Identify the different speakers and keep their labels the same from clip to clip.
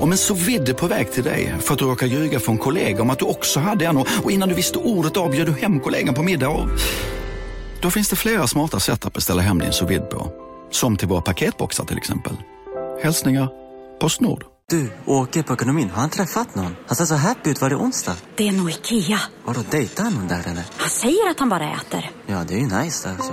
Speaker 1: Om en så vidde på väg till dig för att du råkar ljuga från kollega om att du också hade en och och innan du visste ordet av bjöd du hem kollegan på middag och... Då finns det flera smarta sätt att beställa hem din sous vide på. Som till våra paketboxar till exempel. Hälsningar Postnord.
Speaker 2: Du, åker på ekonomin. Har han träffat någon? Han ser så happy ut. Var det onsdag?
Speaker 3: Det är nog Ikea.
Speaker 2: Vadå, dejtar han någon där eller?
Speaker 3: Han säger att han bara äter.
Speaker 2: Ja, det är ju nice alltså.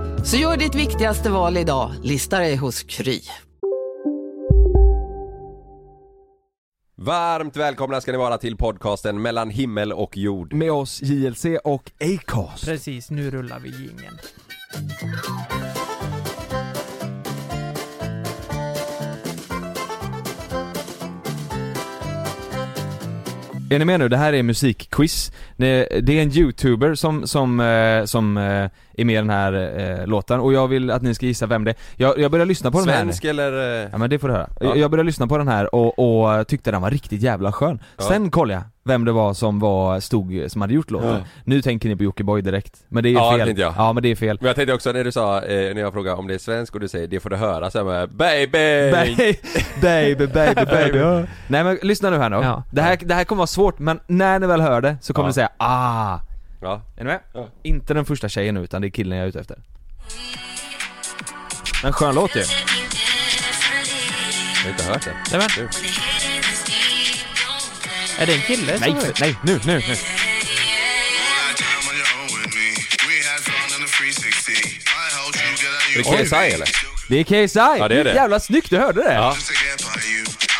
Speaker 4: Så gör ditt viktigaste val idag, listar dig hos Kry.
Speaker 5: Varmt välkomna ska ni vara till podcasten mellan himmel och jord.
Speaker 6: Med oss JLC och Acast.
Speaker 7: Precis, nu rullar vi jingeln.
Speaker 6: Är ni med nu? Det här är musikquiz. Det det är en youtuber som, som, eh, som eh, är med i den här eh, låten och jag vill att ni ska gissa vem det är. Jag, jag började lyssna på den här.
Speaker 5: Svensk eller... eh,
Speaker 6: Ja men det får du höra.
Speaker 5: Ja.
Speaker 6: Jag- Jag började lyssna på den här och, och tyckte den var riktigt jävla skön.
Speaker 5: Ja.
Speaker 6: Sen kollade jag vem det var som var, stod, som hade gjort låten.
Speaker 5: Ja.
Speaker 6: Nu tänker ni på Jockiboi direkt. Men det är
Speaker 5: Ja, det
Speaker 6: fel.
Speaker 5: tänkte jag.
Speaker 6: Ja men det är fel.
Speaker 5: Men jag tänkte också när du sa, eh, när jag frågade om det är svensk och du säger det får du höra så här med baby!
Speaker 6: Baby, baby, baby, baby. ja. Nej men lyssna nu här nu.
Speaker 7: Ja.
Speaker 6: Det, här, det här kommer vara svårt men när ni väl hör det så kommer
Speaker 5: Ja.
Speaker 6: ni säga ah.
Speaker 5: Ja.
Speaker 6: Är ni med?
Speaker 5: Ja.
Speaker 6: Inte den första tjejen nu, utan det är killen jag är ute efter. Men skön låt ju.
Speaker 5: Jag har inte hört det.
Speaker 7: Nämen,
Speaker 5: Du.
Speaker 7: är det en kille som
Speaker 6: Nej,
Speaker 7: är-
Speaker 6: nej, nu, nu, nu.
Speaker 5: Är det KSI eller?
Speaker 6: Det är KSI!
Speaker 5: Ja, det är det.
Speaker 6: Jävla snyggt, du hörde det!
Speaker 5: Ja.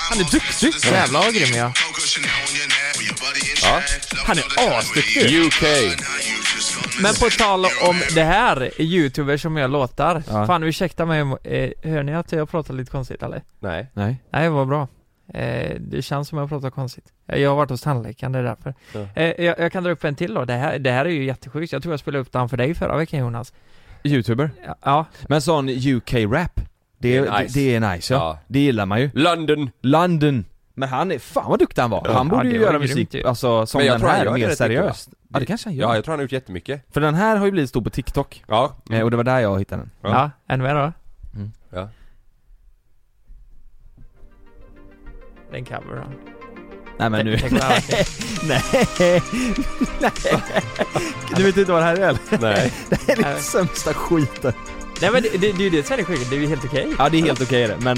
Speaker 6: Han är duktig!
Speaker 7: Jävlar vad grym jag
Speaker 5: Ja.
Speaker 7: Han är asduktig!
Speaker 5: UK!
Speaker 7: Men på tal om det här, youtubers som gör låtar.
Speaker 6: Ja.
Speaker 7: Fan ursäkta mig, eh, hör ni att jag pratar lite konstigt eller?
Speaker 5: Nej.
Speaker 6: Nej.
Speaker 7: Nej, vad bra. Eh, det känns som jag pratar konstigt. Eh, Jag har varit hos tandläkaren, det är därför.
Speaker 5: Ja.
Speaker 7: Eh, jag, jag kan dra upp en till då. Det här, det här är ju jättesjukt. Jag tror jag spelade upp den för dig förra veckan Jonas.
Speaker 6: Youtuber.
Speaker 7: Ja, Ja,
Speaker 6: Men sån UK-rap. Det,
Speaker 5: Det är
Speaker 6: är-
Speaker 5: nice.
Speaker 6: det är nice ja.
Speaker 5: Ja.
Speaker 6: Det gillar man ju.
Speaker 5: London!
Speaker 6: London. Men han är, fan vad duktig han var.
Speaker 7: Ja,
Speaker 6: Han borde
Speaker 7: det
Speaker 6: ju
Speaker 7: var
Speaker 6: göra
Speaker 7: grymt
Speaker 6: musik,
Speaker 7: ju.
Speaker 6: alltså som
Speaker 5: typ. Men jag
Speaker 6: den
Speaker 5: tror han gör
Speaker 6: här,
Speaker 5: det
Speaker 6: mer
Speaker 5: rätt mycket, va?
Speaker 6: seriöst. Ja det kanske han gör.
Speaker 5: Ja, jag tror han har gjort jättemycket.
Speaker 6: För den här har ju blivit stor på TikTok.
Speaker 5: Ja.
Speaker 6: Eh, Och det var där jag hittade den. Mm.
Speaker 5: Ja.
Speaker 7: ja. är ni med då?
Speaker 5: Ja.
Speaker 7: Det är en cover då.
Speaker 6: Nej men nu.
Speaker 7: Tänk vad jag-
Speaker 6: Nej. Nej. Du vet inte vad det här är eller?
Speaker 5: Nej.
Speaker 6: Det är den
Speaker 7: Nej.
Speaker 6: sämsta skiten.
Speaker 7: Nej men det, det, det är ju det som är det sjuka, det är ju helt okej.
Speaker 6: Ja det är helt okej det, men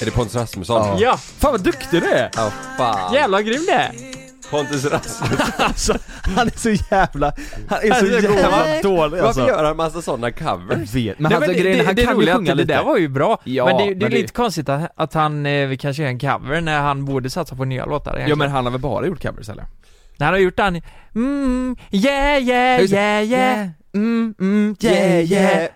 Speaker 5: Är det Pontus Rasmusson?
Speaker 6: Ja.
Speaker 7: Ja,
Speaker 6: fan vad duktig du är!
Speaker 5: Ja, fan.
Speaker 7: jävlar vad grym det är!
Speaker 5: Pontus Rasmusson.
Speaker 6: Alltså, han är så jävla, han är
Speaker 5: Han
Speaker 6: så
Speaker 5: är så
Speaker 6: jävla
Speaker 5: god.
Speaker 6: dålig
Speaker 5: Varför
Speaker 6: alltså.
Speaker 5: gör han massa sådana covers?
Speaker 6: Vet. Men
Speaker 7: Nej,
Speaker 6: han,
Speaker 7: men
Speaker 6: grejen, är, han
Speaker 7: det,
Speaker 6: kan
Speaker 7: roliga
Speaker 6: ju
Speaker 7: är att
Speaker 6: sjunga
Speaker 7: det
Speaker 6: lite.
Speaker 7: där var ju bra,
Speaker 6: Ja,
Speaker 7: men det, det är
Speaker 6: men det-
Speaker 7: lite konstigt att, att han eh, vi kanske gör en cover när han borde satsa på nya låtar
Speaker 6: Ja
Speaker 7: egentligen.
Speaker 6: men han har väl bara gjort covers eller?
Speaker 7: När han har gjort den, mm, yeah yeah
Speaker 6: just det.
Speaker 7: yeah yeah
Speaker 6: Mm, mm,
Speaker 7: mm,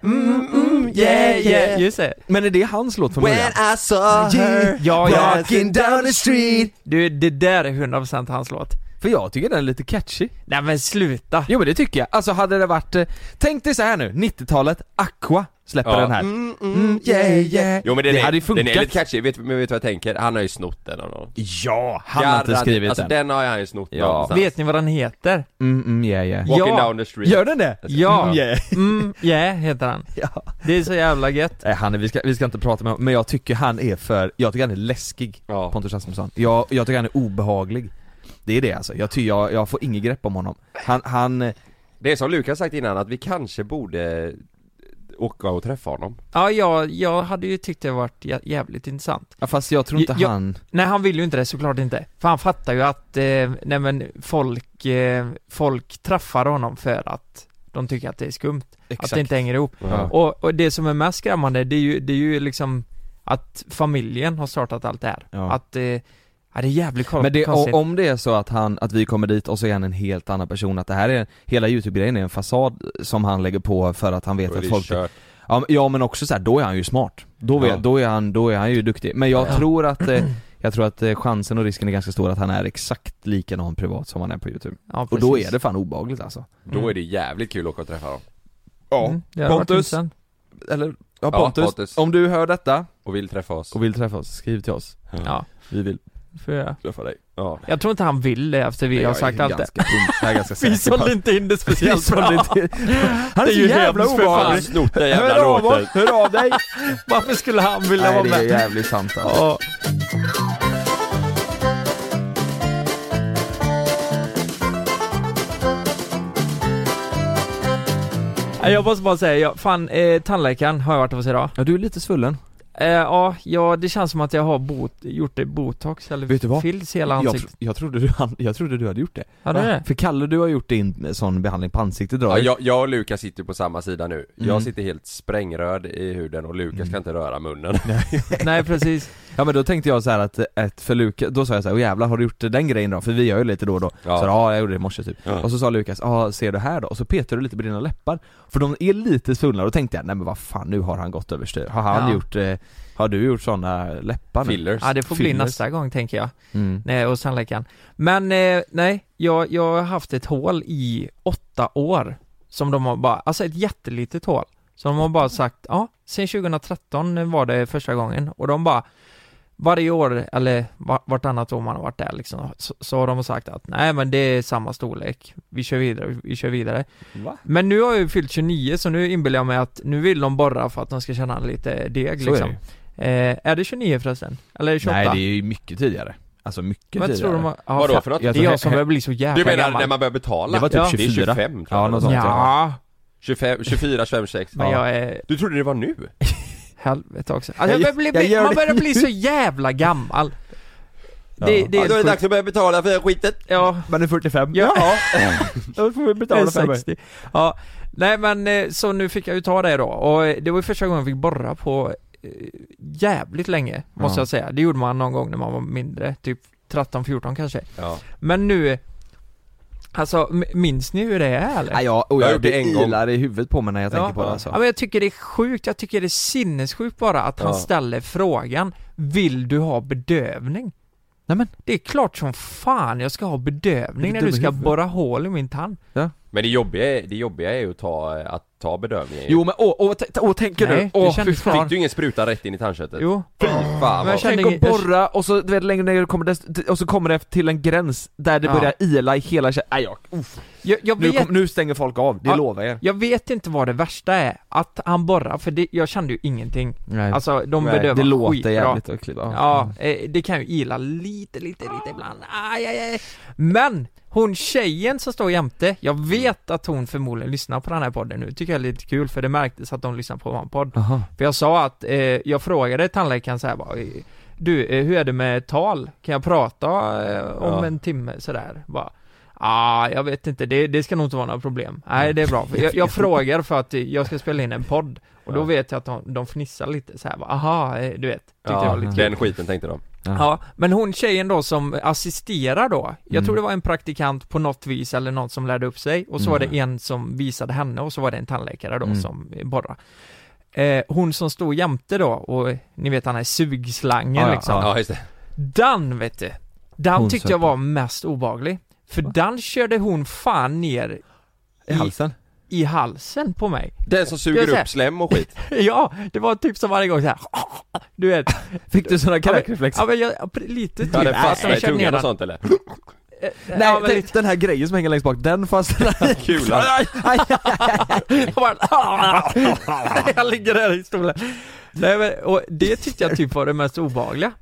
Speaker 7: mm, Just det.
Speaker 6: Men är det hans låt från början?
Speaker 5: I saw
Speaker 7: Ja, ja.
Speaker 6: down the street
Speaker 7: Du, det där är 100% hans låt.
Speaker 6: För jag tycker den är lite catchy
Speaker 7: Nej men sluta!
Speaker 6: Jo men det tycker jag, alltså hade det varit, eh, tänk dig så här nu, 90-talet, Aqua släpper
Speaker 5: Ja.
Speaker 6: den här Mm, yeah, yeah.
Speaker 5: Jo men den,
Speaker 6: Det
Speaker 5: är,
Speaker 6: hade ju
Speaker 5: den är
Speaker 6: funkat.
Speaker 5: lite catchy, vet, men vet du vad jag tänker? Han har ju snott den av någon.
Speaker 6: Ja, han har inte
Speaker 5: Garrat-
Speaker 6: skrivit
Speaker 5: alltså,
Speaker 6: den
Speaker 5: den har han ju snott
Speaker 6: Ja.
Speaker 5: någonstans.
Speaker 7: Vet ni vad den heter?
Speaker 6: Mm, mm, yeah, yeah.
Speaker 5: Walking
Speaker 7: Ja.
Speaker 5: down the street. Alltså.
Speaker 6: Gör den det?
Speaker 7: Ja.
Speaker 6: Mm, yeah.
Speaker 7: Mm, yeah heter han.
Speaker 6: ja.
Speaker 7: Det är så jävla gött.
Speaker 6: Nej, han är, vi, ska, vi ska inte prata med honom, men jag tycker han är för, jag tycker han är läskig
Speaker 5: Ja.
Speaker 6: Pontus Rasmusson. Jag, jag tycker han är obehaglig Det är det alltså, jag, ty, jag, jag får inget grepp om honom Han, han, eh,
Speaker 5: Det är som Lukas sagt innan, att vi kanske borde åka och träffa honom.
Speaker 7: Ja, jag, jag hade ju tyckt det varit jä- jävligt intressant.
Speaker 6: ja, fast jag tror inte
Speaker 7: Jag-
Speaker 6: han
Speaker 7: Nej, han vill ju inte det såklart inte. För han fattar ju att, eh, nej men folk, eh, folk träffar honom för att de tycker att det är skumt. Att det inte hänger ihop.
Speaker 6: Ja.
Speaker 7: Och, och det som är mest skrämmande, det är ju, det är ju liksom att familjen har startat allt det här.
Speaker 6: Ja.
Speaker 7: Att, eh, ja det är jävligt kon-
Speaker 6: Men det,
Speaker 7: konstigt.
Speaker 6: o- om det är så att han, att vi kommer dit och så är han en helt annan person, att det här är, hela youtube-grejen är en fasad som han lägger på för att han vet
Speaker 5: Då är
Speaker 6: att
Speaker 5: det
Speaker 6: folk
Speaker 5: kört.
Speaker 6: Ja men- Ja men också så här, då är han ju smart. Då, vet,
Speaker 5: Ja.
Speaker 6: då, är han, då är han ju duktig. Men jag
Speaker 7: Ja.
Speaker 6: tror att, eh, Jag tror att eh, chansen och risken är ganska stor att han är exakt likadan privat som han är på youtube
Speaker 7: Ja,
Speaker 6: Och då
Speaker 7: precis.
Speaker 6: är det fan obagligt alltså
Speaker 5: Då är det jävligt kul att åka och träffa dem.
Speaker 7: Mm, det hade varit
Speaker 6: Pontus.
Speaker 7: intressant.
Speaker 6: Eller, ja
Speaker 5: Pontus,
Speaker 6: Pontus, om du hör detta
Speaker 5: Och vill träffa oss.
Speaker 6: och vill träffa oss, skriv till oss
Speaker 7: Ja,
Speaker 6: Vi vill
Speaker 7: för jag.
Speaker 6: träffa dig
Speaker 5: Ja.
Speaker 7: jag tror inte han vill det efter vi har sagt allt det.
Speaker 6: Jag är ganska
Speaker 7: Vi
Speaker 6: säker på att-
Speaker 7: sålde inte in det
Speaker 6: Vi
Speaker 7: speciellt
Speaker 6: sålde
Speaker 7: bra.
Speaker 6: inte- Han är så jävla
Speaker 7: hemskt för fan.
Speaker 6: obehaglig!
Speaker 5: Snort den jävla
Speaker 6: Hör av,
Speaker 5: låten.
Speaker 6: oss, hör av dig!
Speaker 7: Varför skulle han vilja
Speaker 6: Nej
Speaker 7: vara
Speaker 6: det är
Speaker 7: med?
Speaker 6: jävligt sant alltså.
Speaker 7: Ja. Nej, Jag måste bara säga, jag, fan eh, tandläkaren har jag varit hos idag.
Speaker 6: Ja du är lite svullen
Speaker 7: Eh, ja, ja, det känns som att jag har bot, gjort det botox eller
Speaker 6: Vet du vad?
Speaker 7: fills i hela
Speaker 6: jag,
Speaker 7: ansiktet.
Speaker 6: tro- jag, trodde du, han- jag trodde du hade gjort det
Speaker 7: Ja, det är det.
Speaker 6: För Kalle du har gjort din sån behandling på ansiktet drar
Speaker 5: Ja,
Speaker 6: ju.
Speaker 5: jag, jag och Lukas sitter på samma sida nu.
Speaker 6: Mm.
Speaker 5: Jag sitter helt sprängröd i huden och Lukas kan inte röra munnen.
Speaker 7: Nej precis.
Speaker 6: Ja men då tänkte jag så här att, ett för Lukas, då sa jag så här, åh jävlar har du gjort den grejen då? För vi gör ju lite då och då.
Speaker 5: Ja.
Speaker 6: Så ja jag gjorde det i morse typ.
Speaker 5: Ja.
Speaker 6: Och så sa Lukas, ja ser du här då? Och så petade du lite på dina läppar. För de är lite svullna, då tänkte jag, nej men vad fan nu har han gått överstyr. Har han
Speaker 7: Ja.
Speaker 6: gjort, eh, har du gjort såna läppar nu?
Speaker 5: Fillers.
Speaker 7: Ja det får bli
Speaker 6: Fillers.
Speaker 7: nästa gång tänker jag.
Speaker 6: Mm.
Speaker 7: Nej, hos tandläkaren. Men eh, nej, jag, jag har haft ett hål i åtta år. Som de har bara, alltså ett jättelitet hål. Så de har bara sagt, ja, sen 2013 var det första gången. Och de bara, varje år, eller va- vartannat år man har varit där liksom, så, så har de sagt att nej men det är samma storlek. Vi kör vidare, vi kör vidare.
Speaker 6: Va?
Speaker 7: Men nu har jag ju fyllt 29 så nu inbillar jag mig att nu vill de borra för att de ska känna lite deg
Speaker 6: Så
Speaker 7: liksom.
Speaker 6: är det ju.
Speaker 7: Eh, är det 29 förresten? Eller 28?
Speaker 6: Nej det är ju mycket tidigare. Alltså mycket
Speaker 7: Vad
Speaker 6: tidigare.
Speaker 7: tror de? har- Ja,
Speaker 5: Vadå
Speaker 7: fan,
Speaker 5: för något?
Speaker 7: Det är jag som börjar bli så
Speaker 5: Du
Speaker 7: jävla
Speaker 5: menar
Speaker 7: gammal.
Speaker 5: när man börjar betala?
Speaker 6: Det var typ
Speaker 5: Ja.
Speaker 6: 24.
Speaker 5: Det är 25 tror
Speaker 6: Ja,
Speaker 5: jag.
Speaker 6: något sånt.
Speaker 7: Ja,
Speaker 5: 25, 24, 25, 26.
Speaker 7: men
Speaker 5: Ja.
Speaker 7: jag är
Speaker 5: Du trodde det var nu?
Speaker 7: helvete också.
Speaker 6: Jag
Speaker 7: Alltså, jag börjar
Speaker 6: gör- jag
Speaker 7: bli,
Speaker 6: gör
Speaker 7: man
Speaker 6: det
Speaker 7: börjar bli
Speaker 6: nu.
Speaker 7: så jävla gammal.
Speaker 6: Ja.
Speaker 7: Det, det är helt sjukt.
Speaker 5: att börja betala för skitet.
Speaker 7: Ja,
Speaker 6: Man är 45.
Speaker 7: ja,
Speaker 6: Då får vi
Speaker 7: jag är
Speaker 6: betala för mig.
Speaker 7: 60. Ja, nej men eh, så nu fick jag ju ta det då och eh, det var ju första gången jag fick borra på eh, jävligt länge, måste
Speaker 6: Ja.
Speaker 7: jag säga. Det gjorde man någon gång när man var mindre, typ 13-14 kanske.
Speaker 5: Ja.
Speaker 7: Men nu, alltså m- minns ni hur det är eller?
Speaker 6: Nej, jag, och
Speaker 5: Jag
Speaker 6: jag,
Speaker 5: har gjort det en gång.
Speaker 6: ilar i huvudet på mig när jag tänker på det alltså.
Speaker 7: ja, men jag tycker det är sjukt, jag tycker det är sinnessjukt bara att han
Speaker 5: Ja.
Speaker 7: ställer frågan Vill du ha bedövning?
Speaker 6: Nej, men-
Speaker 7: Det är klart som fan jag ska ha bedövning
Speaker 6: Är du
Speaker 7: när du
Speaker 6: dum i
Speaker 7: ska
Speaker 6: huvudet?
Speaker 7: borra hål i min tand
Speaker 5: Men det jobbiga, är- det jobbiga är ju att ta, att ta bedövningen.
Speaker 6: Jo men åh, åh, t- åh tänker
Speaker 7: Nej,
Speaker 6: du?
Speaker 7: det
Speaker 6: Åh fy
Speaker 7: kändes
Speaker 6: fan.
Speaker 7: bra.
Speaker 5: Fick du ingen spruta rätt in i tandköttet?
Speaker 7: Jo,
Speaker 5: Fy fan
Speaker 7: Men jag
Speaker 5: vad...
Speaker 7: känner
Speaker 6: Tänk att
Speaker 7: ingen- jag-
Speaker 6: borra och så, du vet, längre ner kommer det, och så kommer det till en gräns där det
Speaker 7: Ja.
Speaker 6: börjar ila i hela kä- Nej, jag,
Speaker 7: jag, jag,
Speaker 6: nu,
Speaker 7: vet,
Speaker 6: kom, nu stänger folk av, det
Speaker 7: Ja.
Speaker 6: lovar jag er.
Speaker 7: jag vet inte vad det värsta är Att han borrar, för det, jag kände ju ingenting
Speaker 6: Nej,
Speaker 7: Alltså de
Speaker 5: Nej,
Speaker 7: bedövar
Speaker 6: det låter
Speaker 7: skitbra.
Speaker 6: jävligt och kliva.
Speaker 7: Ja, eh, det kan ju ila lite, lite,
Speaker 6: Ah.
Speaker 7: lite ibland. Aj, aj, aj. Men hon tjejen som står jämte, jag vet att hon förmodligen lyssnar på den här podden nu, tycker jag är lite kul för det märktes att de lyssnar på vår podd.
Speaker 6: Aha.
Speaker 7: För jag sa att, eh, jag frågade tandläkaren så här bara, eh, du eh, hur är det med tal? Kan jag prata eh, om
Speaker 5: Ja.
Speaker 7: en timme sådär? Bara, Ah, jag vet inte, det, det ska nog inte vara några problem. Nej, det är bra. För Jag, jag frågar för att eh, jag ska spela in en podd och då
Speaker 5: Ja.
Speaker 7: vet jag att de, de fnissar lite så här, bara, aha, eh, du vet. Tyckte jag var
Speaker 5: Ja,
Speaker 7: lite kul.
Speaker 5: den skiten tänkte de.
Speaker 7: Ja, men hon tjejen då som assisterar då, jag
Speaker 6: Mm.
Speaker 7: tror det var en praktikant på något vis eller någon som lärde upp sig och så var det en som visade henne och så var det en tandläkare då
Speaker 6: Mm.
Speaker 7: som borrade. Eh, hon som stod jämte då och ni vet den här sugslangen
Speaker 6: Ja, ja,
Speaker 7: liksom.
Speaker 5: Ja, just det.
Speaker 7: Den vet du, den
Speaker 6: Hon
Speaker 7: tyckte
Speaker 6: söp
Speaker 7: jag var mest obaglig. För den körde hon fan ner
Speaker 6: I halsen?
Speaker 7: i halsen på mig.
Speaker 5: Den som
Speaker 7: Jag
Speaker 5: suger
Speaker 7: säger-
Speaker 5: upp slem och skit.
Speaker 7: ja, det var typ som varje gång så här. du vet.
Speaker 6: Fick du sådana kräkreflexer?
Speaker 7: Ja men jag, lite typ.
Speaker 5: Ja, den
Speaker 7: Nej,
Speaker 5: fastnar
Speaker 7: jag
Speaker 5: i
Speaker 7: körde ner
Speaker 5: tungan och
Speaker 7: den.
Speaker 5: sånt eller?
Speaker 7: Eh, eh,
Speaker 6: Nej,
Speaker 7: ja, men
Speaker 6: den-
Speaker 7: lite-
Speaker 6: den här grejen som hänger längst bak, den fastnade
Speaker 5: Kulan.
Speaker 7: Jag bara, jag ligger där i stolen. Nej, men, och det tyckte jag typ var det mest obehagliga.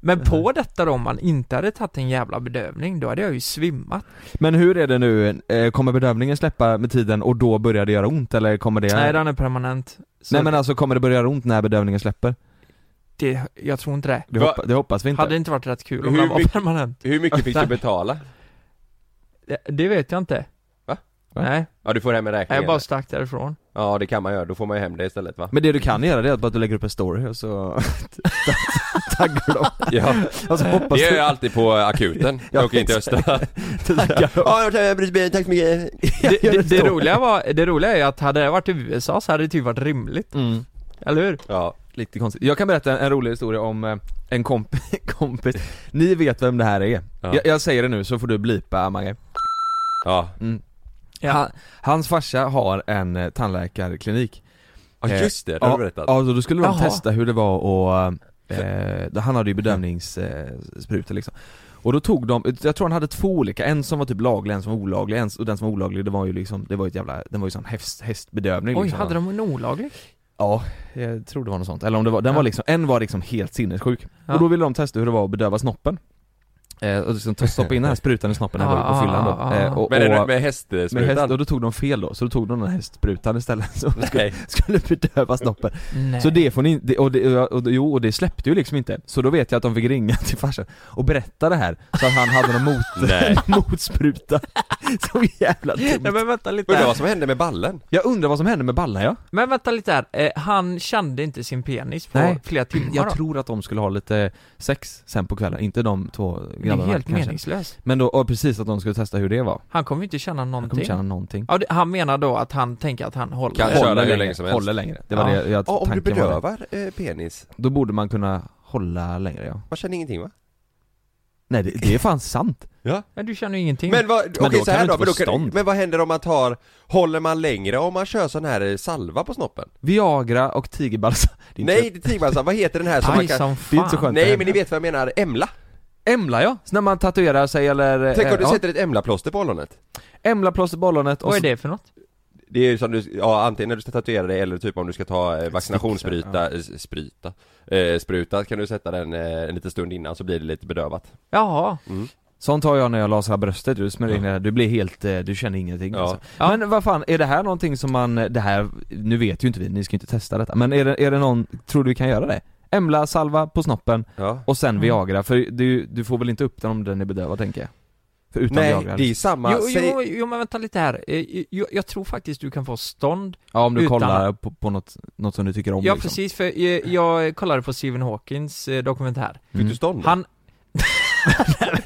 Speaker 7: Men
Speaker 6: Mm.
Speaker 7: på detta då, om man inte hade tagit en jävla bedövning, då hade jag ju svimmat.
Speaker 6: Men hur är det nu, Eh, kommer bedövningen släppa med tiden och då börjar det göra ont eller kommer det...
Speaker 7: Nej, den är permanent. Så
Speaker 6: Nej men alltså kommer det börja göra ont när bedövningen släpper?
Speaker 7: det, jag tror inte det.
Speaker 6: Det,
Speaker 5: Va-
Speaker 6: hoppa, det hoppas vi inte.
Speaker 7: Hade det inte varit rätt kul om
Speaker 5: Hur
Speaker 7: den var
Speaker 5: mycket-
Speaker 7: permanent?
Speaker 5: Hur mycket fick du betala?
Speaker 7: Det- Det vet jag inte.
Speaker 5: Va?
Speaker 6: Va?
Speaker 7: Nej,
Speaker 5: Ja, du får hem en räkning.
Speaker 7: jag bara
Speaker 5: eller?
Speaker 7: stack därifrån.
Speaker 5: Ja, det kan man göra. Då får man ju hem det istället va?
Speaker 6: Men det du kan göra det är att bara att du lägger upp en story och så taggar dem.
Speaker 5: Ja.
Speaker 6: Och så hoppas
Speaker 5: Det gör
Speaker 6: du
Speaker 5: jag alltid på akuten. Jag åker inte till Östra.
Speaker 6: taggar dem.
Speaker 5: Ja, jag har brutit benet, tack så mycket.
Speaker 7: Det, det, det, roliga var, det roliga är ju att hade det varit i USA så hade det typ varit rimligt.
Speaker 6: Mm.
Speaker 7: eller hur?
Speaker 5: Ja.
Speaker 6: Lite konstigt. Jag kan berätta en rolig historia om eh, en komp kompis. Ni vet vem det här är.
Speaker 5: Ja.
Speaker 6: Jag, jag säger det nu så får du blipa Mange.
Speaker 5: Ja.
Speaker 6: Han, hans farsa har en eh, tandläkarklinik.
Speaker 5: Ja
Speaker 6: Eh,
Speaker 5: just det, det har du
Speaker 6: Ja,
Speaker 5: berättat.
Speaker 6: alltså då skulle de
Speaker 7: Jaha. Mm.
Speaker 6: testa hur det var och eh, då- han hade ju bedövningssprutor liksom. Och då tog de, jag tror han hade två olika, en som var typ laglig, en som var olaglig, en, och den som var olaglig det var ju liksom, det var ju ett jävla, den var ju sån häst, hästbedövning
Speaker 7: Oj,
Speaker 6: liksom.
Speaker 7: hade de en olaglig?
Speaker 6: Ja, jag tror det var något sånt. Eller om det var, den
Speaker 7: Ja.
Speaker 6: var liksom, en var liksom helt sinnessjuk.
Speaker 7: Ja.
Speaker 6: Och då ville de testa hur det var att bedöva snoppen. Eh, och liksom ta- stoppa in den här sprutan i snoppen när
Speaker 7: Ja,
Speaker 6: man var på
Speaker 7: ja,
Speaker 6: fyllan
Speaker 7: ja,
Speaker 6: då.
Speaker 7: ja.
Speaker 6: Eh, och,
Speaker 5: Men är det
Speaker 6: och,
Speaker 5: med
Speaker 6: med häst,
Speaker 5: hästsprutan?
Speaker 6: och då tog de fel då, så då tog de den här hästsprutan istället som
Speaker 5: Nej.
Speaker 6: skulle bedöva snoppen.
Speaker 7: Nej.
Speaker 6: Så det får ni det, och, det, och, och, jo, och det släppte ju liksom inte. Så då vet jag att de fick ringa till farsan och berätta det här, så att han hade en mot,
Speaker 5: Nej.
Speaker 6: motspruta. Så jävla
Speaker 7: Nej,
Speaker 6: dumt.
Speaker 7: men vänta lite
Speaker 5: Undrar
Speaker 7: här.
Speaker 5: vad som hände med ballen?
Speaker 6: Jag undrar vad som hände med Balla ja?
Speaker 7: Men vänta lite här, eh, han kände inte sin penis på
Speaker 6: Nej.
Speaker 7: flera timmar
Speaker 6: Jag
Speaker 7: då?
Speaker 6: tror att de skulle ha lite sex sen på kvällen, inte de två
Speaker 7: Det är
Speaker 6: grabbarna
Speaker 7: helt
Speaker 6: kanske.
Speaker 7: meningslöst.
Speaker 6: Men då, och precis att de skulle testa hur det var.
Speaker 7: Han kommer ju inte känna
Speaker 6: Jag
Speaker 7: någonting.
Speaker 6: kommer känna någonting.
Speaker 7: Ja, det, han menar då att han tänker att han håller.
Speaker 5: Kan- köra hur länge som helst.
Speaker 6: Håller längre. Det var
Speaker 7: Ja.
Speaker 6: det jag
Speaker 5: Ja, om du
Speaker 6: tanken var det.
Speaker 5: bedövar eh, penis,
Speaker 6: Då borde man kunna hålla längre ja.
Speaker 5: man känner ingenting va?
Speaker 6: Nej det, det är fan sant.
Speaker 7: Men du känner ju ingenting.
Speaker 5: Men vad,
Speaker 6: då
Speaker 5: okej så
Speaker 6: kan
Speaker 5: här
Speaker 6: du
Speaker 5: då, men,
Speaker 6: inte få
Speaker 5: då kan,
Speaker 6: stånd.
Speaker 5: men vad händer om man tar, håller man längre om man kör sån här eh, salva på snoppen?
Speaker 6: Viagra och tigerbalsam. Det är inte-
Speaker 5: Nej, det är tigbalsam, vad heter den här som man
Speaker 7: Aj
Speaker 5: kan...
Speaker 7: som
Speaker 6: Det är inte så
Speaker 7: fan.
Speaker 6: skönt
Speaker 5: Nej men ni vet vad jag menar, emla!
Speaker 6: Emla ja, så när man tatuerar sig eller...
Speaker 5: Tänk
Speaker 6: eh,
Speaker 5: om du
Speaker 6: ja.
Speaker 5: sätter ett emlaplåster på ollonet?
Speaker 6: Emlaplåster på ollonet och
Speaker 7: Vad är
Speaker 6: så
Speaker 7: det för något?
Speaker 5: Det är ju som du, ja antingen när du ska tatuera dig eller typ om du ska ta eh, vaccinationsspruta, eh, spruta, eh, spruta kan du sätta den eh, en liten stund innan så blir det lite bedövat
Speaker 7: Jaha.
Speaker 5: Mm.
Speaker 6: Sånt har jag när jag lasrar bröstet, du smörjer in det där, du blir helt, eh, du känner ingenting
Speaker 5: Ja.
Speaker 6: alltså. Men vad fan, är det här någonting som man, det här, nu vet ju inte vi, ni ska ju inte testa detta, men är det, är det någon, tror du vi kan göra det? Emla, salva på snoppen
Speaker 5: Ja
Speaker 6: och
Speaker 7: Mm.
Speaker 6: sen Viagra, för du, du får väl inte upp den om den är bedövad tänker jag? För utan
Speaker 5: Nej,
Speaker 6: Viagra liksom.
Speaker 5: det är samma,
Speaker 7: Jo,
Speaker 5: säg-
Speaker 7: jo, jo, men vänta lite här. Eh, Jo, jag tror faktiskt du kan få stånd.
Speaker 6: Ja om du
Speaker 7: utan-
Speaker 6: kollar på, på något, något som du tycker om
Speaker 7: Ja,
Speaker 6: liksom.
Speaker 7: precis, för eh, jag kollade på Stephen Hawkins eh, dokumentär.
Speaker 5: fick du stånd?
Speaker 7: Han...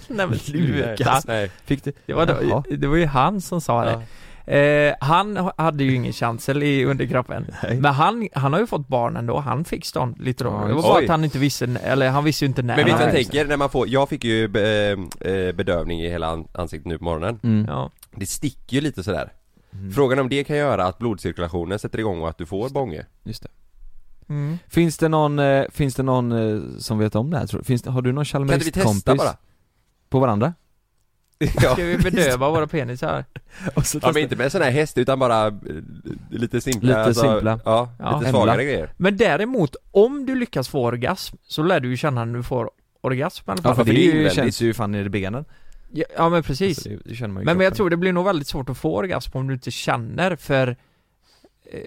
Speaker 7: Nej men sluta!
Speaker 5: Nej.
Speaker 6: Fick du?
Speaker 7: Det var,
Speaker 6: Jaha.
Speaker 7: det, det var ju han som sa det. Eh, han ha- hade ju ingen chansel i underkroppen. Men han, han har ju fått barn ändå, han fick stånd lite då.
Speaker 6: Ja,
Speaker 7: det var
Speaker 6: just
Speaker 7: bara
Speaker 5: det.
Speaker 7: att han inte visste, n- eller han visste ju inte när.
Speaker 5: Men vet du vad jag
Speaker 7: Nej.
Speaker 5: tänker? När man får, jag fick ju be, eh, bedövning i hela an- ansiktet nu på morgonen
Speaker 6: Mm.
Speaker 7: Ja.
Speaker 5: Det sticker ju lite sådär Frågan om det kan göra att blodcirkulationen sätter igång och att du får bånge?
Speaker 6: Just det.
Speaker 7: Mm.
Speaker 6: Finns det någon, eh, finns det någon eh, som vet om det här tror du? Finns det, har du någon
Speaker 5: Kan inte vi testa
Speaker 6: Chalmerist-kompis?
Speaker 5: bara?
Speaker 6: På varandra?
Speaker 5: Ja.
Speaker 7: Ska vi bedöva våra penisar?
Speaker 5: ja men inte med en sån här häst utan bara eh, lite simpla alltså,
Speaker 6: Lite simpla.
Speaker 5: Ja,
Speaker 7: Ja.
Speaker 5: lite
Speaker 6: Hemla.
Speaker 5: svagare grejer
Speaker 7: Men däremot, om du lyckas få orgasm, så lär du ju känna när du får orgasm i alla
Speaker 6: Ja
Speaker 7: fall.
Speaker 6: för
Speaker 5: för
Speaker 6: det,
Speaker 5: det är
Speaker 6: är ju,
Speaker 5: invändigt.
Speaker 6: känns ju fan i benen
Speaker 7: Ja, ja men precis.
Speaker 6: Alltså, det, det känner man ju i
Speaker 7: Men, men jag
Speaker 6: kroppen.
Speaker 7: tror det blir nog väldigt svårt att få orgasm om du inte känner för, eh,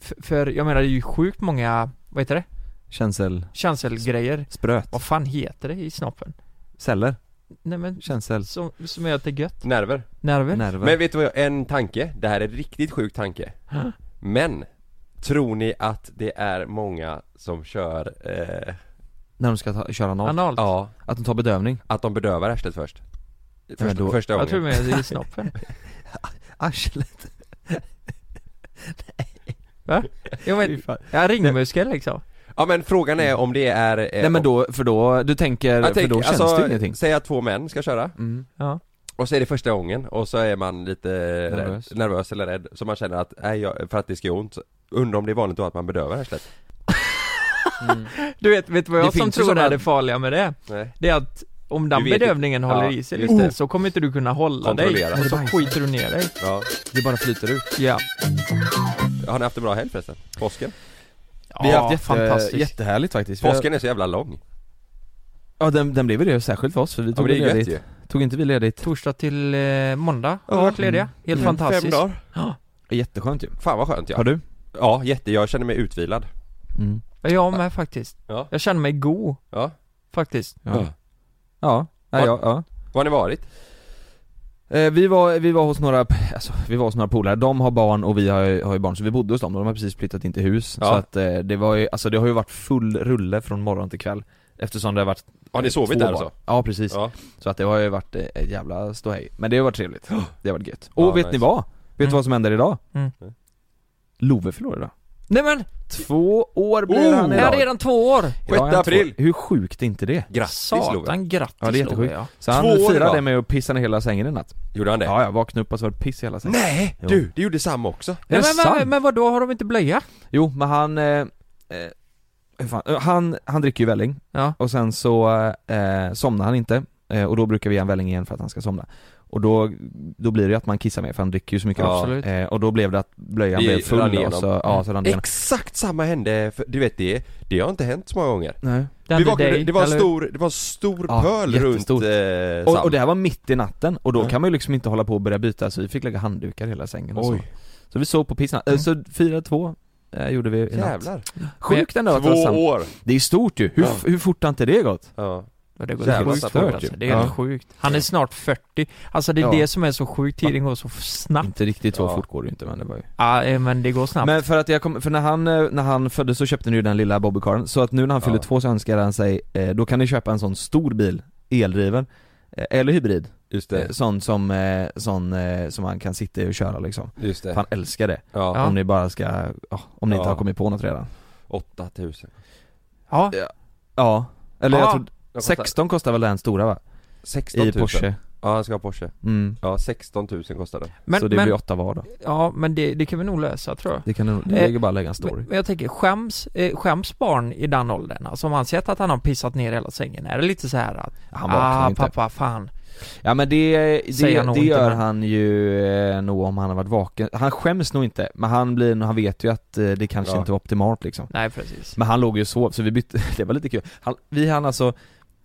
Speaker 7: för, för jag menar det är ju sjukt många, vad heter det?
Speaker 6: Känsel,
Speaker 7: Känselgrejer.
Speaker 6: spröt,
Speaker 7: Vad fan heter det i snoppen?
Speaker 6: celler,
Speaker 7: Nej men,
Speaker 6: känsel,
Speaker 7: som, som gör att det är gött.
Speaker 5: Nerver
Speaker 7: Nerver.
Speaker 6: nerver
Speaker 5: Men vet du vad, jag- en tanke, det här är en riktigt sjuk tanke
Speaker 7: Huh?
Speaker 5: Men Tror ni att det är många som kör, eh,
Speaker 6: När de ska ta, köra något,
Speaker 7: Analt.
Speaker 5: ja,
Speaker 6: att de tar bedövning
Speaker 5: att de bedövar arslet först? Första,
Speaker 6: då-
Speaker 5: första gången
Speaker 7: Jag tror med det är i snoppen.
Speaker 6: Arslet
Speaker 7: Jag, men, jag ringmuskel liksom.
Speaker 5: Ja men frågan är om det är... eh,
Speaker 6: Nej men
Speaker 5: om-
Speaker 6: då, för då, du tänker,
Speaker 5: jag
Speaker 6: för
Speaker 5: tänker,
Speaker 6: då känns
Speaker 5: alltså,
Speaker 6: det ingenting
Speaker 5: Säg att två män ska köra,
Speaker 6: mm.
Speaker 7: Ja.
Speaker 5: och så är det första gången och så är man lite nervös,
Speaker 6: Nervös.
Speaker 5: nervös eller rädd, så man känner att, nej jag, för att det ska göra ont Undrar om det är vanligt då att man bedövar härslet?
Speaker 7: Du vet, vet du vad
Speaker 6: Det
Speaker 7: jag som
Speaker 6: finns ju
Speaker 7: tror
Speaker 6: sådana-
Speaker 7: är det farliga med det?
Speaker 5: Nej
Speaker 7: Det är att om den
Speaker 5: Du vet ju-
Speaker 7: bedövningen håller
Speaker 5: Ja,
Speaker 7: i sig
Speaker 5: just
Speaker 7: lite
Speaker 5: det.
Speaker 7: så kommer inte du kunna hålla dig
Speaker 5: Kontrollera.
Speaker 7: och så skiter du ner dig.
Speaker 5: Ja.
Speaker 6: Det bara flyter ut
Speaker 7: Ja.
Speaker 5: Har ni haft en bra helg förresten? Påsken?
Speaker 6: Vi har haft jätte,
Speaker 7: fantastiskt.
Speaker 6: jättehärligt faktiskt Vi har-
Speaker 5: Påsken är så jävla lång
Speaker 6: Ja den, den blev väl det särskilt för oss för vi
Speaker 5: Ja men
Speaker 6: tog
Speaker 5: det
Speaker 6: väl
Speaker 5: är gött
Speaker 6: ledigt
Speaker 5: ju
Speaker 6: Tog inte vi ledigt?
Speaker 7: Torsdag till eh, måndag har
Speaker 5: Ja.
Speaker 7: vi varit lediga. Helt fantastiskt.
Speaker 5: Mm. Fem dagar
Speaker 6: Jätteskönt ju
Speaker 5: Fan vad skönt
Speaker 6: Har
Speaker 5: ja
Speaker 6: du?
Speaker 5: Ja jätte, jag känner mig utvilad
Speaker 6: Mm.
Speaker 7: Ja, Jag med faktiskt.
Speaker 5: Ja.
Speaker 7: Jag känner mig god
Speaker 5: Ja,
Speaker 7: faktiskt.
Speaker 6: Ja, ja, Nej, ja, ja.
Speaker 5: Var har ni varit?
Speaker 6: Eh, vi, var, vi var hos några, alltså, vi var hos några polare, de har barn och vi har, har ju barn så vi bodde hos dem, de har precis flyttat in till hus
Speaker 5: Ja.
Speaker 6: Så att eh, det var ju, alltså det har ju varit full rulle från morgon till kväll Eftersom det har varit
Speaker 5: Har ni
Speaker 6: eh,
Speaker 5: sovit
Speaker 6: två
Speaker 5: där och
Speaker 6: barn.
Speaker 5: så?
Speaker 6: Ja precis,
Speaker 5: Ja,
Speaker 6: så att det har ju varit eh, ett jävla ståhej Men det har varit trevligt, det har varit gött
Speaker 5: Ja,
Speaker 6: Och vet
Speaker 5: nice.
Speaker 6: ni vad? Vet du
Speaker 7: Mm.
Speaker 6: vad som händer idag?
Speaker 7: Mm.
Speaker 6: Love förlorar idag
Speaker 7: Nej men!
Speaker 6: Två år blir
Speaker 5: Oh!
Speaker 6: han
Speaker 7: Jag är
Speaker 6: idag.
Speaker 7: redan två år!
Speaker 6: Idag är han
Speaker 5: 6 april.
Speaker 6: Två. Hur sjukt är inte det?
Speaker 5: Grattis Love!
Speaker 7: Satan, grattis
Speaker 6: Ja det är jättesjukt.
Speaker 7: Love, ja.
Speaker 6: Så
Speaker 5: Två
Speaker 6: han
Speaker 5: år
Speaker 6: firade
Speaker 5: idag.
Speaker 6: det med att pissa ner hela sängen i natt.
Speaker 5: Gjorde han det?
Speaker 6: Ja, jag vaknade upp och så var det piss i hela sängen.
Speaker 5: Nej!
Speaker 6: Jo.
Speaker 5: Du, det gjorde Sam också!
Speaker 6: Är
Speaker 7: Nej,
Speaker 6: det
Speaker 7: men,
Speaker 6: sant?
Speaker 7: men, men vadå, har de inte blöja?
Speaker 6: Jo, men han... Eh, eh, hur fan, eh, han, han dricker ju välling
Speaker 7: Ja.
Speaker 6: och sen så eh, somnar han inte eh, och då brukar vi ge en välling igen för att han ska somna. Och då, då blir det ju att man kissar mer för han dricker ju så mycket.
Speaker 5: Ja.
Speaker 7: Absolut.
Speaker 6: Eh, och då blev det att blöjan
Speaker 5: Det
Speaker 6: blev
Speaker 5: rann
Speaker 6: full och
Speaker 5: igenom.
Speaker 6: så, ja, så rann det igenom.
Speaker 5: Exakt samma hände, för, du vet det, det har inte hänt så många gånger
Speaker 6: Nej.
Speaker 5: Vi vaknade,
Speaker 7: dig,
Speaker 5: det var en
Speaker 7: eller
Speaker 5: stor, det var en stor
Speaker 6: Ja,
Speaker 5: pöl runt
Speaker 6: jättestort.
Speaker 5: eh, Sam
Speaker 6: Och, och det här var mitt i natten och då
Speaker 5: Ja.
Speaker 6: kan man ju liksom inte hålla på och börja byta så vi fick lägga handdukar i hela sängen och så.
Speaker 5: Oj.
Speaker 6: Så vi sov på pissnatt, Eh, så 4-2 eh, gjorde vi i natt.
Speaker 5: Jävlar!
Speaker 6: Sjukt ändå att det var
Speaker 5: Två
Speaker 6: sant.
Speaker 5: år!
Speaker 6: Det är stort ju, hur,
Speaker 5: Ja.
Speaker 6: hur fort har inte det gått?
Speaker 5: Ja.
Speaker 7: hur? Det går
Speaker 5: Jävla
Speaker 7: helt
Speaker 5: stört
Speaker 7: stört
Speaker 5: ju.
Speaker 7: alltså. Det är helt
Speaker 6: Ja.
Speaker 7: sjukt. Han är snart 40. Alltså det är
Speaker 6: Ja.
Speaker 7: det som är så sjukt, tiden går så snabbt.
Speaker 6: Inte riktigt så
Speaker 5: Ja.
Speaker 6: fort går det ju inte men det var ju
Speaker 7: Ja, eh, men det går snabbt.
Speaker 6: Men för att jag kom, för när han, eh, när han föddes så köpte ni ju den lilla bobbykaren, så att nu när han fyller
Speaker 5: Ja.
Speaker 6: två så önskar han sig, eh, då kan ni köpa en sån stor bil, eldriven eh, eller hybrid,
Speaker 5: Just
Speaker 6: eh,
Speaker 5: det,
Speaker 6: sån som, eh, sån eh, som man kan sitta i och köra liksom.
Speaker 5: just det
Speaker 6: För han älskar det.
Speaker 5: Ja,
Speaker 7: Ja.
Speaker 6: Om ni bara ska, ja, om ni inte
Speaker 5: Ja.
Speaker 6: har kommit på något redan.
Speaker 5: 8000
Speaker 7: ja.
Speaker 6: Ja, eller
Speaker 7: Ja.
Speaker 6: jag tror, 16 kostar väl den stora va?
Speaker 5: 16
Speaker 6: I
Speaker 5: 000
Speaker 6: Porsche.
Speaker 5: Ja han ska ha Porsche
Speaker 6: Mm.
Speaker 5: Ja 16 000 kostar den
Speaker 7: Men,
Speaker 6: så det
Speaker 7: men,
Speaker 6: blir åtta var då.
Speaker 7: ja, men det, det kan vi nog lösa tror jag.
Speaker 6: Det kan nog- det
Speaker 7: Eh,
Speaker 6: ligger bara att lägga en story.
Speaker 7: Men, men jag tänker, skäms, eh, skäms barn i den åldern? Alltså om han sett att han har pissat ner hela sängen, är det lite så här att
Speaker 6: Han vaknar
Speaker 7: ah,
Speaker 6: inte.
Speaker 7: pappa, fan.
Speaker 6: Ja men det,
Speaker 7: Säger
Speaker 6: det,
Speaker 7: han nog
Speaker 6: det
Speaker 7: inte,
Speaker 6: gör
Speaker 7: men-
Speaker 6: han ju eh, nog om han har varit vaken. Han skäms nog inte, men han blir, han vet ju att eh, det kanske
Speaker 5: Ja.
Speaker 6: inte var optimalt liksom.
Speaker 7: Nej precis.
Speaker 6: Men han låg ju och sov, så vi bytte, det var lite kul. Han, vi hann alltså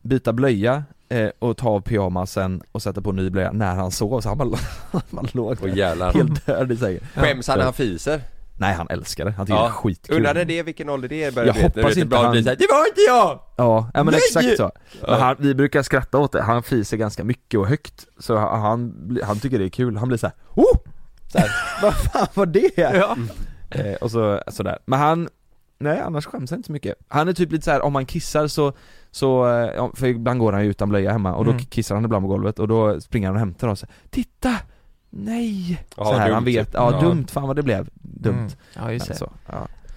Speaker 6: byta blöja eh, och ta av pyjamasen och sätta på en ny blöja när han sov, så han bara, han låg
Speaker 5: Åh jävlar
Speaker 6: helt död i sängen.
Speaker 5: Skäms han när
Speaker 6: Ja.
Speaker 5: han fiser?
Speaker 6: Nej han älskar det, han tycker
Speaker 5: Ja.
Speaker 6: det är skitkul.
Speaker 5: Undrade det vilken ålder det är börjar
Speaker 6: Jag
Speaker 5: du veta,
Speaker 6: hoppas
Speaker 5: du vet,
Speaker 6: inte
Speaker 5: bra att
Speaker 6: han-
Speaker 5: bli så här, Det var inte jag!
Speaker 6: Ja, ja men
Speaker 5: Nej!
Speaker 6: exakt så.
Speaker 5: Ja.
Speaker 6: Men han, vi brukar skratta åt det, han fiser ganska mycket och högt Så han, han, blir- han tycker det är kul, han blir såhär oh! så här, Vad fan var det?
Speaker 7: Ja.
Speaker 6: Eh, och så, sådär, men han Nej annars skäms han inte så mycket Han är typ lite så här: om man kissar så, så, eh, ja, för ibland går han ju utan blöja hemma och då
Speaker 7: Mm.
Speaker 6: kissar han ibland på golvet och då springer han och hämtar och säger Titta! Nej!
Speaker 5: Ja,
Speaker 6: så här,
Speaker 5: dumt,
Speaker 6: han vet,
Speaker 5: typ.
Speaker 6: ja,
Speaker 5: Ja.
Speaker 6: dumt, fan vad det blev, dumt
Speaker 7: Mm. Ja just
Speaker 6: Men
Speaker 7: det.
Speaker 6: så, ja.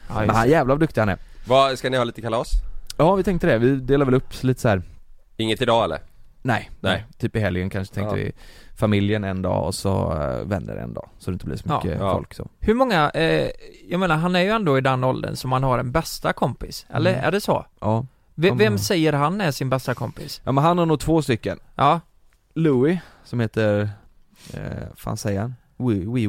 Speaker 7: Ja,
Speaker 6: Men
Speaker 7: just
Speaker 6: han
Speaker 7: det.
Speaker 6: jävlar vad duktig han är
Speaker 5: Vad, ska ni ha lite kalas?
Speaker 6: Ja vi tänkte det, vi delar väl upp lite så här
Speaker 5: Inget idag eller?
Speaker 6: Nej,
Speaker 5: Nej.
Speaker 6: nej. Typ i helgen kanske tänkte
Speaker 5: Ja.
Speaker 6: vi familjen en dag och så eh, vänner en dag. Så det inte blir så
Speaker 7: Ja.
Speaker 6: mycket
Speaker 5: Ja.
Speaker 6: folk så.
Speaker 7: Hur många, eh, jag menar han är ju ändå i den åldern som man har en bästa kompis, eller
Speaker 6: Mm.
Speaker 7: är det så?
Speaker 6: Ja.
Speaker 7: V-
Speaker 6: Ja, men-
Speaker 7: vem säger han är sin bästa kompis?
Speaker 6: ja men han har nog två stycken.
Speaker 7: Ja,
Speaker 6: Louis, som heter, eh, fan säger han? Wee- Wee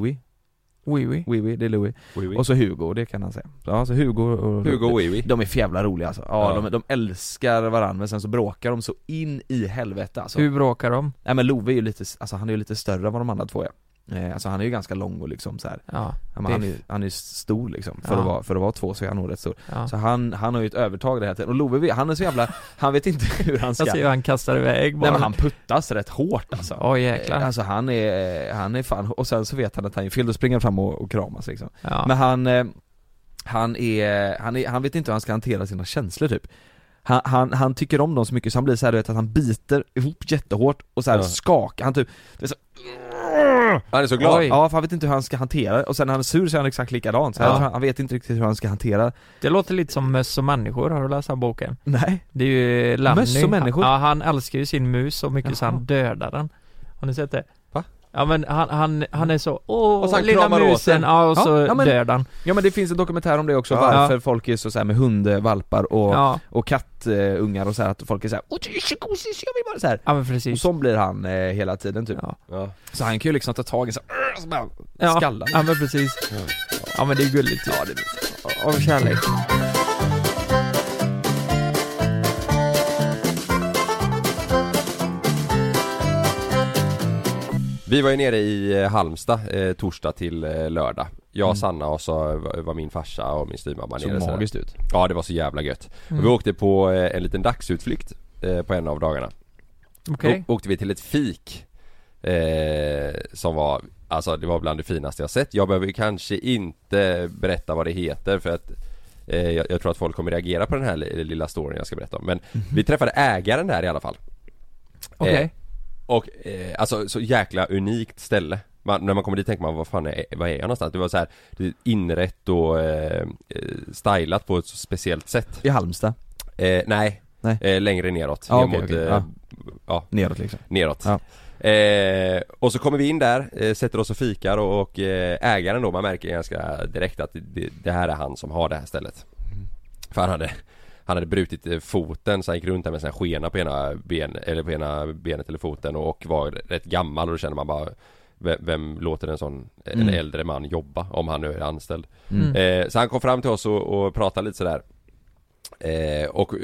Speaker 6: Wee,
Speaker 7: oui, oui.
Speaker 6: Wee Wee, det är Louis. Och så Hugo, det kan han säga. Ja, så Hugo och
Speaker 5: Hugo och Wiwi
Speaker 6: De är för jävla roliga alltså. Ja,
Speaker 5: Ja.
Speaker 6: De, de älskar varandra men sen så bråkar de så in i helvete alltså.
Speaker 7: Hur bråkar de?
Speaker 6: Nej men Love är ju lite, alltså han är ju lite större än vad de andra två är. Eh, alltså han är ju ganska lång och liksom så här.
Speaker 7: Ja,
Speaker 6: Ja, men han, är, ju- han är ju stor liksom. För,
Speaker 7: Ja.
Speaker 6: att vara, för att vara två så är han nog rätt stor.
Speaker 7: ja.
Speaker 6: Så han, han har ju ett övertag det här tiden, och Love vet- han är så jävla, han vet inte hur han ska
Speaker 7: Jag ser hur han kastar iväg
Speaker 6: Nej
Speaker 7: bara.
Speaker 6: men han puttas rätt hårt alltså
Speaker 7: Åh jäklar.
Speaker 6: Eh, Alltså han är, eh, han är fan, och sen så vet han att han är fel, då springer han fram och, och kramas liksom
Speaker 7: ja.
Speaker 6: Men han, eh, han är, han är, han vet inte hur han ska hantera sina känslor typ han, han, han tycker om dem så mycket så han blir såhär du vet att han biter ihop jättehårt och såhär
Speaker 5: Ja.
Speaker 6: skakar, han typ
Speaker 5: Han är så glad!
Speaker 7: Oj.
Speaker 6: Ja för han vet inte hur han ska hantera det och sen när han är sur så är han exakt likadan så
Speaker 7: Ja.
Speaker 6: han, han vet inte riktigt hur han ska hantera
Speaker 7: Det låter lite som möss och människor, har du läst den här boken?
Speaker 6: Nej
Speaker 7: Det är ju Lemmy
Speaker 6: Möss och människor?
Speaker 7: Ja, han älskar ju sin mus så mycket så
Speaker 6: Jaha.
Speaker 7: han dödar den Har ni sett det?
Speaker 5: Va?
Speaker 7: Ja men han, han, han är så, åh
Speaker 5: Och så han
Speaker 7: lilla
Speaker 5: kramar åt
Speaker 7: musen,
Speaker 5: den.
Speaker 7: ja och så
Speaker 6: Ja, ja, men-
Speaker 7: dödar han
Speaker 6: Ja men det finns en dokumentär om det också,
Speaker 5: Ja.
Speaker 6: varför folk är så, så här med hundvalpar och,
Speaker 7: ja.
Speaker 6: och kattungar och så här, att folk är så här Åh du är så gosig, jag vill bara så här.
Speaker 7: ja men
Speaker 6: Och
Speaker 7: precis
Speaker 6: sån blir han eh, hela tiden typ
Speaker 7: Ja.
Speaker 5: Ja.
Speaker 6: Så han kan ju liksom ta tag i så, här, "Åh", så bara,
Speaker 7: ja.
Speaker 6: skallar
Speaker 7: Ja men precis Ja men det är gulligt ju.
Speaker 6: Ja det blir
Speaker 7: Av kärlek
Speaker 5: Vi var ju nere i eh, Halmstad eh, torsdag till eh, lördag Jag,
Speaker 6: Mm.
Speaker 5: Sanna och så var- var min farsa och min styvmamma nere
Speaker 6: så
Speaker 5: sådär.
Speaker 6: magiskt ut
Speaker 5: Ja det var så jävla gött.
Speaker 7: Mm.
Speaker 5: Vi åkte på eh, en liten dagsutflykt eh, på en av dagarna.
Speaker 7: Okej
Speaker 5: Då åkte vi till ett fik eh, Som var, alltså det var bland det finaste jag sett. Jag behöver ju kanske inte berätta vad det heter för att eh, jag, jag tror att folk kommer reagera på den här li- lilla storyn jag ska berätta om. Men
Speaker 6: Mhm.
Speaker 5: vi träffade ägaren där i alla fall.
Speaker 7: Okej
Speaker 5: Eh, och eh, alltså så jäkla unikt ställe. man, när man kommer dit tänker man, vad fan är, vad är jag någonstans? Det var så här det är inrett och eh, eh, stylat på ett så speciellt sätt.
Speaker 6: I Halmstad?
Speaker 5: Eh, nej,
Speaker 6: Nej.
Speaker 5: Eh, längre neråt.
Speaker 6: Ja,
Speaker 5: ner
Speaker 6: okej,
Speaker 5: mot,
Speaker 6: okej.
Speaker 5: eh,
Speaker 6: Ja.
Speaker 5: ja,
Speaker 6: Neråt liksom?
Speaker 5: neråt.
Speaker 6: Ja.
Speaker 5: Eh, och så kommer vi in där, eh, sätter oss och fikar och, och eh, ägaren då, man märker ganska direkt att det, det här är han som har det här stället.
Speaker 6: Mm.
Speaker 5: För han hade, han hade brutit eh, foten så han gick runt där med sina skena på ena, ben, eller på ena benet eller foten och, och var rätt gammal och då känner man bara vem, vem låter en sån, en
Speaker 6: Mm.
Speaker 5: äldre man jobba om han nu är anställd?
Speaker 6: Mm.
Speaker 5: Eh, så han kom fram till oss och, och pratade lite sådär eh, Och eh,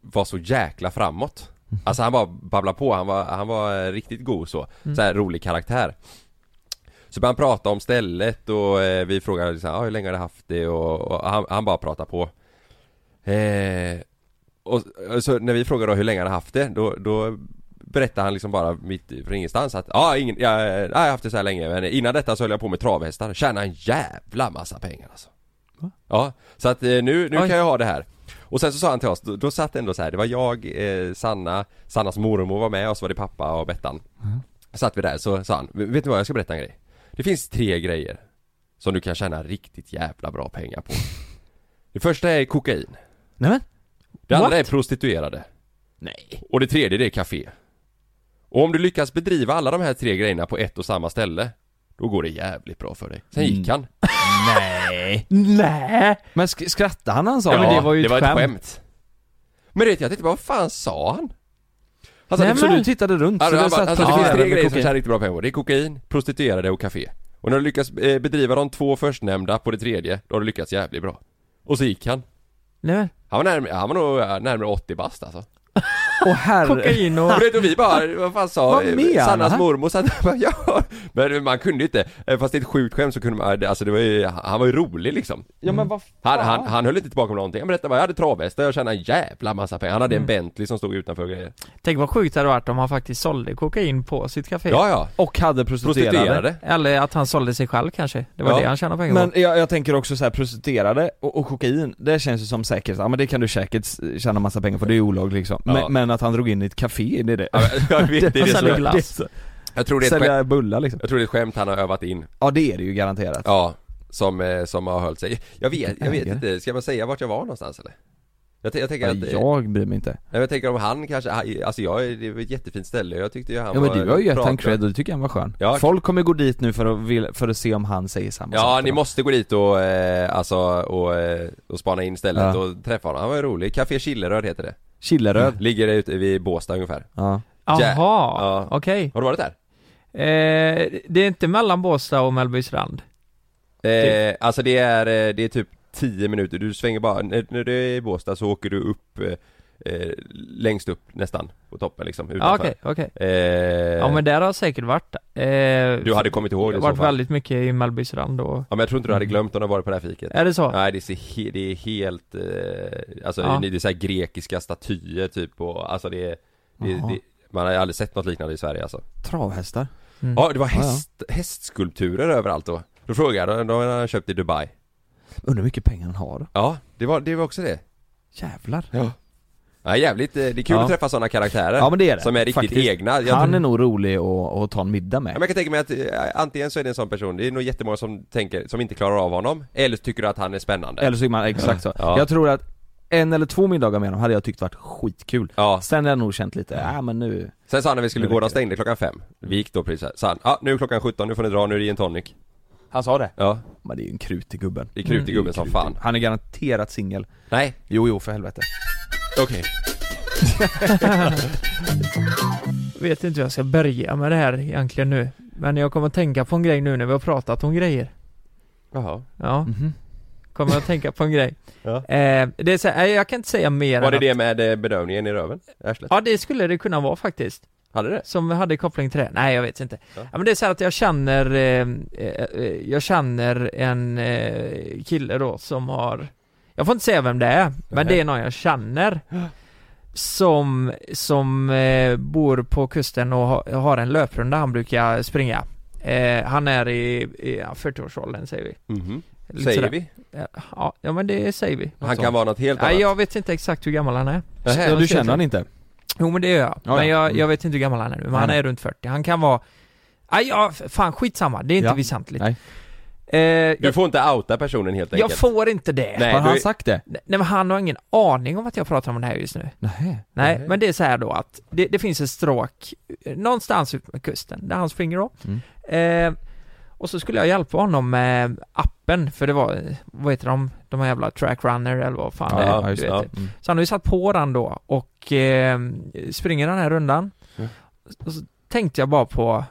Speaker 5: var så jäkla framåt Alltså han bara babblade på, han var, han var eh, riktigt god så så här rolig karaktär Så började han prata om stället och eh, vi frågade liksom, ah, hur länge har du haft det? Och, och han, han bara pratade på eh, Och och så när vi frågade då hur länge han har haft det då, då Berättade han liksom bara mitt från ingenstans att ah, ingen, ja, eh, jag har haft det så här länge men innan detta så höll jag på med travhästar, tjänade en jävla massa pengar alltså Ja, så att eh, nu, nu
Speaker 7: Oj.
Speaker 5: kan jag ha det här och sen så sa han till oss, då, då satt ändå så här, det var jag, eh, Sanna, Sannas mormor var med och så var det pappa och Bettan
Speaker 6: Mm.
Speaker 5: Satt vi där så sa han, vet ni vad jag ska berätta en grej? Det finns tre grejer som du kan tjäna riktigt jävla bra pengar på Det första är kokain
Speaker 6: Nej men?
Speaker 5: Det andra
Speaker 7: What?
Speaker 5: är prostituerade
Speaker 6: Nej.
Speaker 5: Och det tredje det är café Och om du lyckas bedriva alla de här tre grejerna på ett och samma ställe Då går det jävligt bra för dig Sen
Speaker 6: Mm.
Speaker 5: gick han
Speaker 6: Nej.
Speaker 7: Nej.
Speaker 6: Men sk- skrattade han när han sa
Speaker 7: Ja, men det var ju ett
Speaker 5: ett
Speaker 7: skämt.
Speaker 5: skämt Men vet jag tänkte bara, vad fan sa han? Han sa,
Speaker 6: Alltså,
Speaker 7: Nej,
Speaker 6: så
Speaker 7: men-
Speaker 6: du tittade runt?
Speaker 5: Alltså,
Speaker 6: så
Speaker 5: han
Speaker 6: det
Speaker 5: bara,
Speaker 6: satt
Speaker 5: alltså, det finns
Speaker 6: prostituerade
Speaker 5: tre
Speaker 6: med
Speaker 5: grejer som
Speaker 6: kokain.
Speaker 5: tjänar riktigt bra pengar på. Det är kokain, prostituerade och café. Och när du lyckas eh, bedriva de två förstnämnda på det tredje, då har du lyckats jävligt bra. Och så gick han.
Speaker 7: Nej men.
Speaker 5: Han var, närmare, han var nog eh, närmare 80 bast alltså.
Speaker 6: Åh herre.
Speaker 7: Kokain och...
Speaker 5: Och du vet, och vi bara, vad fan sa eh,
Speaker 6: Vad menar
Speaker 5: Sannas
Speaker 6: han?
Speaker 5: mormor? Sanna, bara, ja. Men man kunde ju inte, eh, fast det är ett sjukt skämt så kunde man, alltså det var ju, han var ju rolig liksom.
Speaker 6: Ja men vad
Speaker 5: Han,
Speaker 6: fan?
Speaker 5: han, han höll inte tillbaka om någonting. Han berättade bara, jag hade travhästar, jag tjänade en jävla massa pengar. Han hade en Bentley som stod utanför och grejer.
Speaker 7: Mm. Tänk vad sjukt det hade varit om han faktiskt sålde kokain på sitt café.
Speaker 5: Ja, ja.
Speaker 6: Och hade prostituerade.
Speaker 5: Prostituerade.
Speaker 7: Eller att han sålde sig själv kanske. Det var
Speaker 5: Ja.
Speaker 7: det han tjänade pengar
Speaker 6: Men
Speaker 7: på.
Speaker 6: jag, jag tänker också så här prostituerade och, och kokain, det känns ju som säkert, ja men det kan du säkert s- tjäna massa pengar på, det är ju olagligt liksom.
Speaker 5: Ja.
Speaker 6: Men, men att han drog in i ett café, det är det.
Speaker 5: Ja, men Jag vet, det är
Speaker 7: Och
Speaker 5: det som
Speaker 7: sälja
Speaker 5: är.
Speaker 7: glass.
Speaker 5: Jag tror det är ett skämt,
Speaker 6: Sälja bullar liksom.
Speaker 5: jag tror det är ett skämt han har övat in.
Speaker 6: Ja det är det ju garanterat.
Speaker 5: Ja, som, eh, som har hållit sig. Jag vet, jag vet
Speaker 6: Ägare.
Speaker 5: inte, ska man säga vart jag var någonstans eller? Jag, t- jag tänker
Speaker 6: Ja,
Speaker 5: att, jag...
Speaker 6: jag bryr mig inte.
Speaker 5: jag tänker om han kanske, han- alltså jag, det var ett jättefint ställe jag tyckte ju han
Speaker 6: Ja men
Speaker 5: var
Speaker 6: du har ju gett
Speaker 5: pratade-
Speaker 6: han cred och det tycker jag han var skön.
Speaker 5: Ja.
Speaker 6: Folk kommer gå dit nu för att, vill- för att se om han säger samma sak
Speaker 5: Ja,
Speaker 6: till
Speaker 5: ni
Speaker 6: dem.
Speaker 5: måste gå dit och, eh, alltså, och, eh, och spana in stället
Speaker 6: Ja.
Speaker 5: och träffa honom. Han var ju rolig. Café Killeröd heter det.
Speaker 6: Killeröd.
Speaker 5: Ligger ute vid Båstad ungefär.
Speaker 6: Ja.
Speaker 7: Jaha,
Speaker 5: Ja.
Speaker 7: okej.
Speaker 5: Har du varit där?
Speaker 7: Eh, det är inte mellan Båstad och Mellbystrand?
Speaker 5: Eh, alltså det är, eh, det är typ 10 minuter, du svänger bara, när, när du är i Båstad så åker du upp, eh, eh, längst upp nästan, på toppen liksom,
Speaker 7: Ja,
Speaker 5: utanför.
Speaker 7: Okej, okej.
Speaker 5: Eh,
Speaker 7: Ja men där har jag säkert varit. Eh,
Speaker 5: Du hade kommit ihåg det
Speaker 7: Jag
Speaker 5: i
Speaker 7: har
Speaker 5: så fall.
Speaker 7: varit väldigt mycket i Mellbystrand och...
Speaker 5: Ja men jag tror inte du hade glömt om du hade varit på det här fiket
Speaker 7: Är det så?
Speaker 5: Nej det är, så he- det är helt, eh, alltså
Speaker 7: Ja.
Speaker 5: det är så här grekiska statyer typ och alltså det är, det,
Speaker 6: Jaha.
Speaker 5: det, man har ju aldrig sett något liknande i Sverige alltså
Speaker 6: Travhästar.
Speaker 7: Mm.
Speaker 5: Ja det var häst, hästskulpturer överallt då Då frågade jag, de de hade han köpt i Dubai
Speaker 6: Undrar hur mycket pengar han har.
Speaker 5: Ja, det var, det var också det
Speaker 6: Jävlar.
Speaker 5: Ja Ja jävligt, eh, det är kul
Speaker 6: Ja.
Speaker 5: att träffa sådana karaktärer
Speaker 6: Ja men det är det.
Speaker 5: Som är riktigt
Speaker 6: faktiskt.
Speaker 5: egna jag,
Speaker 6: Han är nog rolig att att ta en middag
Speaker 5: Ja, men
Speaker 6: med.
Speaker 5: jag kan tänka mig att eh, antingen så är det en sån person, det är nog jättemånga som tänker, som inte klarar av honom Eller så tycker du att han är spännande
Speaker 6: Eller så är man exakt så.
Speaker 5: Ja.
Speaker 6: Jag tror att en eller två middagar med honom hade jag tyckt varit skitkul.
Speaker 5: Ja,
Speaker 6: Sen har jag nog känt lite, ja men nu...
Speaker 5: Sen sa han när vi skulle
Speaker 6: Nu
Speaker 5: gå, de
Speaker 6: räcker det.
Speaker 5: stängde klockan fem Vi gick då precis här, sa han, ja ah, nu är klockan 17, nu får ni dra, nu är det gin tonic
Speaker 6: Han sa det?
Speaker 5: Ja,
Speaker 6: Men det är ju en krutig gubben.
Speaker 5: det är krut i
Speaker 7: Mm,
Speaker 5: gubben som fan
Speaker 6: Han är garanterat singel.
Speaker 5: Nej,
Speaker 6: Jo, jo för helvete.
Speaker 5: okej
Speaker 7: vet inte hur jag ska börja med det här egentligen nu. Men jag kommer att tänka på en grej nu när vi har pratat om grejer.
Speaker 5: Jaha
Speaker 7: Ja,
Speaker 6: Mhm.
Speaker 7: kommer jag att tänka på en grej.
Speaker 5: Ja.
Speaker 7: Eh, det är så här, nej, jag kan inte säga mer
Speaker 5: Var
Speaker 7: än
Speaker 5: det
Speaker 7: att,
Speaker 5: det med eh, bedövningen i röven? Arslet?
Speaker 7: Ja, det skulle det kunna vara faktiskt.
Speaker 5: Hade det?
Speaker 7: Som hade koppling till det. Nej, jag vet inte.
Speaker 5: Ja.
Speaker 7: Ja. men det är så här att jag känner, eh, eh, eh, jag känner en eh, kille då som har, jag får inte säga vem det är,
Speaker 5: Nej.
Speaker 7: men det är någon jag känner. Som, som eh, bor på kusten och ha, har en löprunda han brukar springa. Eh, han är i, i ja, 40-årsåldern säger vi.
Speaker 5: Mhm,
Speaker 7: Lite
Speaker 5: säger
Speaker 7: sådär.
Speaker 5: vi?
Speaker 7: Ja, ja, men det säger vi.
Speaker 5: Han kan vara något helt annat?
Speaker 7: Nej, jag vet inte exakt hur gammal han är.
Speaker 5: Nähä.
Speaker 6: Ja, du känner han inte?
Speaker 7: Jo men det gör jag,
Speaker 6: Ja,
Speaker 7: men
Speaker 6: ja.
Speaker 7: jag,
Speaker 6: Mm.
Speaker 7: jag vet inte hur gammal han är nu, men
Speaker 6: Nej,
Speaker 7: han
Speaker 6: nej.
Speaker 7: är runt 40, han kan vara Aj, ja, f- fan skitsamma, det är inte
Speaker 6: Ja.
Speaker 7: väsentligt.
Speaker 6: Nej.
Speaker 7: Eh,
Speaker 5: Du
Speaker 7: jag,
Speaker 5: får inte outa personen helt
Speaker 7: jag
Speaker 5: enkelt.
Speaker 7: får inte det.
Speaker 5: Nej,
Speaker 6: Har
Speaker 5: du-
Speaker 6: han sagt det?
Speaker 7: Nej men han har ingen aning om att jag pratar om det här just nu.
Speaker 6: Nej.
Speaker 7: Nej, men det är så här då att det, det finns ett stråk eh, någonstans ut med kusten, där hans finger då.
Speaker 6: Mm.
Speaker 7: Eh, och så skulle jag hjälpa honom med appen, för det var, eh, vad heter de, de här jävla trackrunner eller vad fan det är.
Speaker 6: Ja,
Speaker 7: du
Speaker 6: just
Speaker 7: vet.
Speaker 6: det. Mm.
Speaker 7: Så han har ju satt på den då och eh, springer den här rundan.
Speaker 5: Mm.
Speaker 7: Och så tänkte jag bara på,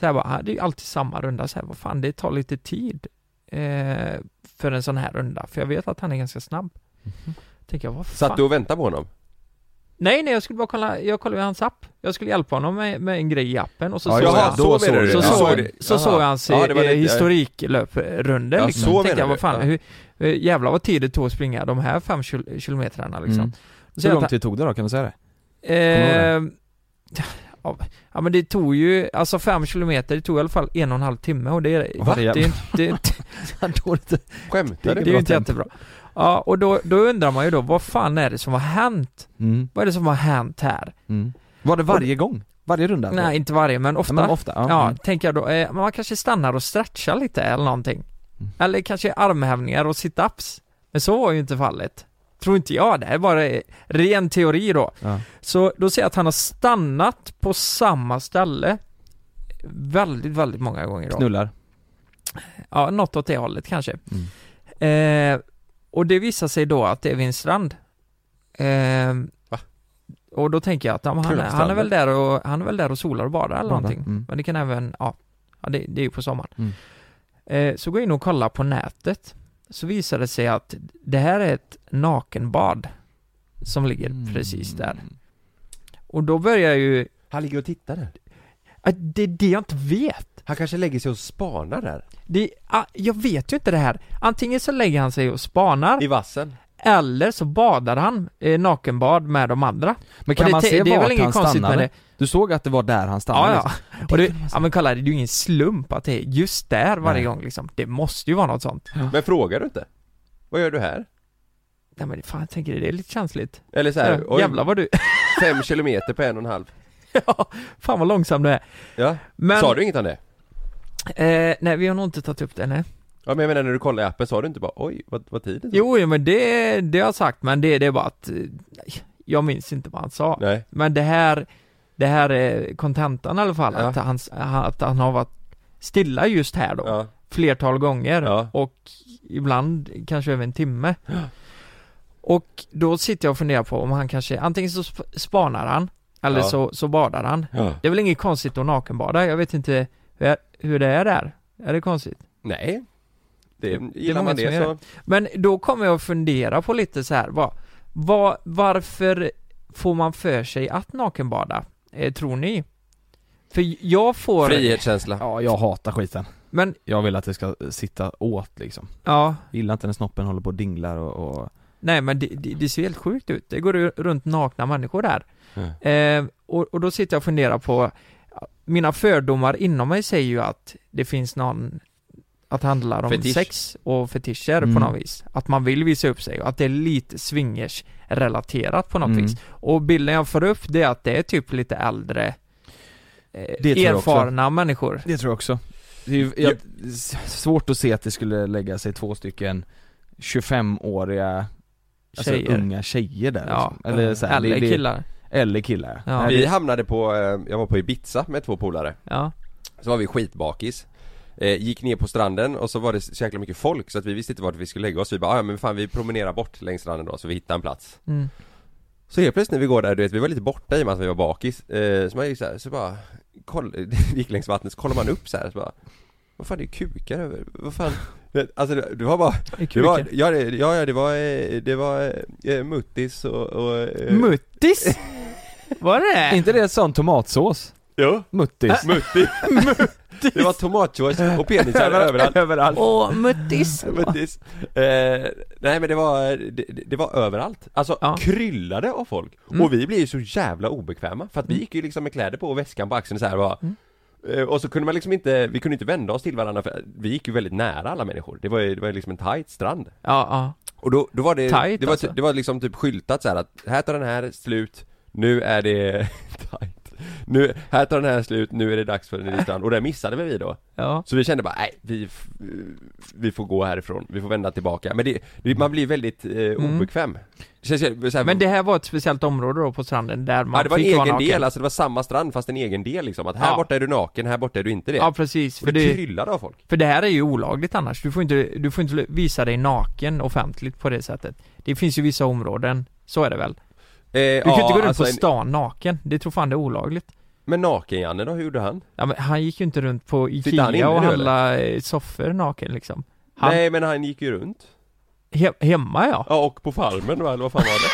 Speaker 7: så här bara, "Ah, det är ju alltid samma runda, så här, vad fan det tar lite tid eh, för en sån här runda, för jag vet att han är ganska snabb. Tänker jag, vad fan?
Speaker 5: Satt du och väntade på honom?
Speaker 7: Nej nej, jag skulle bara kolla, jag kollade ju hans app. Jag skulle hjälpa honom med, med en grej i appen och så
Speaker 6: Ja,
Speaker 7: såg
Speaker 6: just det.
Speaker 7: jag
Speaker 6: Då såg du det.
Speaker 7: så,
Speaker 6: Ja.
Speaker 7: såg,
Speaker 6: Såg
Speaker 5: det.
Speaker 7: så
Speaker 5: Aha.
Speaker 7: såg jag hans
Speaker 5: Ja, det var
Speaker 7: eh,
Speaker 5: lite-
Speaker 7: historiklöprunda
Speaker 5: Ja,
Speaker 7: liksom.
Speaker 5: så
Speaker 7: Tänkte
Speaker 5: menar
Speaker 7: jag,
Speaker 5: du.
Speaker 7: vad fan,
Speaker 5: Ja.
Speaker 7: hur, eh, jävlar vad tid det tog att springa de här fem kil- kilometrarna liksom.
Speaker 6: Mm.
Speaker 7: Så
Speaker 6: Hur
Speaker 7: jag
Speaker 6: lång
Speaker 7: ta-
Speaker 6: tid tog det då, kan du säga det?
Speaker 7: Eh, ja, ja men det tog ju, alltså fem kilometer, det tog i alla fall en och en halv timme och det är,
Speaker 6: Va?
Speaker 7: det är inte, det är inte, det är dåligt.
Speaker 5: Skämtar
Speaker 7: Det
Speaker 5: du?
Speaker 7: är ju inte
Speaker 6: tempo.
Speaker 7: jättebra. Ja och då, då undrar man ju då, vad fan är det som har hänt?
Speaker 6: Mm.
Speaker 7: Vad är det som har hänt här?
Speaker 6: Mm. Var det varje gång? Varje runda? alltså?
Speaker 7: Nej inte varje men ofta.
Speaker 6: Ja, men ofta. Ja.
Speaker 7: Ja,
Speaker 6: Mm.
Speaker 7: tänker jag då, eh, man kanske stannar och stretchar lite eller någonting.
Speaker 6: Mm.
Speaker 7: Eller kanske armhävningar och sit-ups. Men så var ju inte fallet. Tror inte jag, det här är bara eh, ren teori då.
Speaker 6: Ja.
Speaker 7: Så då ser jag att han har stannat på samma ställe väldigt, väldigt många gånger då.
Speaker 6: Knullar.
Speaker 7: Ja, något åt det hållet kanske.
Speaker 6: Mm.
Speaker 7: Eh, och det visar sig då att det är vid en strand. Eh,
Speaker 5: Va?
Speaker 7: Och då tänker jag att ja, men han,
Speaker 5: Kul på
Speaker 7: är- han, är
Speaker 5: stranden.
Speaker 7: väl där och, han är väl där och solar och badar eller
Speaker 6: Badar,
Speaker 7: någonting.
Speaker 6: mm.
Speaker 7: Men det kan även, ja, ja det, det är ju på sommaren.
Speaker 6: Mm.
Speaker 7: Eh, så går jag in och kollar på nätet. Så visar det sig att det här är ett nakenbad som ligger
Speaker 6: Mm.
Speaker 7: precis där. Och då börjar jag ju,
Speaker 5: Han ligger och tittar där.
Speaker 7: att det är det jag inte vet.
Speaker 5: Han kanske lägger sig och spanar där.
Speaker 7: Det, ah, jag vet ju inte det här. Antingen så lägger han sig och spanar,
Speaker 5: I vassen.
Speaker 7: eller så badar han eh, nakenbad med de andra.
Speaker 6: Men
Speaker 7: Och
Speaker 6: kan
Speaker 7: det
Speaker 6: man
Speaker 7: te-
Speaker 6: se
Speaker 7: det är väl
Speaker 6: vart
Speaker 7: inget
Speaker 6: han
Speaker 7: konstigt med
Speaker 6: stannade?
Speaker 7: det.
Speaker 6: Du såg att det var där han
Speaker 7: Ja,
Speaker 6: stannade?
Speaker 7: ja. Och det, ja men kolla, det är ju ingen slump att det är just där varje
Speaker 6: Nej.
Speaker 7: gång liksom. Det måste ju vara något sånt.
Speaker 5: Men frågar du inte? Vad gör du här?
Speaker 7: Nej men fan, jag tänker det är lite känsligt.
Speaker 5: Eller så här,
Speaker 7: Ja,
Speaker 5: oj,
Speaker 7: Jävlar vad du...
Speaker 5: fem kilometer på en och en halv.
Speaker 7: ja, fan vad långsam du är.
Speaker 5: Ja.
Speaker 7: Men,
Speaker 5: Sa du inget om det?
Speaker 7: Eh, nej, vi har nog inte tagit upp det, nej.
Speaker 5: Ja men jag menar när du kollade i appen, sa du inte bara oj, vad, vad tiden tog?
Speaker 7: Jo, jo, men det, det har jag sagt, men det, det är bara att... eh, Jag minns inte vad han sa.
Speaker 5: Nej.
Speaker 7: Men det här, det här är kontentan i alla fall,
Speaker 5: Ja.
Speaker 7: att, han, att han har varit stilla just här då,
Speaker 5: Ja.
Speaker 7: flertal gånger
Speaker 5: Ja.
Speaker 7: och ibland kanske över en timme. Och då sitter jag och funderar på om han kanske, antingen så sp- spanar han, eller
Speaker 5: Ja.
Speaker 7: så, så badar han.
Speaker 5: ja.
Speaker 7: Det är väl inget konstigt att nakenbada, jag vet inte hur, hur det är där. Är det konstigt?
Speaker 5: Nej. Det,
Speaker 7: många
Speaker 5: gillar man
Speaker 7: som
Speaker 5: det
Speaker 7: gör
Speaker 5: så.
Speaker 7: Men då kommer jag att fundera på lite så här, vad, vad, varför får man för sig att nakenbada? Eh, tror ni? För jag får...
Speaker 5: Frihetskänsla.
Speaker 6: Ja, jag hatar skiten.
Speaker 7: Men,
Speaker 6: Jag vill att det ska eh, sitta åt liksom.
Speaker 7: ja,
Speaker 6: Gillar inte när snoppen håller på och dinglar och, och...
Speaker 7: nej men det, det, det ser helt sjukt ut. Det går ju runt nakna människor där. Eh, och, och då sitter jag och funderar på, mina fördomar inom mig säger ju att det finns någon att det handlar om
Speaker 5: Fetisch.
Speaker 7: sex och fetischer på
Speaker 6: Mm.
Speaker 7: något vis. Att man vill visa upp sig och att det är lite swingers-relaterat på något
Speaker 6: Mm.
Speaker 7: vis. Och bilden jag får upp det är att det är typ lite äldre eh,
Speaker 6: tror jag också.
Speaker 7: erfarna människor.
Speaker 6: Det tror jag också. Det är ju jag, s- svårt att se att det skulle lägga sig två stycken 25-åriga alltså
Speaker 7: Tjejer.
Speaker 6: unga tjejer där
Speaker 7: Ja.
Speaker 6: liksom. eller, så här,
Speaker 7: Äldre
Speaker 6: det- det-
Speaker 7: killar.
Speaker 6: Eller killar
Speaker 7: Ja.
Speaker 6: Nej,
Speaker 5: Vi
Speaker 6: det-
Speaker 5: hamnade på, eh, jag var på Ibiza med två polare.
Speaker 7: Ja.
Speaker 5: Så var vi skitbakis eh, Gick ner på stranden och så var det så jäkla mycket folk så att vi visste inte vart vi skulle lägga oss Vi bara, "Ah, ja men fan vi promenerar bort längs stranden då så vi hittar en plats
Speaker 7: Mm.
Speaker 5: Så helt plötsligt när vi går där, du vet vi var lite borta i och med att vi var bakis eh, Så man gick så, här, så bara, koll, vi gick längs vattnet så kollar man upp så här så bara Vad fan det är kukar över, vad fan Alltså det, det var bara, det var, ja, det, ja ja, det var, eh, det var eh, muttis och, och eh,
Speaker 7: Muttis! Var
Speaker 6: Är
Speaker 7: det? Äh.
Speaker 6: inte det en sån tomatsås?
Speaker 5: Jo,
Speaker 6: Muttis?
Speaker 5: muttis Det var tomatsås
Speaker 7: Eh.
Speaker 5: och penisar överallt
Speaker 6: Överallt
Speaker 7: Åh, muttis!
Speaker 5: Muttis. Eh, nej men det var, det, det var överallt. Alltså
Speaker 7: Ja.
Speaker 5: kryllade av folk.
Speaker 7: Mm.
Speaker 5: Och vi blev ju så jävla obekväma för att vi gick ju liksom med kläder på och väskan på axeln så här bara.
Speaker 7: Mm.
Speaker 5: Eh, Och så kunde man liksom inte, vi kunde inte vända oss till varandra för vi gick ju väldigt nära alla människor. Det var ju, det var ju liksom en tight strand.
Speaker 7: Ja, ja.
Speaker 5: Och då, då var det,
Speaker 7: Tight,
Speaker 5: det, var,
Speaker 7: alltså.
Speaker 5: det var liksom typ skyltat så här att här tar den här slut, nu är det tight. nu, här tar den här slut, nu är det dags för en ny strand. Och det missade väl vi då.
Speaker 7: Ja.
Speaker 5: Så vi kände bara, nej, vi, f- vi får gå härifrån, vi får vända tillbaka. Men det, det man blir väldigt eh, obekväm. Det känns ju- så här,
Speaker 7: Mm. Men det här var ett speciellt område då på stranden där man
Speaker 5: ja, det var en
Speaker 7: fick vara
Speaker 5: egen
Speaker 7: naken.
Speaker 5: del, alltså det var samma strand fast en egen del liksom. Att här
Speaker 7: Ja.
Speaker 5: borta är du naken, här borta är du inte det.
Speaker 7: Ja precis,
Speaker 5: och det, Eh,
Speaker 7: för det,
Speaker 5: kryllar av folk.
Speaker 7: för det här är ju olagligt annars. Du får, inte, du får inte visa dig naken offentligt på det sättet. Det finns ju vissa områden, så är det väl? Du kan ju inte gå runt på stan naken, det tror fan det är olagligt.
Speaker 5: alltså, Men naken-Janne då, hur gjorde han?
Speaker 7: Ja, men han gick ju inte runt på
Speaker 5: Sitter han inne
Speaker 7: Ikea och
Speaker 5: nu,
Speaker 7: handlade eh, soffor naken liksom. Han,
Speaker 5: Nej men han gick ju runt.
Speaker 7: he, hemma ja.
Speaker 5: Ja och på farmen va, eller vad fan var det?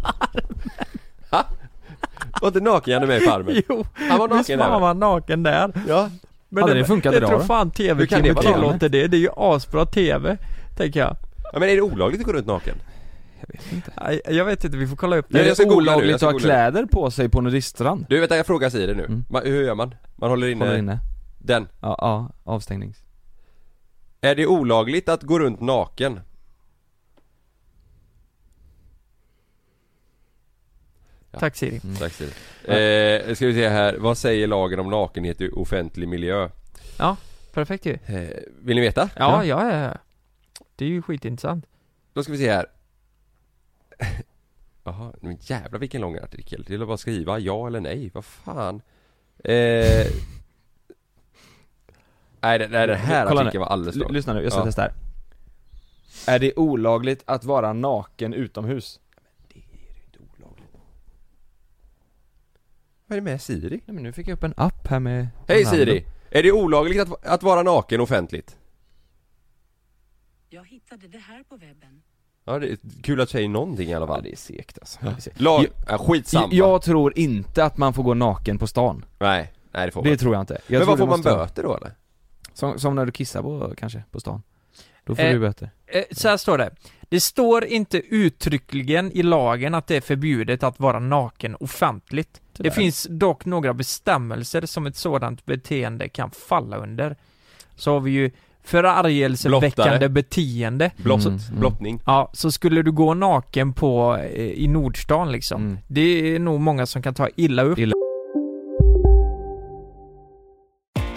Speaker 5: på farmen? Ha? Var inte naken-Janne med i farmen?
Speaker 7: Jo,
Speaker 5: Han var
Speaker 7: visst
Speaker 5: naken där
Speaker 7: fan
Speaker 5: va?
Speaker 7: var han naken där.
Speaker 5: Ja.
Speaker 7: Men
Speaker 6: Hade det funkat
Speaker 7: jag
Speaker 6: idag
Speaker 7: tror
Speaker 6: då?
Speaker 7: fan
Speaker 5: Hur kan det
Speaker 7: tv-teamet
Speaker 5: vara
Speaker 7: tillåter det, det är ju asbra tv, tänker jag.
Speaker 5: ja. Men är det olagligt att gå runt naken?
Speaker 7: Nej, Jag vet inte, vi får kolla upp
Speaker 5: Nej,
Speaker 6: Är
Speaker 7: det.
Speaker 5: jag ska
Speaker 6: det
Speaker 5: googla nu, jag
Speaker 6: olagligt
Speaker 5: ska
Speaker 6: att ha
Speaker 5: googla nu.
Speaker 6: kläder på sig på nudiststrand?
Speaker 5: Du vänta jag frågar Siri nu.
Speaker 6: Mm.
Speaker 5: Man, hur gör man? Man håller inne,
Speaker 6: Håller inne.
Speaker 5: den.
Speaker 6: Ja, ja, avstängnings.
Speaker 5: Är det olagligt att gå runt naken?
Speaker 7: Tack Siri.
Speaker 5: Tack Siri. Eh, ska vi se här, vad säger lagen om nakenhet i offentlig miljö?
Speaker 7: Ja, perfekt ju.
Speaker 5: Eh, vill ni veta?
Speaker 7: Ja, ja, ja, ja. Det är ju skitintressant.
Speaker 5: Då ska vi se här Jaha, men jävlar vilken lång artikel, det är bara att skriva ja eller nej, vad fan eh... Nej den, nej, den här
Speaker 6: Kolla nu.
Speaker 5: artikeln var alldeles
Speaker 6: L-
Speaker 5: lång
Speaker 6: lyssna nu, jag ska
Speaker 5: Ja.
Speaker 6: testa här. Är det olagligt att vara naken utomhus?
Speaker 5: Vad är det med Siri?
Speaker 6: Nej men nu fick jag upp en app här med...
Speaker 5: Hej Siri! Är det olagligt att, att vara naken offentligt?
Speaker 8: Jag hittade det här på webben.
Speaker 5: Ja det är kul att säga någonting i alla
Speaker 6: Ja,
Speaker 5: fall
Speaker 6: det är segt alltså. Det är segt.
Speaker 5: Lag, äh,
Speaker 6: Jag-
Speaker 5: ja, skitsamma
Speaker 6: Jag tror inte att man får gå naken på stan.
Speaker 5: Nej, nej det får man
Speaker 6: Det
Speaker 5: inte.
Speaker 6: tror jag inte. Jag
Speaker 5: Men
Speaker 6: tror
Speaker 5: vad
Speaker 6: det
Speaker 5: får man
Speaker 6: måste vara-
Speaker 5: böter då eller?
Speaker 6: Som, som när du kissar på, kanske, på stan. Då får
Speaker 7: Eh,
Speaker 6: du böter.
Speaker 7: Eh, så här står det. Det står inte uttryckligen i lagen att det är förbjudet att vara naken offentligt. Det,
Speaker 6: där.
Speaker 7: finns dock några bestämmelser som ett sådant beteende kan falla under. Så har vi ju
Speaker 5: Blottare.
Speaker 7: förargelseväckande beteende.
Speaker 5: Blott,
Speaker 6: Mm, mm.
Speaker 5: Blottning?
Speaker 7: Ja, så skulle du gå naken på, eh, i Nordstan liksom.
Speaker 6: Mm.
Speaker 7: Det är nog många som kan ta illa upp.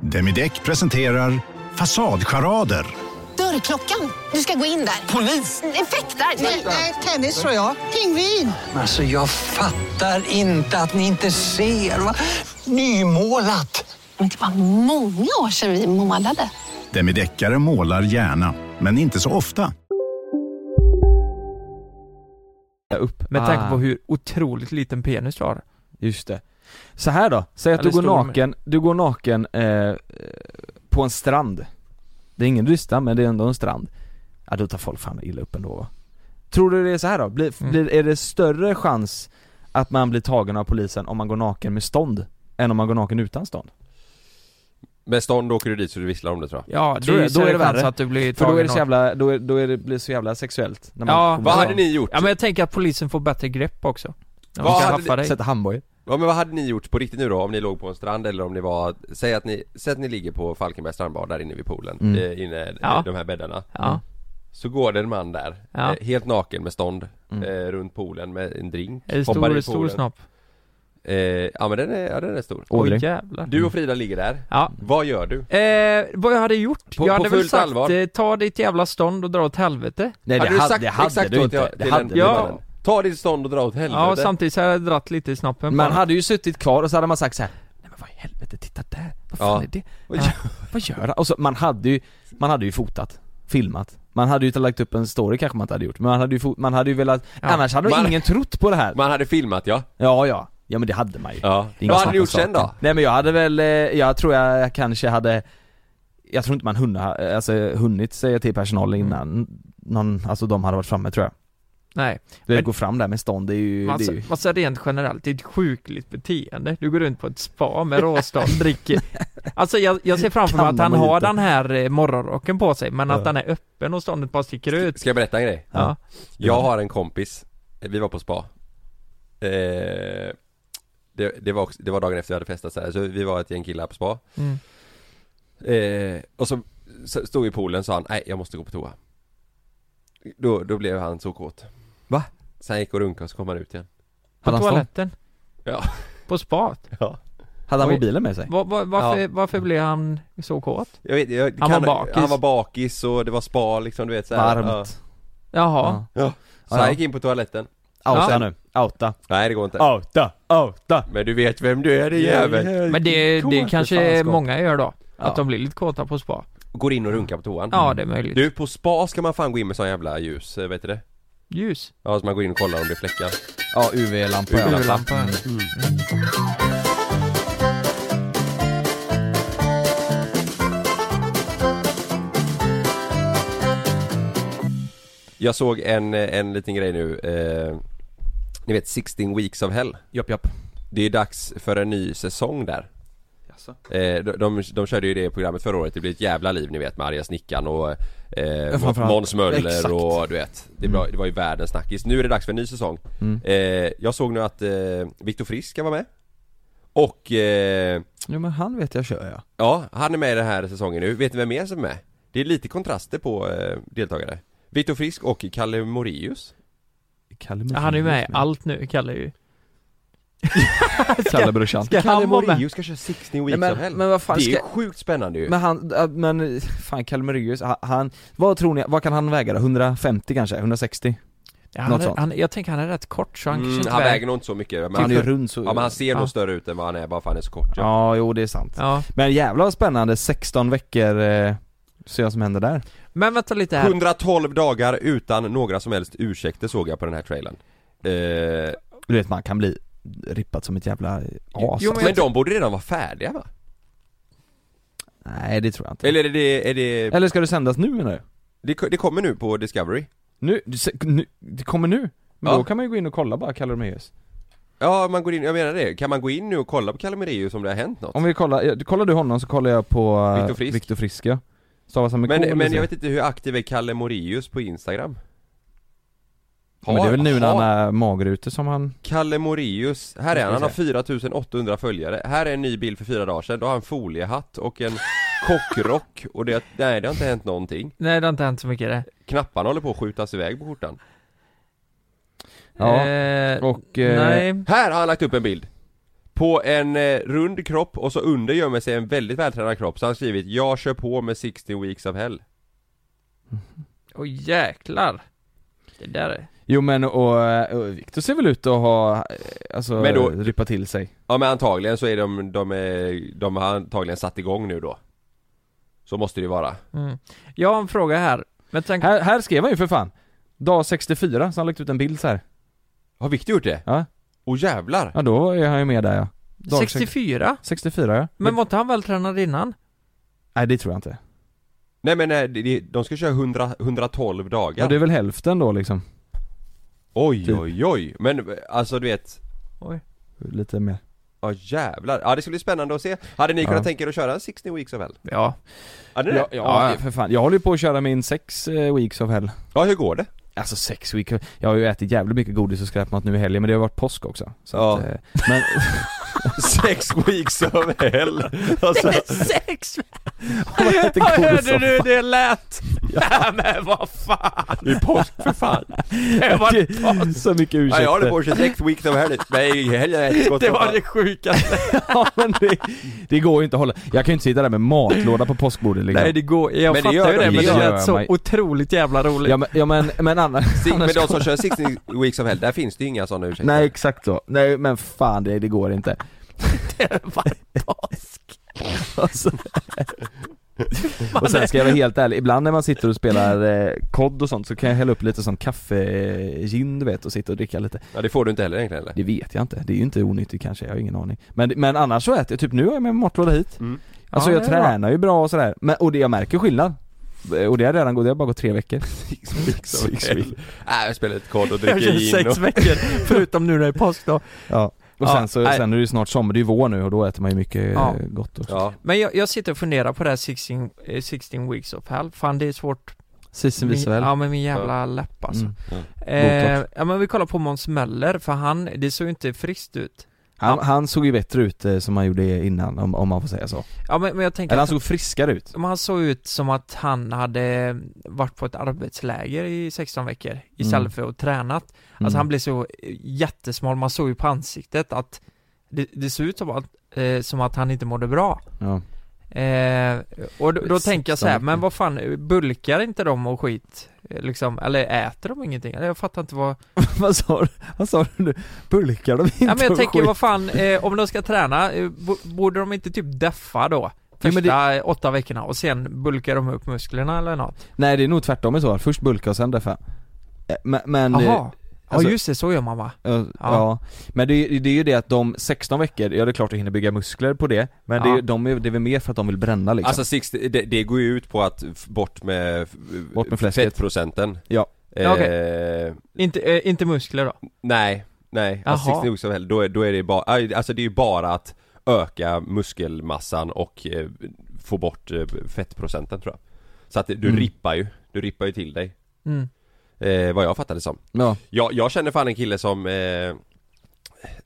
Speaker 9: Demideck presenterar Fasadcharader.
Speaker 8: Dörrklockan. Du ska gå in där. Polis? Effektar? Nej, nej, tennis tror jag. Pingvin.
Speaker 2: Alltså jag fattar inte att ni inte ser. Va? Nymålat!
Speaker 8: Men det var många år sedan vi målade.
Speaker 9: Demideckare målar gärna, men inte så ofta.
Speaker 6: Upp.
Speaker 7: Med tanke på
Speaker 6: Ah,
Speaker 7: hur otroligt liten penis du har.
Speaker 6: Just det. Så här då, säg att
Speaker 7: Eller
Speaker 6: du går
Speaker 7: stor med.
Speaker 6: naken, du går naken eh, eh, på en strand. Det är ingen rysta men det är ändå en strand. Ja då tar folk fan illa upp ändå va? Tror du det är så här då? Blir,
Speaker 7: Mm.
Speaker 6: blir, är det större chans att man blir tagen av polisen om man går naken med stånd? Än om man går naken utan stånd?
Speaker 5: Med stånd åker du dit så du visslar om det tror jag
Speaker 6: Tror
Speaker 7: Ja, det är
Speaker 6: jag.
Speaker 7: ju
Speaker 6: Då är
Speaker 7: större
Speaker 6: det
Speaker 7: chans
Speaker 6: värre.
Speaker 7: att du blir
Speaker 6: För
Speaker 7: tagen
Speaker 6: då är det så
Speaker 7: av-
Speaker 6: jävla, då är, då är det, blir det så jävla sexuellt när man
Speaker 7: Ja.
Speaker 6: kommer
Speaker 5: Vad
Speaker 6: fram.
Speaker 5: hade ni gjort?
Speaker 7: Ja men jag tänker att polisen får bättre grepp också. När
Speaker 5: Vad
Speaker 7: de ska
Speaker 5: hade
Speaker 7: haffa dig.
Speaker 6: Sätta handbojor?
Speaker 5: Ja men vad hade ni gjort på riktigt nu då om ni låg på en strand eller om ni var, säg att ni, säg att ni ligger på Falkenbergs strandbad där inne vid poolen,
Speaker 6: Mm.
Speaker 5: eh, inne i
Speaker 7: Ja.
Speaker 5: de här bäddarna
Speaker 7: Ja.
Speaker 5: Så går det en man där,
Speaker 7: Ja.
Speaker 5: eh, helt naken med stånd,
Speaker 6: Mm.
Speaker 5: eh, runt poolen med en drink,
Speaker 7: Är det
Speaker 5: hoppar
Speaker 7: stor,
Speaker 5: i
Speaker 7: stor
Speaker 5: poolen
Speaker 7: snopp?
Speaker 5: eh, Ja men den är, ja, den är stor
Speaker 6: Ådring.
Speaker 7: Oj jävlar.
Speaker 5: Du och Frida ligger där,
Speaker 7: Ja.
Speaker 5: vad gör du?
Speaker 7: Eh, vad jag hade gjort?
Speaker 5: På-
Speaker 7: jag
Speaker 5: på
Speaker 7: hade väl
Speaker 5: fullt
Speaker 7: sagt
Speaker 5: allvar.
Speaker 7: eh, ta ditt jävla stånd och dra åt helvete.
Speaker 6: Nej
Speaker 5: Hade
Speaker 6: det
Speaker 5: du
Speaker 6: hade,
Speaker 5: sagt
Speaker 6: det hade
Speaker 5: exakt
Speaker 6: du
Speaker 5: då
Speaker 6: inte,
Speaker 5: till-
Speaker 6: det
Speaker 5: till
Speaker 6: hade
Speaker 5: en-
Speaker 6: du
Speaker 7: Ja,
Speaker 6: inte.
Speaker 5: Ta ditt stånd och dra åt helvete.
Speaker 7: Ja, samtidigt så har jag dratt lite i snoppen
Speaker 6: Man
Speaker 7: på
Speaker 6: hade ju suttit kvar och så hade man sagt så här.
Speaker 7: Vad
Speaker 6: fan
Speaker 7: är det?
Speaker 6: Vad gör, vad gör han? Och så, man hade ju, man hade ju fotat, filmat Man hade ju inte lagt upp en story kanske man inte hade gjort, men man hade ju, fot, man hade ju velat, annars hade
Speaker 5: Man-
Speaker 6: man, ingen trott på det här
Speaker 5: Man hade filmat ja.
Speaker 6: Ja, ja, ja men det hade man ju
Speaker 5: Ja.
Speaker 6: Det är inget
Speaker 5: Vad hade
Speaker 6: snack
Speaker 5: du
Speaker 6: om
Speaker 5: gjort sen
Speaker 6: saken.
Speaker 5: då?
Speaker 6: Nej men jag hade väl, eh, jag tror jag kanske hade Jag tror inte man hunnit, alltså, hunnit säga till personalen
Speaker 7: Mm.
Speaker 6: innan någon, alltså de hade varit framme tror jag
Speaker 7: Nej.
Speaker 6: Du
Speaker 7: Men-
Speaker 6: vet, gå fram där med stånd, det är ju, det
Speaker 7: Alltså,
Speaker 6: är ju
Speaker 7: alltså rent generellt, det är ett sjukligt beteende. Du går runt på ett spa med råstånd, dricker. Alltså jag, jag ser framför mig att han har
Speaker 5: Kammarmojito.
Speaker 7: den här eh, morgonrocken på sig, men att
Speaker 5: Ja.
Speaker 7: den är öppen och ståndet bara sticker ut.
Speaker 5: Ska jag berätta en grej?
Speaker 7: Ja.
Speaker 5: Jag har en kompis, vi var på spa eh, det, det, var också, det var dagen efter jag hade festat så här, så vi var ett gäng killar på spa
Speaker 7: Mm.
Speaker 5: eh, Och så så stod vi i poolen och sa han, nej jag måste gå på toa Då, då blev han så kåt
Speaker 6: Va?
Speaker 5: Sen gick och runkade och så kom han ut igen
Speaker 7: På toaletten?
Speaker 5: Ja
Speaker 7: På spat?
Speaker 5: Ja
Speaker 6: Hade han
Speaker 7: Oj.
Speaker 6: mobilen med sig?
Speaker 7: Var, var, varför,
Speaker 5: Ja.
Speaker 7: varför blev han så kåt?
Speaker 5: jag vet, jag,
Speaker 7: Han
Speaker 5: kan-
Speaker 7: var bakis.
Speaker 5: Han var bakis och det var spa liksom du vet så här,
Speaker 6: Varmt.
Speaker 5: ja.
Speaker 7: Jaha.
Speaker 5: ja. Så
Speaker 6: Ja.
Speaker 5: han gick in på toaletten
Speaker 6: Outa
Speaker 5: Sen-
Speaker 6: nu, outa
Speaker 5: Nej det går inte
Speaker 6: Outa, outa!
Speaker 5: Men du vet vem du är din jävel
Speaker 7: Men det, det
Speaker 5: Kåt, fan,
Speaker 7: kanske
Speaker 5: skott.
Speaker 7: många gör då. Att
Speaker 5: Ja. Mm.
Speaker 7: de blir lite kåta på spa.
Speaker 5: Går in och runkar på toan
Speaker 7: Ja, det är möjligt.
Speaker 5: Du på spa ska man fan gå in med sån jävla ljus, eh, vet du det?
Speaker 7: Ljus.
Speaker 5: Ja så man går in och kollar om det är fläckar
Speaker 6: Ja, UV-lampa
Speaker 5: ja.
Speaker 7: UV-lampa.
Speaker 5: Mm. Jag såg en, eh, en liten grej nu eh, Ni vet 16 weeks of hell
Speaker 6: Japp, japp
Speaker 5: Det är dags för en ny säsong där
Speaker 6: Jaså?
Speaker 5: Eh, de, de, de körde ju det programmet förra året, det blev ett jävla liv ni vet med arga snickaren och eh,
Speaker 6: framförallt.
Speaker 5: Måns Möller
Speaker 6: Exakt.
Speaker 5: och du vet det, var- det var ju världens snackis. Nu är det dags för en ny säsong
Speaker 6: Mm.
Speaker 5: eh, Jag såg nu att eh, Viktor Frisk ska vara med Och eh,
Speaker 6: Jo men han vet jag kör ja
Speaker 5: ja, han är med i den här säsongen nu. Vet ni vem mer som är med? Det är lite kontraster på eh, deltagare Viktor Frisk och Kalle Moraeus
Speaker 6: Kalle
Speaker 7: Han är ju med i allt nu, Kalle ju.
Speaker 6: Kalle brorsan
Speaker 7: Ska
Speaker 5: Kalle
Speaker 7: han vara med?
Speaker 5: Moraeus ska köra 16 weeks
Speaker 6: Nej, men-
Speaker 5: of hell
Speaker 6: men vad fan
Speaker 5: Det är ju
Speaker 6: ska-
Speaker 5: sjukt spännande ju
Speaker 6: Men han, äh, men fan Kalmerius, han, han, vad tror ni, vad kan han väga då? 150 kanske? 160?
Speaker 7: Ja,
Speaker 6: Något
Speaker 7: han, är-
Speaker 6: sånt.
Speaker 7: han, jag tänker han är rätt kort så han
Speaker 5: Mm,
Speaker 7: kanske inte
Speaker 5: han
Speaker 7: väger-
Speaker 5: väger nog inte så mycket men
Speaker 6: Han är ju rund så...
Speaker 5: Ja men han ser
Speaker 7: Ja.
Speaker 5: nog större ut än vad han är bara för han är så kort ja.
Speaker 6: Ja, jo det är sant.
Speaker 7: Ja.
Speaker 6: Men jävlar vad spännande, 16 veckor, eh, se vad som händer där.
Speaker 7: Men vänta lite här.
Speaker 5: 112 dagar utan några som helst ursäkter såg jag på den här trailern eh,
Speaker 6: Du vet man kan bli rippad som ett jävla as.
Speaker 7: Jo,
Speaker 5: men,
Speaker 7: men jag-
Speaker 5: de borde redan vara färdiga va?
Speaker 6: Nej det tror jag inte. Eller,
Speaker 5: Eller är det, är det,
Speaker 6: ska det sändas nu menar du?
Speaker 5: det, det kommer nu på Discovery
Speaker 6: Nu, du se- nu, det kommer nu? Men
Speaker 5: Ja.
Speaker 6: då kan man ju gå in och kolla bara Kalmerius.
Speaker 5: Ja man går in, jag menar det, kan man gå in nu och kolla på Kalmerius om det har hänt något?
Speaker 6: Om vi kollar, ja, kollar du honom så kollar jag på eh,
Speaker 5: Viktor Frisk.
Speaker 6: Viktor Frisk ja. Stavas han med K,
Speaker 5: men,
Speaker 6: eller
Speaker 5: men
Speaker 6: så?
Speaker 5: jag vet inte hur aktiv är Kalle Moraeus på Instagram?
Speaker 6: Men det är väl nu när
Speaker 5: Har-
Speaker 6: han är magrute som han...
Speaker 5: Kalle Moraeus, här är han, han har 4800 följare. Här är en ny bild för fyra dagar sedan, då har han foliehatt och en kockrock och det, nej det har inte hänt någonting.
Speaker 7: Nej det har inte hänt så mycket det.
Speaker 5: Knapparna håller på att skjutas iväg på skjortan.
Speaker 6: Ja.
Speaker 7: Eh,
Speaker 6: Och... eh,
Speaker 7: nej.
Speaker 5: Här har han lagt upp en bild! På en eh, rund kropp och så under gömmer sig en väldigt vältränad kropp så har han skrivit 'Jag kör på med 16 weeks of hell'
Speaker 7: Åh jäklar. Det där är...
Speaker 6: Jo men och, eh, och Victor ser väl ut att ha, eh, alltså,
Speaker 5: Men då-
Speaker 6: rippa till sig
Speaker 5: Ja men antagligen så är de, de, är, de har antagligen satt igång nu då Så måste det ju vara
Speaker 7: Mm. Jag har en fråga här. Men tänk...
Speaker 6: här, här skrev han ju för fan Dag 64, så han lagt ut en bild så här.
Speaker 5: Har Victor gjort det?
Speaker 6: Ja.
Speaker 5: Och jävlar!
Speaker 6: Ja då är han ju med där ja Dag
Speaker 7: 64?
Speaker 6: 64 ja
Speaker 7: Men var inte han vältränad innan?
Speaker 6: Nej det tror jag inte
Speaker 5: Nej men nej, de- de ska köra 100, 112 dagar
Speaker 6: Ja det är väl hälften då liksom
Speaker 5: Oj
Speaker 6: Typ.
Speaker 5: oj oj, men alltså du vet
Speaker 7: Oj.
Speaker 6: Lite mer
Speaker 5: Ja jävlar, ja det skulle bli spännande att se Hade ni
Speaker 6: Ja.
Speaker 5: kunnat tänka er att köra 16 weeks of hell?
Speaker 7: Ja.
Speaker 5: Hade ni
Speaker 6: ja, typ.
Speaker 5: det?
Speaker 6: ja,
Speaker 7: ja.
Speaker 6: för fan, jag håller ju på att köra min sex eh, weeks of hell
Speaker 5: ja hur går det?
Speaker 6: Alltså sex weeks, jag har ju ätit jävligt mycket godis och skräpmat nu i helgen men det har varit påsk också så
Speaker 5: Ja.
Speaker 6: att, eh, men,
Speaker 5: Sex weeks of hell! Alltså,
Speaker 7: Sex!
Speaker 6: jag äter godis
Speaker 7: Hörde
Speaker 6: som
Speaker 7: du
Speaker 6: fan.
Speaker 7: det lät? men vad fan!
Speaker 5: Det är påsk för fan!
Speaker 7: Det var
Speaker 5: påsk! Så mycket
Speaker 7: ursäkter.
Speaker 5: Ja, jag håller på 26 weeks of hell. Nej, heller har jag inte gått
Speaker 7: Det
Speaker 5: och-
Speaker 7: var det sjukaste!
Speaker 6: ja, men det, det går ju inte att hålla. Jag kan ju inte sitta där med matlåda på påskbordet liksom.
Speaker 7: Nej det går, jag
Speaker 6: Men det
Speaker 7: fattar
Speaker 6: gör de
Speaker 7: ju det
Speaker 6: ju.
Speaker 7: men det
Speaker 6: Det gör
Speaker 7: lät så
Speaker 6: man ju.
Speaker 7: otroligt jävla roligt
Speaker 6: Ja men, ja, men, men annars...
Speaker 7: Sig-
Speaker 5: Men
Speaker 6: annars
Speaker 5: de som kör 60 weeks of hell, där finns det ju inga sådana ursäkter.
Speaker 6: Nej exakt så. Nej men fan det, det går inte. Alltså. Och sen ska jag vara helt ärlig, ibland när man sitter och spelar eh, kod och sånt så kan jag hälla upp lite sån kaffegin du vet och sitta och dricka lite
Speaker 5: Ja, det får du inte heller egentligen eller?
Speaker 6: Det vet jag inte, det är ju inte onyttigt kanske, jag har ingen aning Men, men annars så äter jag, typ nu har jag med mig matlåda hit Alltså
Speaker 5: Mm. Ja,
Speaker 6: jag
Speaker 5: det är bra.
Speaker 6: tränar ju bra och sådär, men, och det, jag märker skillnad Eh, Och det har redan gått, det har bara gått tre veckor Six
Speaker 5: Liksom. Nej, jag spelar ett kod och
Speaker 7: Jag
Speaker 5: dricker
Speaker 7: kör
Speaker 5: gin
Speaker 7: sex
Speaker 5: och...
Speaker 7: veckor, förutom nu när det är påsk då
Speaker 6: Ja, och
Speaker 7: Ja,
Speaker 6: sen så,
Speaker 7: nej.
Speaker 6: sen är det ju snart sommar, det är ju vår nu och då äter man ju mycket
Speaker 7: Ja.
Speaker 6: eh, gott också
Speaker 7: Men jag, jag sitter och funderar på det här 16, eh, 16 weeks of hell, fan det är svårt
Speaker 6: Sisten
Speaker 7: Min-
Speaker 6: visar väl?
Speaker 7: Ja men min jävla läpp alltså
Speaker 6: Mm.
Speaker 7: eh,
Speaker 6: Botox.
Speaker 7: Ja men vi kollar på Måns Möller, för han, det såg ju inte friskt ut
Speaker 6: han, han såg ju bättre ut eh, som han gjorde innan, om, om man får säga så
Speaker 7: Ja men, men jag tänker
Speaker 6: Eller alltså- han
Speaker 7: att-
Speaker 6: såg friskare ut
Speaker 7: Men han såg ut som att han hade varit på ett arbetsläger i 16 veckor istället
Speaker 6: Mm.
Speaker 7: för att tränat. Alltså
Speaker 6: Mm.
Speaker 7: han blev så jättesmal, man såg ju på ansiktet att det, det såg ut som att, eh, som att han inte mådde bra.
Speaker 6: Ja.
Speaker 7: Eh, och då, då tänker jag så här,
Speaker 6: 16
Speaker 7: men vad fan, bulkar inte de och skit? eh, Liksom, eller äter de ingenting? Eller Jag fattar inte vad...
Speaker 6: Vad sa du? Vad sa du nu? Bulkar de inte
Speaker 7: Ja men jag
Speaker 6: och
Speaker 7: tänker,
Speaker 6: skit?
Speaker 7: vad fan, eh, om de ska träna, eh, bo- borde de inte typ deffa då?
Speaker 6: Jo,
Speaker 7: Första
Speaker 6: men det-
Speaker 7: eh, åtta veckorna och sen bulkar de upp musklerna eller något?
Speaker 6: Nej det är nog tvärtom i så fall. först bulka och sen deffa Eh, Men, men eh,
Speaker 7: Jaha,
Speaker 6: alltså-
Speaker 7: ja just det, så gör man va?
Speaker 6: Ja, ja. men det, är- det är ju det att de 16 veckor, ja det är klart att hinner bygga muskler på det Men det, är,
Speaker 5: Ja.
Speaker 6: ju- de är, det är väl mer för att de vill bränna liksom
Speaker 5: Alltså 60, det, det går ju ut på att f- bort med, f-
Speaker 6: Bort med fläsket.
Speaker 5: fettprocenten
Speaker 6: Ja.
Speaker 7: Ja, okej.
Speaker 5: eh,
Speaker 7: Inte, eh, inte muskler då?
Speaker 5: Nej, nej, alltså
Speaker 7: Jaha.
Speaker 5: 60 weeks of hell, då är, då är det bara, aj, alltså det är ju bara att öka muskelmassan och eh, få bort eh, fettprocenten tror jag Så att det- du
Speaker 6: Mm.
Speaker 5: rippar ju, du rippar ju till dig
Speaker 7: Mm.
Speaker 5: eh, Vad jag fattade som
Speaker 6: Ja.
Speaker 5: jag, jag känner fan en kille som eh,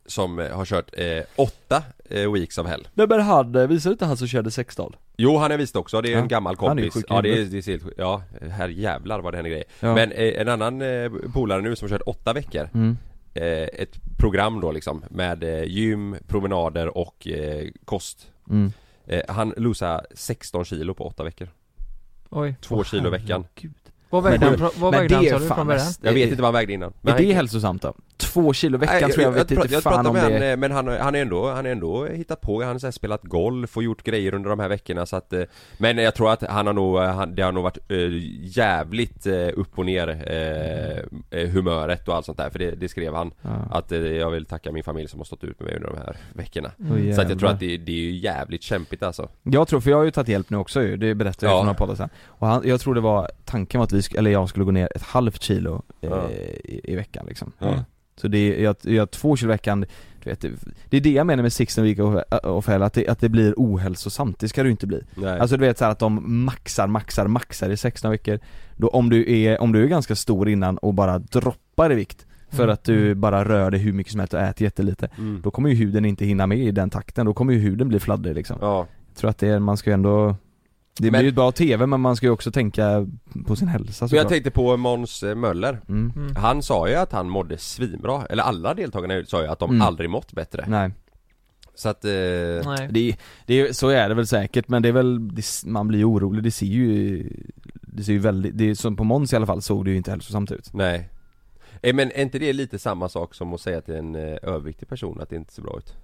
Speaker 5: Som eh, har kört eh, åtta eh, weeks of hell
Speaker 6: Nej men han, eh, visade inte han som körde 16?
Speaker 5: Jo han är visst också, det är
Speaker 6: Ja.
Speaker 5: en gammal
Speaker 6: Han är ju
Speaker 5: kompis
Speaker 6: sjuk i
Speaker 5: Ja det är,
Speaker 6: huvudet.
Speaker 5: det är helt sjukt. ja herr jävlar vad det händer grejer
Speaker 6: Ja.
Speaker 5: Men eh, en annan eh, polare nu som kört åtta veckor
Speaker 6: Mm.
Speaker 5: eh, Ett program då liksom med eh, gym, promenader och eh, kost
Speaker 6: Mm.
Speaker 5: eh, Han losade 16 kilo på åtta veckor
Speaker 7: Oj.
Speaker 5: Två kilo i veckan
Speaker 7: Vad vägde
Speaker 6: Men
Speaker 7: han,
Speaker 6: du-
Speaker 7: pro- vad
Speaker 6: men
Speaker 7: vägde han
Speaker 6: det är
Speaker 7: sa du
Speaker 6: fan
Speaker 7: från början?
Speaker 6: näst-
Speaker 5: Jag vet inte vad han vägde innan men
Speaker 6: Är det
Speaker 5: han-
Speaker 6: hälsosamt då? Två kilo i veckan
Speaker 5: Nej,
Speaker 6: tror jag, vet
Speaker 5: prat-
Speaker 6: inte fan
Speaker 5: pratade
Speaker 6: om
Speaker 5: med han,
Speaker 6: det
Speaker 5: eh, Men han, han, är ändå, han är ändå hittat på, han har så här spelat golf och gjort grejer under de här veckorna så att eh, Men jag tror att han har nog, eh, han, det har nog varit eh, jävligt eh, upp och ner eh, eh, humöret och allt sånt där för det, det skrev han Att eh, jag vill tacka min familj som har stått ut med mig under de här veckorna
Speaker 6: Åh,
Speaker 5: Så att jag tror
Speaker 6: jävlar.
Speaker 5: att det, det är ju jävligt kämpigt alltså
Speaker 6: Jag tror, för jag har ju tagit hjälp nu också ju, det berättade jag
Speaker 5: Ja.
Speaker 6: för några poddar sen Och han, jag tror det var, tanken var att vi, sk- eller jag skulle gå ner ett halvt kilo eh,
Speaker 5: Ja.
Speaker 6: i, i veckan liksom
Speaker 5: Ja.
Speaker 6: Så det är, jag, jag, två kilo i veckan, du vet, det, det är det jag menar med sixten week of, of hell, att det, att det blir ohälsosamt, det ska det ju inte bli
Speaker 5: Nej.
Speaker 6: Alltså du vet så här att de maxar, maxar, maxar i 16 veckor Då om du är, om du är ganska stor innan och bara droppar i vikt för
Speaker 7: Mm.
Speaker 6: att du bara rör dig hur mycket som helst och äter jättelite
Speaker 5: Mm.
Speaker 6: Då kommer ju huden inte hinna med i den takten, då kommer ju huden bli fladdrig liksom
Speaker 5: Ja
Speaker 6: jag tror att det är, man ska ju ändå Det blir
Speaker 5: Men-
Speaker 6: ju ett bra TV men man ska ju också tänka på sin hälsa
Speaker 5: Men jag
Speaker 6: såklart
Speaker 5: tänkte på Måns eh, Möller
Speaker 6: Alltså, mm.
Speaker 7: Mm.
Speaker 5: Han sa ju att han mådde svinbra, eller alla deltagarna sa ju att de
Speaker 6: Mm.
Speaker 5: aldrig mått bättre
Speaker 6: Nej,
Speaker 5: Så att... Eh,
Speaker 7: Nej.
Speaker 6: det, det, är- så är det väl säkert men det är väl, det, man blir ju orolig, det ser ju Det ser ju väldigt, det, är som på Måns i alla fall såg det ju inte hälsosamt ut
Speaker 5: Nej Eh, Men är inte det lite samma sak som att säga till en eh, överviktig person att det inte ser bra ut?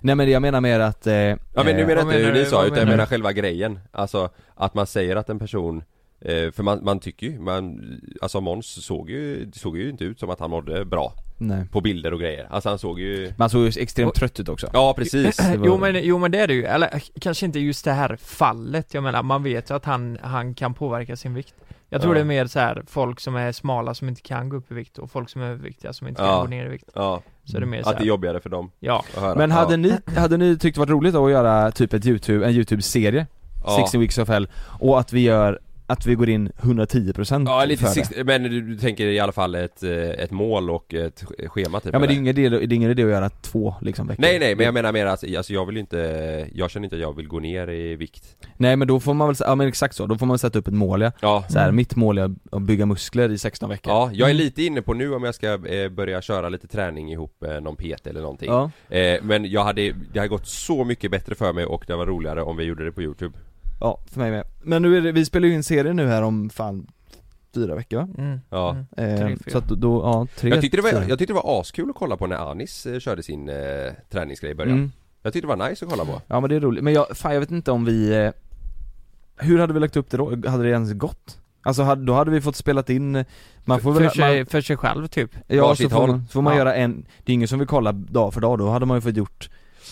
Speaker 6: Nej men jag menar mer att eh,
Speaker 5: Ja men nu
Speaker 6: eh,
Speaker 5: menar jag
Speaker 7: vad
Speaker 5: inte hur
Speaker 7: menar
Speaker 5: ni
Speaker 7: du?
Speaker 5: sa
Speaker 7: Vad
Speaker 5: utan jag
Speaker 7: menar
Speaker 5: menar
Speaker 7: du?
Speaker 5: själva grejen Alltså att man säger att en person eh, För man, man tycker ju, man, alltså Måns såg ju, det såg ju inte ut som att han mådde bra
Speaker 6: Nej
Speaker 5: På bilder och grejer, alltså han såg ju
Speaker 6: Man såg ju extremt
Speaker 7: Och-
Speaker 6: trött ut också
Speaker 5: Ja precis
Speaker 6: var-
Speaker 7: Jo men, jo men det är det ju, eller eh, kanske inte just det här fallet, jag menar man vet ju att han, han kan påverka sin vikt Jag
Speaker 5: Ja.
Speaker 7: tror det är mer så här folk som är smala som inte kan gå upp i vikt och folk som är överviktiga som inte
Speaker 5: Ja.
Speaker 7: kan gå ner i vikt
Speaker 5: Ja,
Speaker 7: Så det är mer så
Speaker 5: att det är
Speaker 7: här,
Speaker 5: jobbigare för dem
Speaker 7: ja,
Speaker 5: att höra
Speaker 6: Men hade
Speaker 5: ja.
Speaker 6: ni, hade ni tyckt det varit roligt då att göra typ ett youtube, en youtube-serie?
Speaker 5: Ja.
Speaker 6: 16 weeks of hell och att vi gör att vi går in 110%
Speaker 5: Ja lite
Speaker 6: för det.
Speaker 5: sist, men du, du tänker i alla fall ett, eh, ett mål och ett sch- schema typ
Speaker 6: Ja men det är
Speaker 5: eller?
Speaker 6: ju ingen idé, det är ingen idé att göra två liksom veckor
Speaker 5: Nej nej men jag menar mer att, alltså jag vill ju inte, jag känner inte att jag vill gå ner i vikt
Speaker 6: Nej men då får man väl, ja men exakt så, då får man sätta upp ett mål ja.
Speaker 5: Ja.
Speaker 6: Så här, mitt mål är att bygga muskler i 16 veckor
Speaker 5: Mm.
Speaker 6: Mm.
Speaker 5: Ja, jag är lite inne på nu om jag ska eh, börja köra lite träning ihop eh, någon PT eller någonting
Speaker 6: Ja.
Speaker 5: eh, Men jag hade, det hade gått så mycket bättre för mig och det var roligare om vi gjorde det på youtube
Speaker 6: Ja, för mig med. Men nu är det, vi spelar ju in serie nu här om fan fyra veckor va?
Speaker 7: Mm.
Speaker 5: Ja.
Speaker 6: Eh,
Speaker 5: Tre,
Speaker 6: så att då, ja, tre,
Speaker 5: jag, tyckte det var,
Speaker 6: fyra.
Speaker 5: jag tyckte det var askul att kolla på när Anis eh, körde sin eh, träningsgrej i början
Speaker 6: Mm.
Speaker 5: Jag tyckte det var nice att kolla på
Speaker 6: Ja men det är roligt, men jag, fan jag vet inte om vi eh, Hur hade vi lagt upp det då? Hade det ens gått? Alltså hade- då hade vi fått spelat in eh, Man får
Speaker 7: för,
Speaker 6: väl
Speaker 7: sig,
Speaker 6: man,
Speaker 7: för sig själv typ
Speaker 6: Ja så får man, så får man
Speaker 7: Ja.
Speaker 6: göra en Det är ingen som vill kolla dag för dag, då hade man ju fått gjort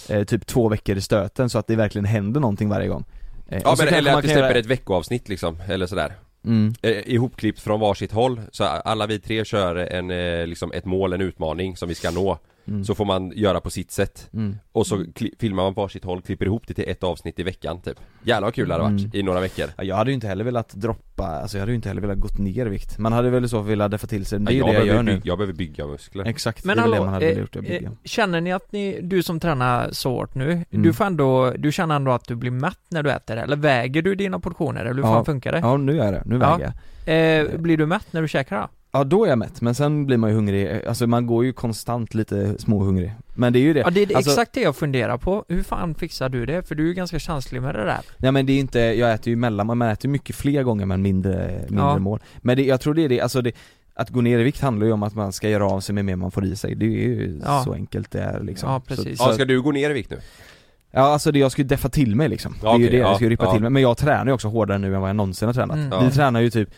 Speaker 6: eh, Typ två veckor i stöten så att det verkligen händer någonting varje gång Eh,
Speaker 5: Ja
Speaker 6: och så
Speaker 5: men
Speaker 6: kanske
Speaker 5: eller
Speaker 6: man
Speaker 5: att vi
Speaker 6: kan göra-
Speaker 5: släpper ett veckoavsnitt liksom, eller sådär
Speaker 6: Mm.
Speaker 5: eh, Ihopklippt från varsitt håll, så alla vi tre kör en, eh, liksom ett mål, en utmaning som vi ska nå
Speaker 6: Mm.
Speaker 5: Så får man göra på sitt sätt
Speaker 6: Mm.
Speaker 5: Och så kli- filmar man varsitt håll, klipper ihop det till ett avsnitt i veckan typ Jävlar vad kul det hade varit,
Speaker 6: Mm.
Speaker 5: i några veckor
Speaker 6: Ja, jag hade ju inte heller velat droppa, alltså jag hade ju inte heller velat gått ner i vikt Man hade väl i så fall velat deffa till sig, det är ju
Speaker 5: jag,
Speaker 6: det jag
Speaker 5: behöver
Speaker 6: gör nu
Speaker 5: bygga, jag behöver bygga muskler
Speaker 6: Exakt,
Speaker 7: Men
Speaker 6: det är väl
Speaker 7: hallå,
Speaker 6: det man hade
Speaker 7: eh,
Speaker 6: velat gjort, att
Speaker 7: eh,
Speaker 6: bygga
Speaker 7: känner ni att ni, du som tränar så hårt nu,
Speaker 6: Mm.
Speaker 7: du får ändå, du känner ändå att du blir mätt när du äter? Eller väger du dina portioner? Eller hur fan funkar det?
Speaker 6: Ja, nu är det, nu väger jag
Speaker 7: jag. Eh, blir du mätt när du käkar då?
Speaker 6: Ja då är jag mätt, men sen blir man ju hungrig, alltså man går ju konstant lite småhungrig Men det är ju det,
Speaker 7: Ja det är det-
Speaker 6: alltså,
Speaker 7: exakt det jag funderar på, hur fan fixar du det? För du är ju ganska känslig med det där
Speaker 6: Nej men det är inte, jag äter ju mellan, man äter ju mycket fler gånger men mindre, mindre
Speaker 7: Ja.
Speaker 6: mål Men det, jag tror det är det, alltså det, att gå ner i vikt handlar ju om att man ska göra av sig med mer man får i sig, det är ju
Speaker 7: Ja.
Speaker 6: så enkelt det är liksom
Speaker 7: Ja, precis.
Speaker 6: så, Mm.
Speaker 5: Ja,
Speaker 6: så,
Speaker 5: ska du gå ner i vikt nu?
Speaker 6: Ja alltså det, jag ska ju deffa till mig liksom. Det är
Speaker 5: Ja,
Speaker 6: ju
Speaker 5: okej,
Speaker 6: det, jag
Speaker 5: ja,
Speaker 6: ska ju rippa
Speaker 5: ja.
Speaker 6: till mig. Men jag tränar ju också hårdare nu än vad jag någonsin har tränat.
Speaker 7: Mm.
Speaker 6: Vi
Speaker 7: Ja.
Speaker 6: tränar ju typ,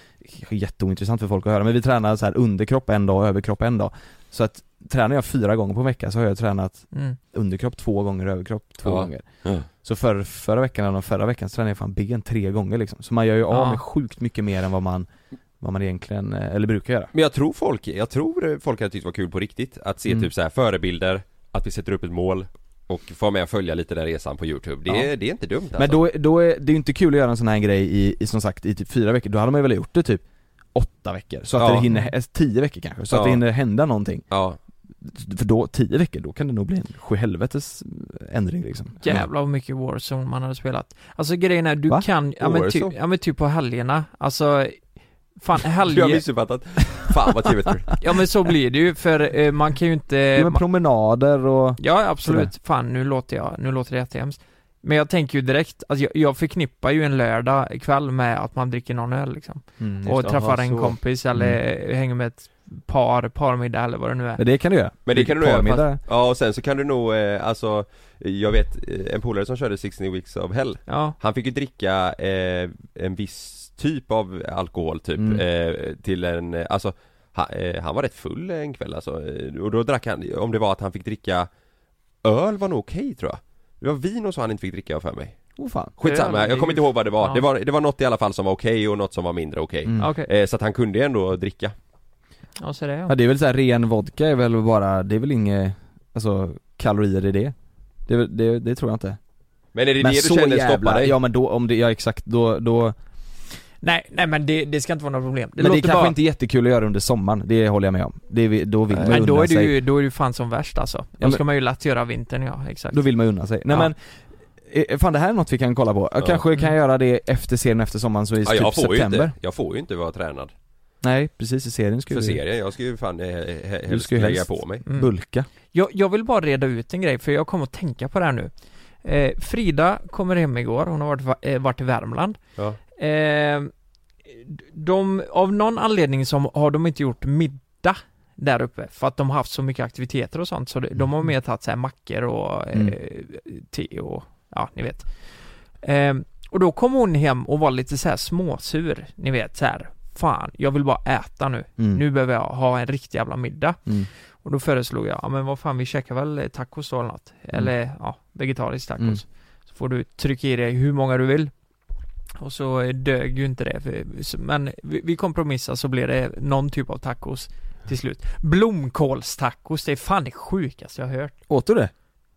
Speaker 6: jätteointressant för folk att höra, men vi tränar så här underkropp en dag och överkropp en dag. Så att tränar jag fyra gånger på en vecka så har jag tränat
Speaker 7: Mm.
Speaker 6: underkropp två gånger, överkropp två
Speaker 5: Ja.
Speaker 6: gånger.
Speaker 5: Ja.
Speaker 6: Så för, förra veckan eller förra veckan så tränade jag fan ben tre gånger liksom. Så man gör ju av
Speaker 7: Ja.
Speaker 6: med sjukt mycket mer än vad man, vad man egentligen, eh, eller brukar göra.
Speaker 5: Men jag tror folk, jag tror eh, folk hade tyckt det var kul på riktigt att se
Speaker 6: Mm.
Speaker 5: typ så här förebilder, att vi sätter upp ett mål och få med och följa lite den resan på youtube. Det, är, det är inte dumt alltså.
Speaker 6: Men då, är- då är det är ju inte kul att göra en sån här grej i, i som sagt i typ fyra veckor, då hade man ju väl gjort det typ åtta veckor, så att
Speaker 5: Ja.
Speaker 6: det hinner, eh, tio veckor kanske, så att det
Speaker 5: Ja.
Speaker 6: hinner hända någonting
Speaker 5: Ja.
Speaker 6: För då, tio veckor, då kan det nog bli en sjuhelvetes ändring liksom
Speaker 7: Jävlar vad mycket Warzone man hade spelat Alltså grejen är, du
Speaker 6: Va?
Speaker 7: kan, ja men, ty,
Speaker 6: Warzone?
Speaker 7: ja men typ på helgerna, alltså Fan
Speaker 5: Du har
Speaker 7: helger,
Speaker 5: missuppfattat. Fan vad trevligt.
Speaker 7: ja men så blir det ju för eh, man kan ju inte
Speaker 6: ja, men promenader och
Speaker 7: Ja, absolut. Fan, nu låter jag, nu låter det jättehemskt. Men jag tänker ju direkt, alltså jag, jag förknippar ju en lördag kväll med att man dricker någon öl liksom.
Speaker 6: Mm, just
Speaker 7: och
Speaker 6: det.
Speaker 7: träffar
Speaker 6: Jaha,
Speaker 7: en
Speaker 6: så.
Speaker 7: kompis eller hänger med ett par, parmiddag eller vad det nu är.
Speaker 6: Men det kan du göra
Speaker 5: Men det kan du nog göra.
Speaker 6: Parmiddag.
Speaker 5: fast- Ja och sen så kan du nog, eh, alltså Jag vet eh, en polare som körde 16 weeks of hell
Speaker 7: Ja.
Speaker 5: Han fick ju dricka eh, en viss typ av alkohol typ
Speaker 6: Mm.
Speaker 5: eh, Till en, eh, alltså han, eh, han var rätt full en kväll alltså eh, Och då drack han, om det var att han fick dricka Öl var nog okej tror jag Det var vin och så han inte fick dricka för mig
Speaker 6: Åh fan
Speaker 7: Ja, det
Speaker 5: Skitsamma,
Speaker 7: är
Speaker 5: jag kommer
Speaker 7: ju-
Speaker 5: inte ihåg vad det var.
Speaker 7: ja.
Speaker 5: Det, var det var något i alla fall som var okej och något som var mindre okej
Speaker 6: Mm.
Speaker 7: Okej,
Speaker 5: eh, Så att han kunde ju ändå dricka
Speaker 7: ja så det
Speaker 6: Ja
Speaker 7: ja.
Speaker 6: det är väl så här ren vodka är väl bara, det är väl inget, alltså kalorier i det Det, är väl- det, det tror jag inte
Speaker 5: Men är det det du känner stoppar dig?
Speaker 6: ja men då, om det, ja exakt, då, då
Speaker 7: Nej, nej men det, det ska inte vara något problem. Det
Speaker 6: Men det är
Speaker 7: låter
Speaker 6: kanske
Speaker 7: bara...
Speaker 6: inte är jättekul att göra under sommaren, det håller jag med om. Det, är- då vill man
Speaker 7: men då
Speaker 6: unna
Speaker 7: är, du
Speaker 6: sig.
Speaker 7: ju, då är du fan som värst alltså. Då
Speaker 6: men-
Speaker 7: ska man ju lätt göra vintern ja, exakt.
Speaker 6: Då vill man ju unna sig. Nej
Speaker 7: Ja.
Speaker 6: men, eh, fan det här är något vi kan kolla på. Jag
Speaker 5: Ja.
Speaker 6: Kanske kan jag göra det efter serien efter sommaren, så i
Speaker 5: Ja, jag
Speaker 6: typ
Speaker 5: får ju
Speaker 6: september.
Speaker 5: inte, jag får ju inte vara tränad
Speaker 6: Nej precis, i serien ska
Speaker 5: för
Speaker 6: vi-
Speaker 5: serien, jag ska ju fan eh, he- he-
Speaker 6: du
Speaker 5: helst
Speaker 6: ska ju
Speaker 5: lägga
Speaker 6: helst
Speaker 5: på mig
Speaker 7: Mm.
Speaker 6: bulka.
Speaker 7: Jag, jag vill bara reda ut en grej, för jag kommer att tänka på det här nu. Eh, Frida kommer hem igår, hon har varit, va- eh, varit i Värmland.
Speaker 5: Ja.
Speaker 7: Eh, de, av någon anledning som har de inte gjort middag där uppe, för att de har haft så mycket aktiviteter och sånt, så de, de har mer tagit så här mackor och eh,
Speaker 6: Mm.
Speaker 7: te och, ja ni vet. Eh, och då kom hon hem och var lite så här småsur, ni vet så här. Fan, jag vill bara äta nu.
Speaker 6: Mm.
Speaker 7: Nu behöver jag ha en riktig jävla middag.
Speaker 6: Mm.
Speaker 7: Och då föreslog jag, ja men vad fan vi käkar väl tacos då eller något. Eller ja, vegetariskt tacos.
Speaker 6: Mm.
Speaker 7: Så får du trycka i dig hur många du vill. Och så eh, dög ju inte det. för- Men vi vi kompromissade så blev det någon typ av tacos till slut. Blomkålstacos, det är fan det sjukaste jag har hört.
Speaker 6: Åt du det?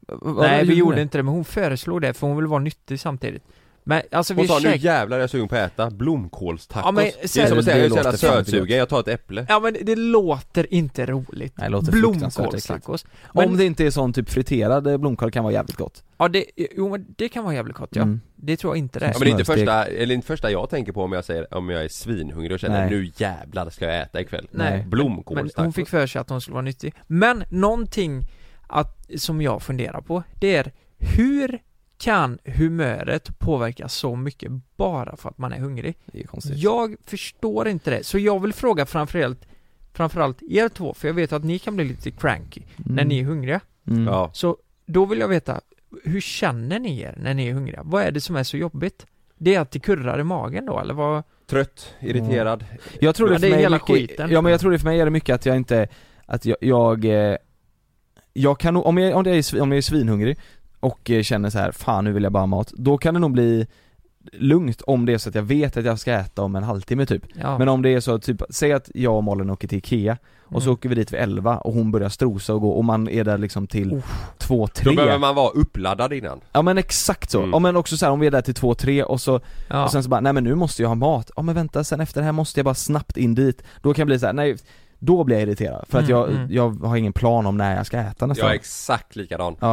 Speaker 6: V- vad
Speaker 7: Nej vi
Speaker 6: ni?
Speaker 7: gjorde inte det, men hon föreslog det för hon ville vara nyttig samtidigt. Men alltså vi
Speaker 5: Hon sa nu
Speaker 7: käk-
Speaker 5: jävlar är jag sugen på att äta blomkålstacos
Speaker 7: Ja, men
Speaker 5: Det är som att säga jag är så jävla
Speaker 7: Det låter
Speaker 5: sötsugen, jag tar ett
Speaker 6: Äh,
Speaker 5: äpple
Speaker 7: Ja men det låter inte roligt.
Speaker 6: Nej, det låter fruktansvärt äckligt.
Speaker 7: Blomkålstacos. Men-
Speaker 6: Om det inte är sån typ friterad eh, blomkål kan vara jävligt gott.
Speaker 7: Ja det, jo men det kan vara jävligt gott ja.
Speaker 6: Mm.
Speaker 7: Det tror jag inte det
Speaker 5: Ja
Speaker 7: är.
Speaker 5: men det är inte första, eller inte första jag tänker på om jag säger, om jag är svinhungrig och känner
Speaker 6: Nej.
Speaker 5: nu jävlar ska jag äta ikväll
Speaker 7: Nej. Men
Speaker 5: Blomkålstacos
Speaker 7: hon fick för sig att hon skulle vara nyttig. Men någonting att, som jag funderar på, det är hur kan humöret påverka så mycket bara för att man är hungrig?
Speaker 6: Det är konstigt.
Speaker 7: Jag förstår inte det, så jag vill fråga framförallt, framförallt er två, för jag vet att ni kan bli lite cranky när
Speaker 6: Mm.
Speaker 7: ni är hungriga.
Speaker 6: Mm. Ja.
Speaker 7: Så då vill jag veta, hur känner ni er när ni är hungriga? Vad är det som är så jobbigt? Det är att det kurrar i magen då, eller vad?
Speaker 5: Trött, irriterad
Speaker 6: Jag tror det,
Speaker 7: Ja, det
Speaker 6: för
Speaker 7: är
Speaker 6: mig
Speaker 7: hela
Speaker 6: mycket,
Speaker 7: skiten. liksom.
Speaker 6: Ja men jag tror det för mig är det mycket att jag inte, att jag, jag, eh, jag kan nog, om jag, om jag, är, svi- om jag är svinhungrig och eh, känner så här, fan nu vill jag bara ha mat, då kan det nog bli lugnt om det är så att jag vet att jag ska äta om en halvtimme typ.
Speaker 7: Ja.
Speaker 6: Men om det är så att typ, säg att jag och Malin åker till Ikea och så
Speaker 7: Mm.
Speaker 6: åker vi dit vid 11 och hon börjar strosa och gå och man är där liksom till två, tre
Speaker 5: Då behöver man Mm. vara uppladdad innan
Speaker 6: Ja men exakt så, ja, men också så här, om vi är där till två, tre och så,
Speaker 7: Ja.
Speaker 6: och sen så bara, nej men nu måste jag ha mat, ja men vänta sen efter det här måste jag bara snabbt in dit, då kan jag bli så här, nej då blir jag irriterad för att
Speaker 5: Mm,
Speaker 6: jag,
Speaker 5: mm.
Speaker 6: jag har ingen plan om när jag ska äta nästa
Speaker 5: Jag är
Speaker 6: gång.
Speaker 5: exakt likadan
Speaker 6: Ja,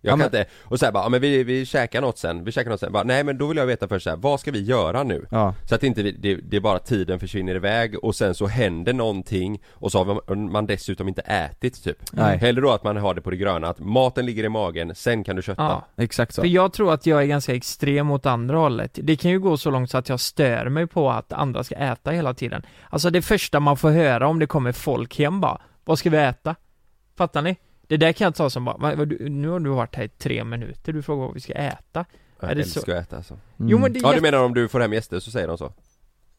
Speaker 5: Jag
Speaker 6: Ja,
Speaker 5: kan
Speaker 6: men-
Speaker 5: inte, och såhär bara, ja, men vi, vi käkar något sen, vi käkar något sen, bara, nej men då vill jag veta först såhär, vad ska vi göra nu?
Speaker 6: Ja.
Speaker 5: Så att inte vi, det, det är bara tiden försvinner iväg och sen så händer någonting och så har man, man dessutom inte ätit typ
Speaker 6: Nej.
Speaker 5: Hellre då att man har det på det gröna, att maten ligger i magen, sen kan du kötta
Speaker 7: Ja.
Speaker 6: exakt så.
Speaker 7: För jag tror att jag är ganska extrem åt andra hållet. Det kan ju gå så långt så att jag stör mig på att andra ska äta hela tiden. Alltså det första man får höra om det kommer folk hem bara, vad ska vi äta? Fattar ni? Det där kan jag ta som bara, "Vad- vad du- nu har du varit här i tre minuter, du frågar vad vi ska äta.
Speaker 5: Jag
Speaker 7: Är det
Speaker 5: älskar
Speaker 7: så?
Speaker 5: att äta alltså.
Speaker 6: Mm.
Speaker 7: Jo, men det är
Speaker 5: Ja du
Speaker 7: jätte-
Speaker 5: menar om du får hem gäster så säger de så?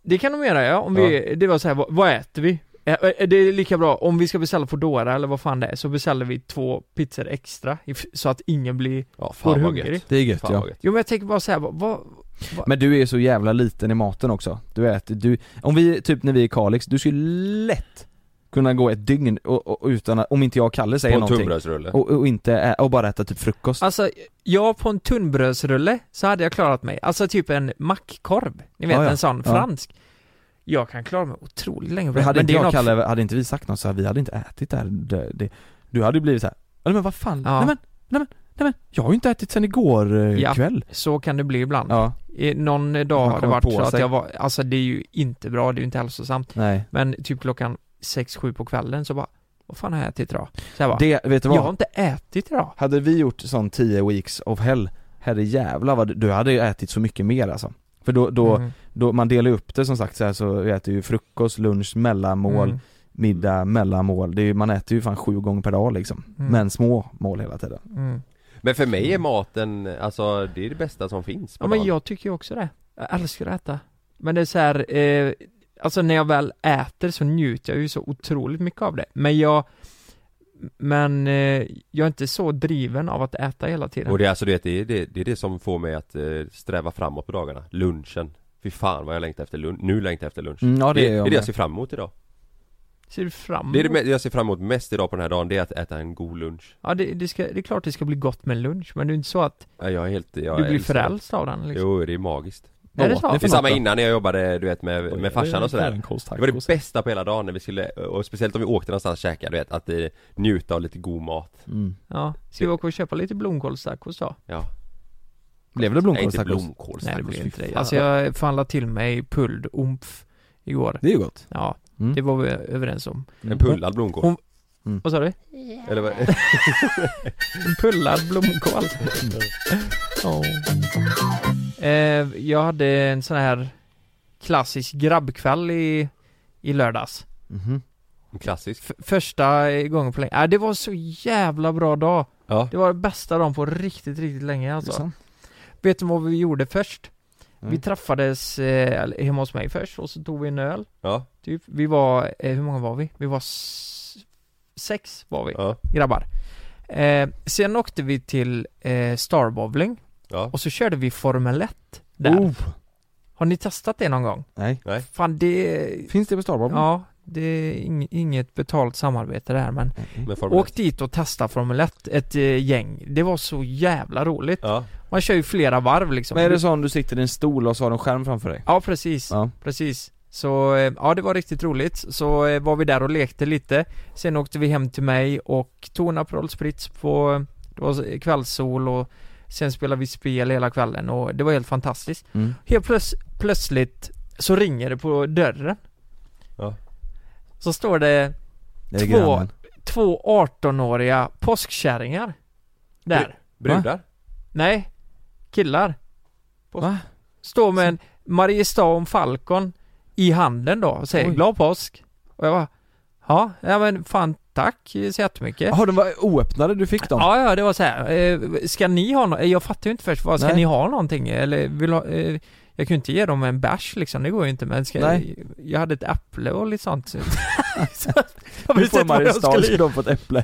Speaker 7: Det kan de göra ja, om vi, det var så här, vad, vad äter vi? Ä- ä- Det är lika bra, om vi ska beställa Foodora eller vad fan det är, så beställer vi två pizzor extra if- så att ingen blir,
Speaker 5: ja,
Speaker 7: får
Speaker 6: vad
Speaker 7: hungrig.
Speaker 6: gött. Det är gött, ja.
Speaker 7: Jo men jag tänker bara så här, vad, vad,
Speaker 6: Men du är så jävla liten i maten också, du äter, du, om vi, typ när vi är i Kalix, du skulle lätt kunna gå ett dygn och, och, utan att, om inte jag och Kalle säger
Speaker 5: På en
Speaker 6: någonting.
Speaker 5: tunnbrödsrulle.
Speaker 6: Och, och inte, ä- och bara äta typ frukost.
Speaker 7: Alltså, jag på en tunnbrödsrulle så hade jag klarat mig. Alltså typ en mackkorv, ni vet
Speaker 6: Ja, ja.
Speaker 7: en sån
Speaker 6: Ja.
Speaker 7: fransk. Jag kan klara mig otroligt länge.
Speaker 6: Men hade
Speaker 7: Men
Speaker 6: inte
Speaker 7: det är
Speaker 6: jag och
Speaker 7: något-
Speaker 6: Kalle, hade inte vi sagt något så här, vi hade inte ätit där, det, det, du hade ju blivit så här, "Ja, men vad fan,
Speaker 7: Ja.
Speaker 6: nej men, nej men, nej men, jag har ju inte ätit sen igår eh,
Speaker 7: Ja.
Speaker 6: kväll
Speaker 7: Så kan det bli ibland.
Speaker 6: Ja,
Speaker 7: I- Någon dag har det
Speaker 6: kommer
Speaker 7: varit
Speaker 6: på
Speaker 7: så att
Speaker 6: sig.
Speaker 7: jag var, alltså det är ju inte bra, det är ju inte hälsosamt.
Speaker 6: nej
Speaker 7: Men typ klockan sex sju på kvällen så bara, vad fan har jag ätit idag? Så jag bara,
Speaker 6: Det, vet du
Speaker 7: jag har
Speaker 6: vad?
Speaker 7: inte ätit idag.
Speaker 6: Hade vi gjort sån 10 weeks of hell, herre jävlar vad du- du hade ju ätit så mycket mer alltså För då, då,
Speaker 7: Mm.
Speaker 6: då man delar ju upp det som sagt så här så vi äter ju frukost, lunch, mellanmål,
Speaker 7: Mm.
Speaker 6: middag, mellanmål, det är ju, man äter ju fan sju gånger per dag liksom
Speaker 7: Mm.
Speaker 6: Men små mål hela tiden
Speaker 7: Mm.
Speaker 5: Men för mig är maten, alltså det är det bästa som finns på
Speaker 7: Ja men
Speaker 5: dagen.
Speaker 7: jag tycker ju också det. Jag älskar att äta. Men det är så här, eh, alltså när jag väl äter så njuter jag ju så otroligt mycket av det. Men jag, men eh, jag är inte så driven av att äta hela tiden.
Speaker 5: Och det är alltså du vet, det, är- det, det är det som får mig att eh, sträva framåt på dagarna, lunchen Fy fan vad jag längtar efter lunch, nu längtar jag efter lunch
Speaker 6: Mm, ja, det är jag
Speaker 5: det
Speaker 6: med.
Speaker 5: jag ser fram emot idag
Speaker 7: Ser du fram emot?
Speaker 5: Det är det me- jag ser fram emot mest idag på den här dagen, det är att äta en god lunch
Speaker 7: Ja det, det, ska, det är klart det ska bli gott med lunch, men det är inte så att
Speaker 5: Ja, Jag är helt, jag
Speaker 7: du blir
Speaker 5: älskar det.
Speaker 7: frälst av den liksom.
Speaker 5: Jo, det är magiskt
Speaker 7: Är det så?
Speaker 5: Det
Speaker 7: Det
Speaker 5: är
Speaker 7: är
Speaker 5: samma
Speaker 7: något då.
Speaker 5: innan när jag jobbade du vet med, med farsan och sådär Det var det bästa på hela dagen när vi skulle, och speciellt om vi åkte någonstans och käkade du vet, att eh, njuta av lite god mat
Speaker 6: Mm.
Speaker 7: Ja, ska vi åka och köpa lite blomkålstacos då?
Speaker 5: Ja
Speaker 6: Blev det
Speaker 5: Nej inte
Speaker 6: blomkålstacos?
Speaker 7: Nej det
Speaker 5: blomkålstacos,
Speaker 7: blir
Speaker 5: fy
Speaker 7: inte det.
Speaker 5: fan.
Speaker 7: Alltså jag fan la till mig pulled omf igår.
Speaker 6: Det är ju gott
Speaker 7: Ja,
Speaker 6: Mm.
Speaker 7: det var vi överens om.
Speaker 5: En pullad blomkål
Speaker 7: Hon, Vad sa du?
Speaker 5: Eller vad?
Speaker 7: En pullad blomkål. Ja. Eh, jag hade en sån här klassisk grabbkväll i, i lördags.
Speaker 5: Klassisk
Speaker 7: F- första gången på länge. Äh, det var så jävla bra dag.
Speaker 5: Ja.
Speaker 7: Det var den bästa dagen på riktigt, riktigt länge
Speaker 6: Det är
Speaker 7: alltså.
Speaker 6: sant.
Speaker 7: Vet du vad vi gjorde först?
Speaker 6: Nej.
Speaker 7: Vi träffades eh, eller hemma hos mig först och så tog vi en öl.
Speaker 5: Ja,
Speaker 7: Typ, vi var, eh, hur många var vi? Vi var s- sex var vi,
Speaker 5: Ja.
Speaker 7: grabbar eh, Sen åkte vi till eh, Starbowling
Speaker 5: ja,
Speaker 7: och så körde vi Formel 1 där
Speaker 6: Oh.
Speaker 7: Har ni testat det någon gång?
Speaker 6: Nej,
Speaker 5: nej
Speaker 7: Fan det,
Speaker 6: finns det på Starbucks?
Speaker 7: ja, det är ing- inget betalt samarbete det här men
Speaker 10: Med Formel
Speaker 7: Åk dit och testa Formel 1, ett eh, gäng. Det var så jävla roligt.
Speaker 10: Ja.
Speaker 7: Man kör ju flera varv liksom.
Speaker 6: Men är det sån du sitter i en stol och så har du en skärm framför dig?
Speaker 7: Ja precis, precis Så, eh, ja det var riktigt roligt, så eh, var vi där och lekte lite Sen åkte vi hem till mig och tog en Aperol Spritz på, eh, det var kvällssol och Sen spelade vi spel hela kvällen och det var helt fantastiskt
Speaker 6: Mm.
Speaker 7: Helt plöts- plötsligt så ringer det på dörren
Speaker 10: Ja.
Speaker 7: Så står det,
Speaker 6: Det är
Speaker 7: två,
Speaker 6: grannen.
Speaker 7: två 18-åriga påskkärringar Där
Speaker 10: brudar?
Speaker 7: Va? Nej, killar Va? Står med en Mariestad Falcon i handen då och säger
Speaker 6: Oj.
Speaker 7: glad påsk Och jag bara Ja, ja men fan tack så jättemycket
Speaker 6: Jaha, de var oöppnade du fick dem?
Speaker 7: Ja, ja det var så här. eh, ska ni ha något? Jag fattar ju inte först, vad, ska
Speaker 6: Nej.
Speaker 7: ni ha någonting? Eller vill ha, eh, jag kunde inte ge dem en bärs liksom, det går ju inte men ska,
Speaker 6: Nej.
Speaker 7: jag hade ett äpple och lite sånt Så
Speaker 6: jag
Speaker 7: visste inte vad jag skulle
Speaker 6: skulle
Speaker 7: göra.
Speaker 6: de få ett äpple.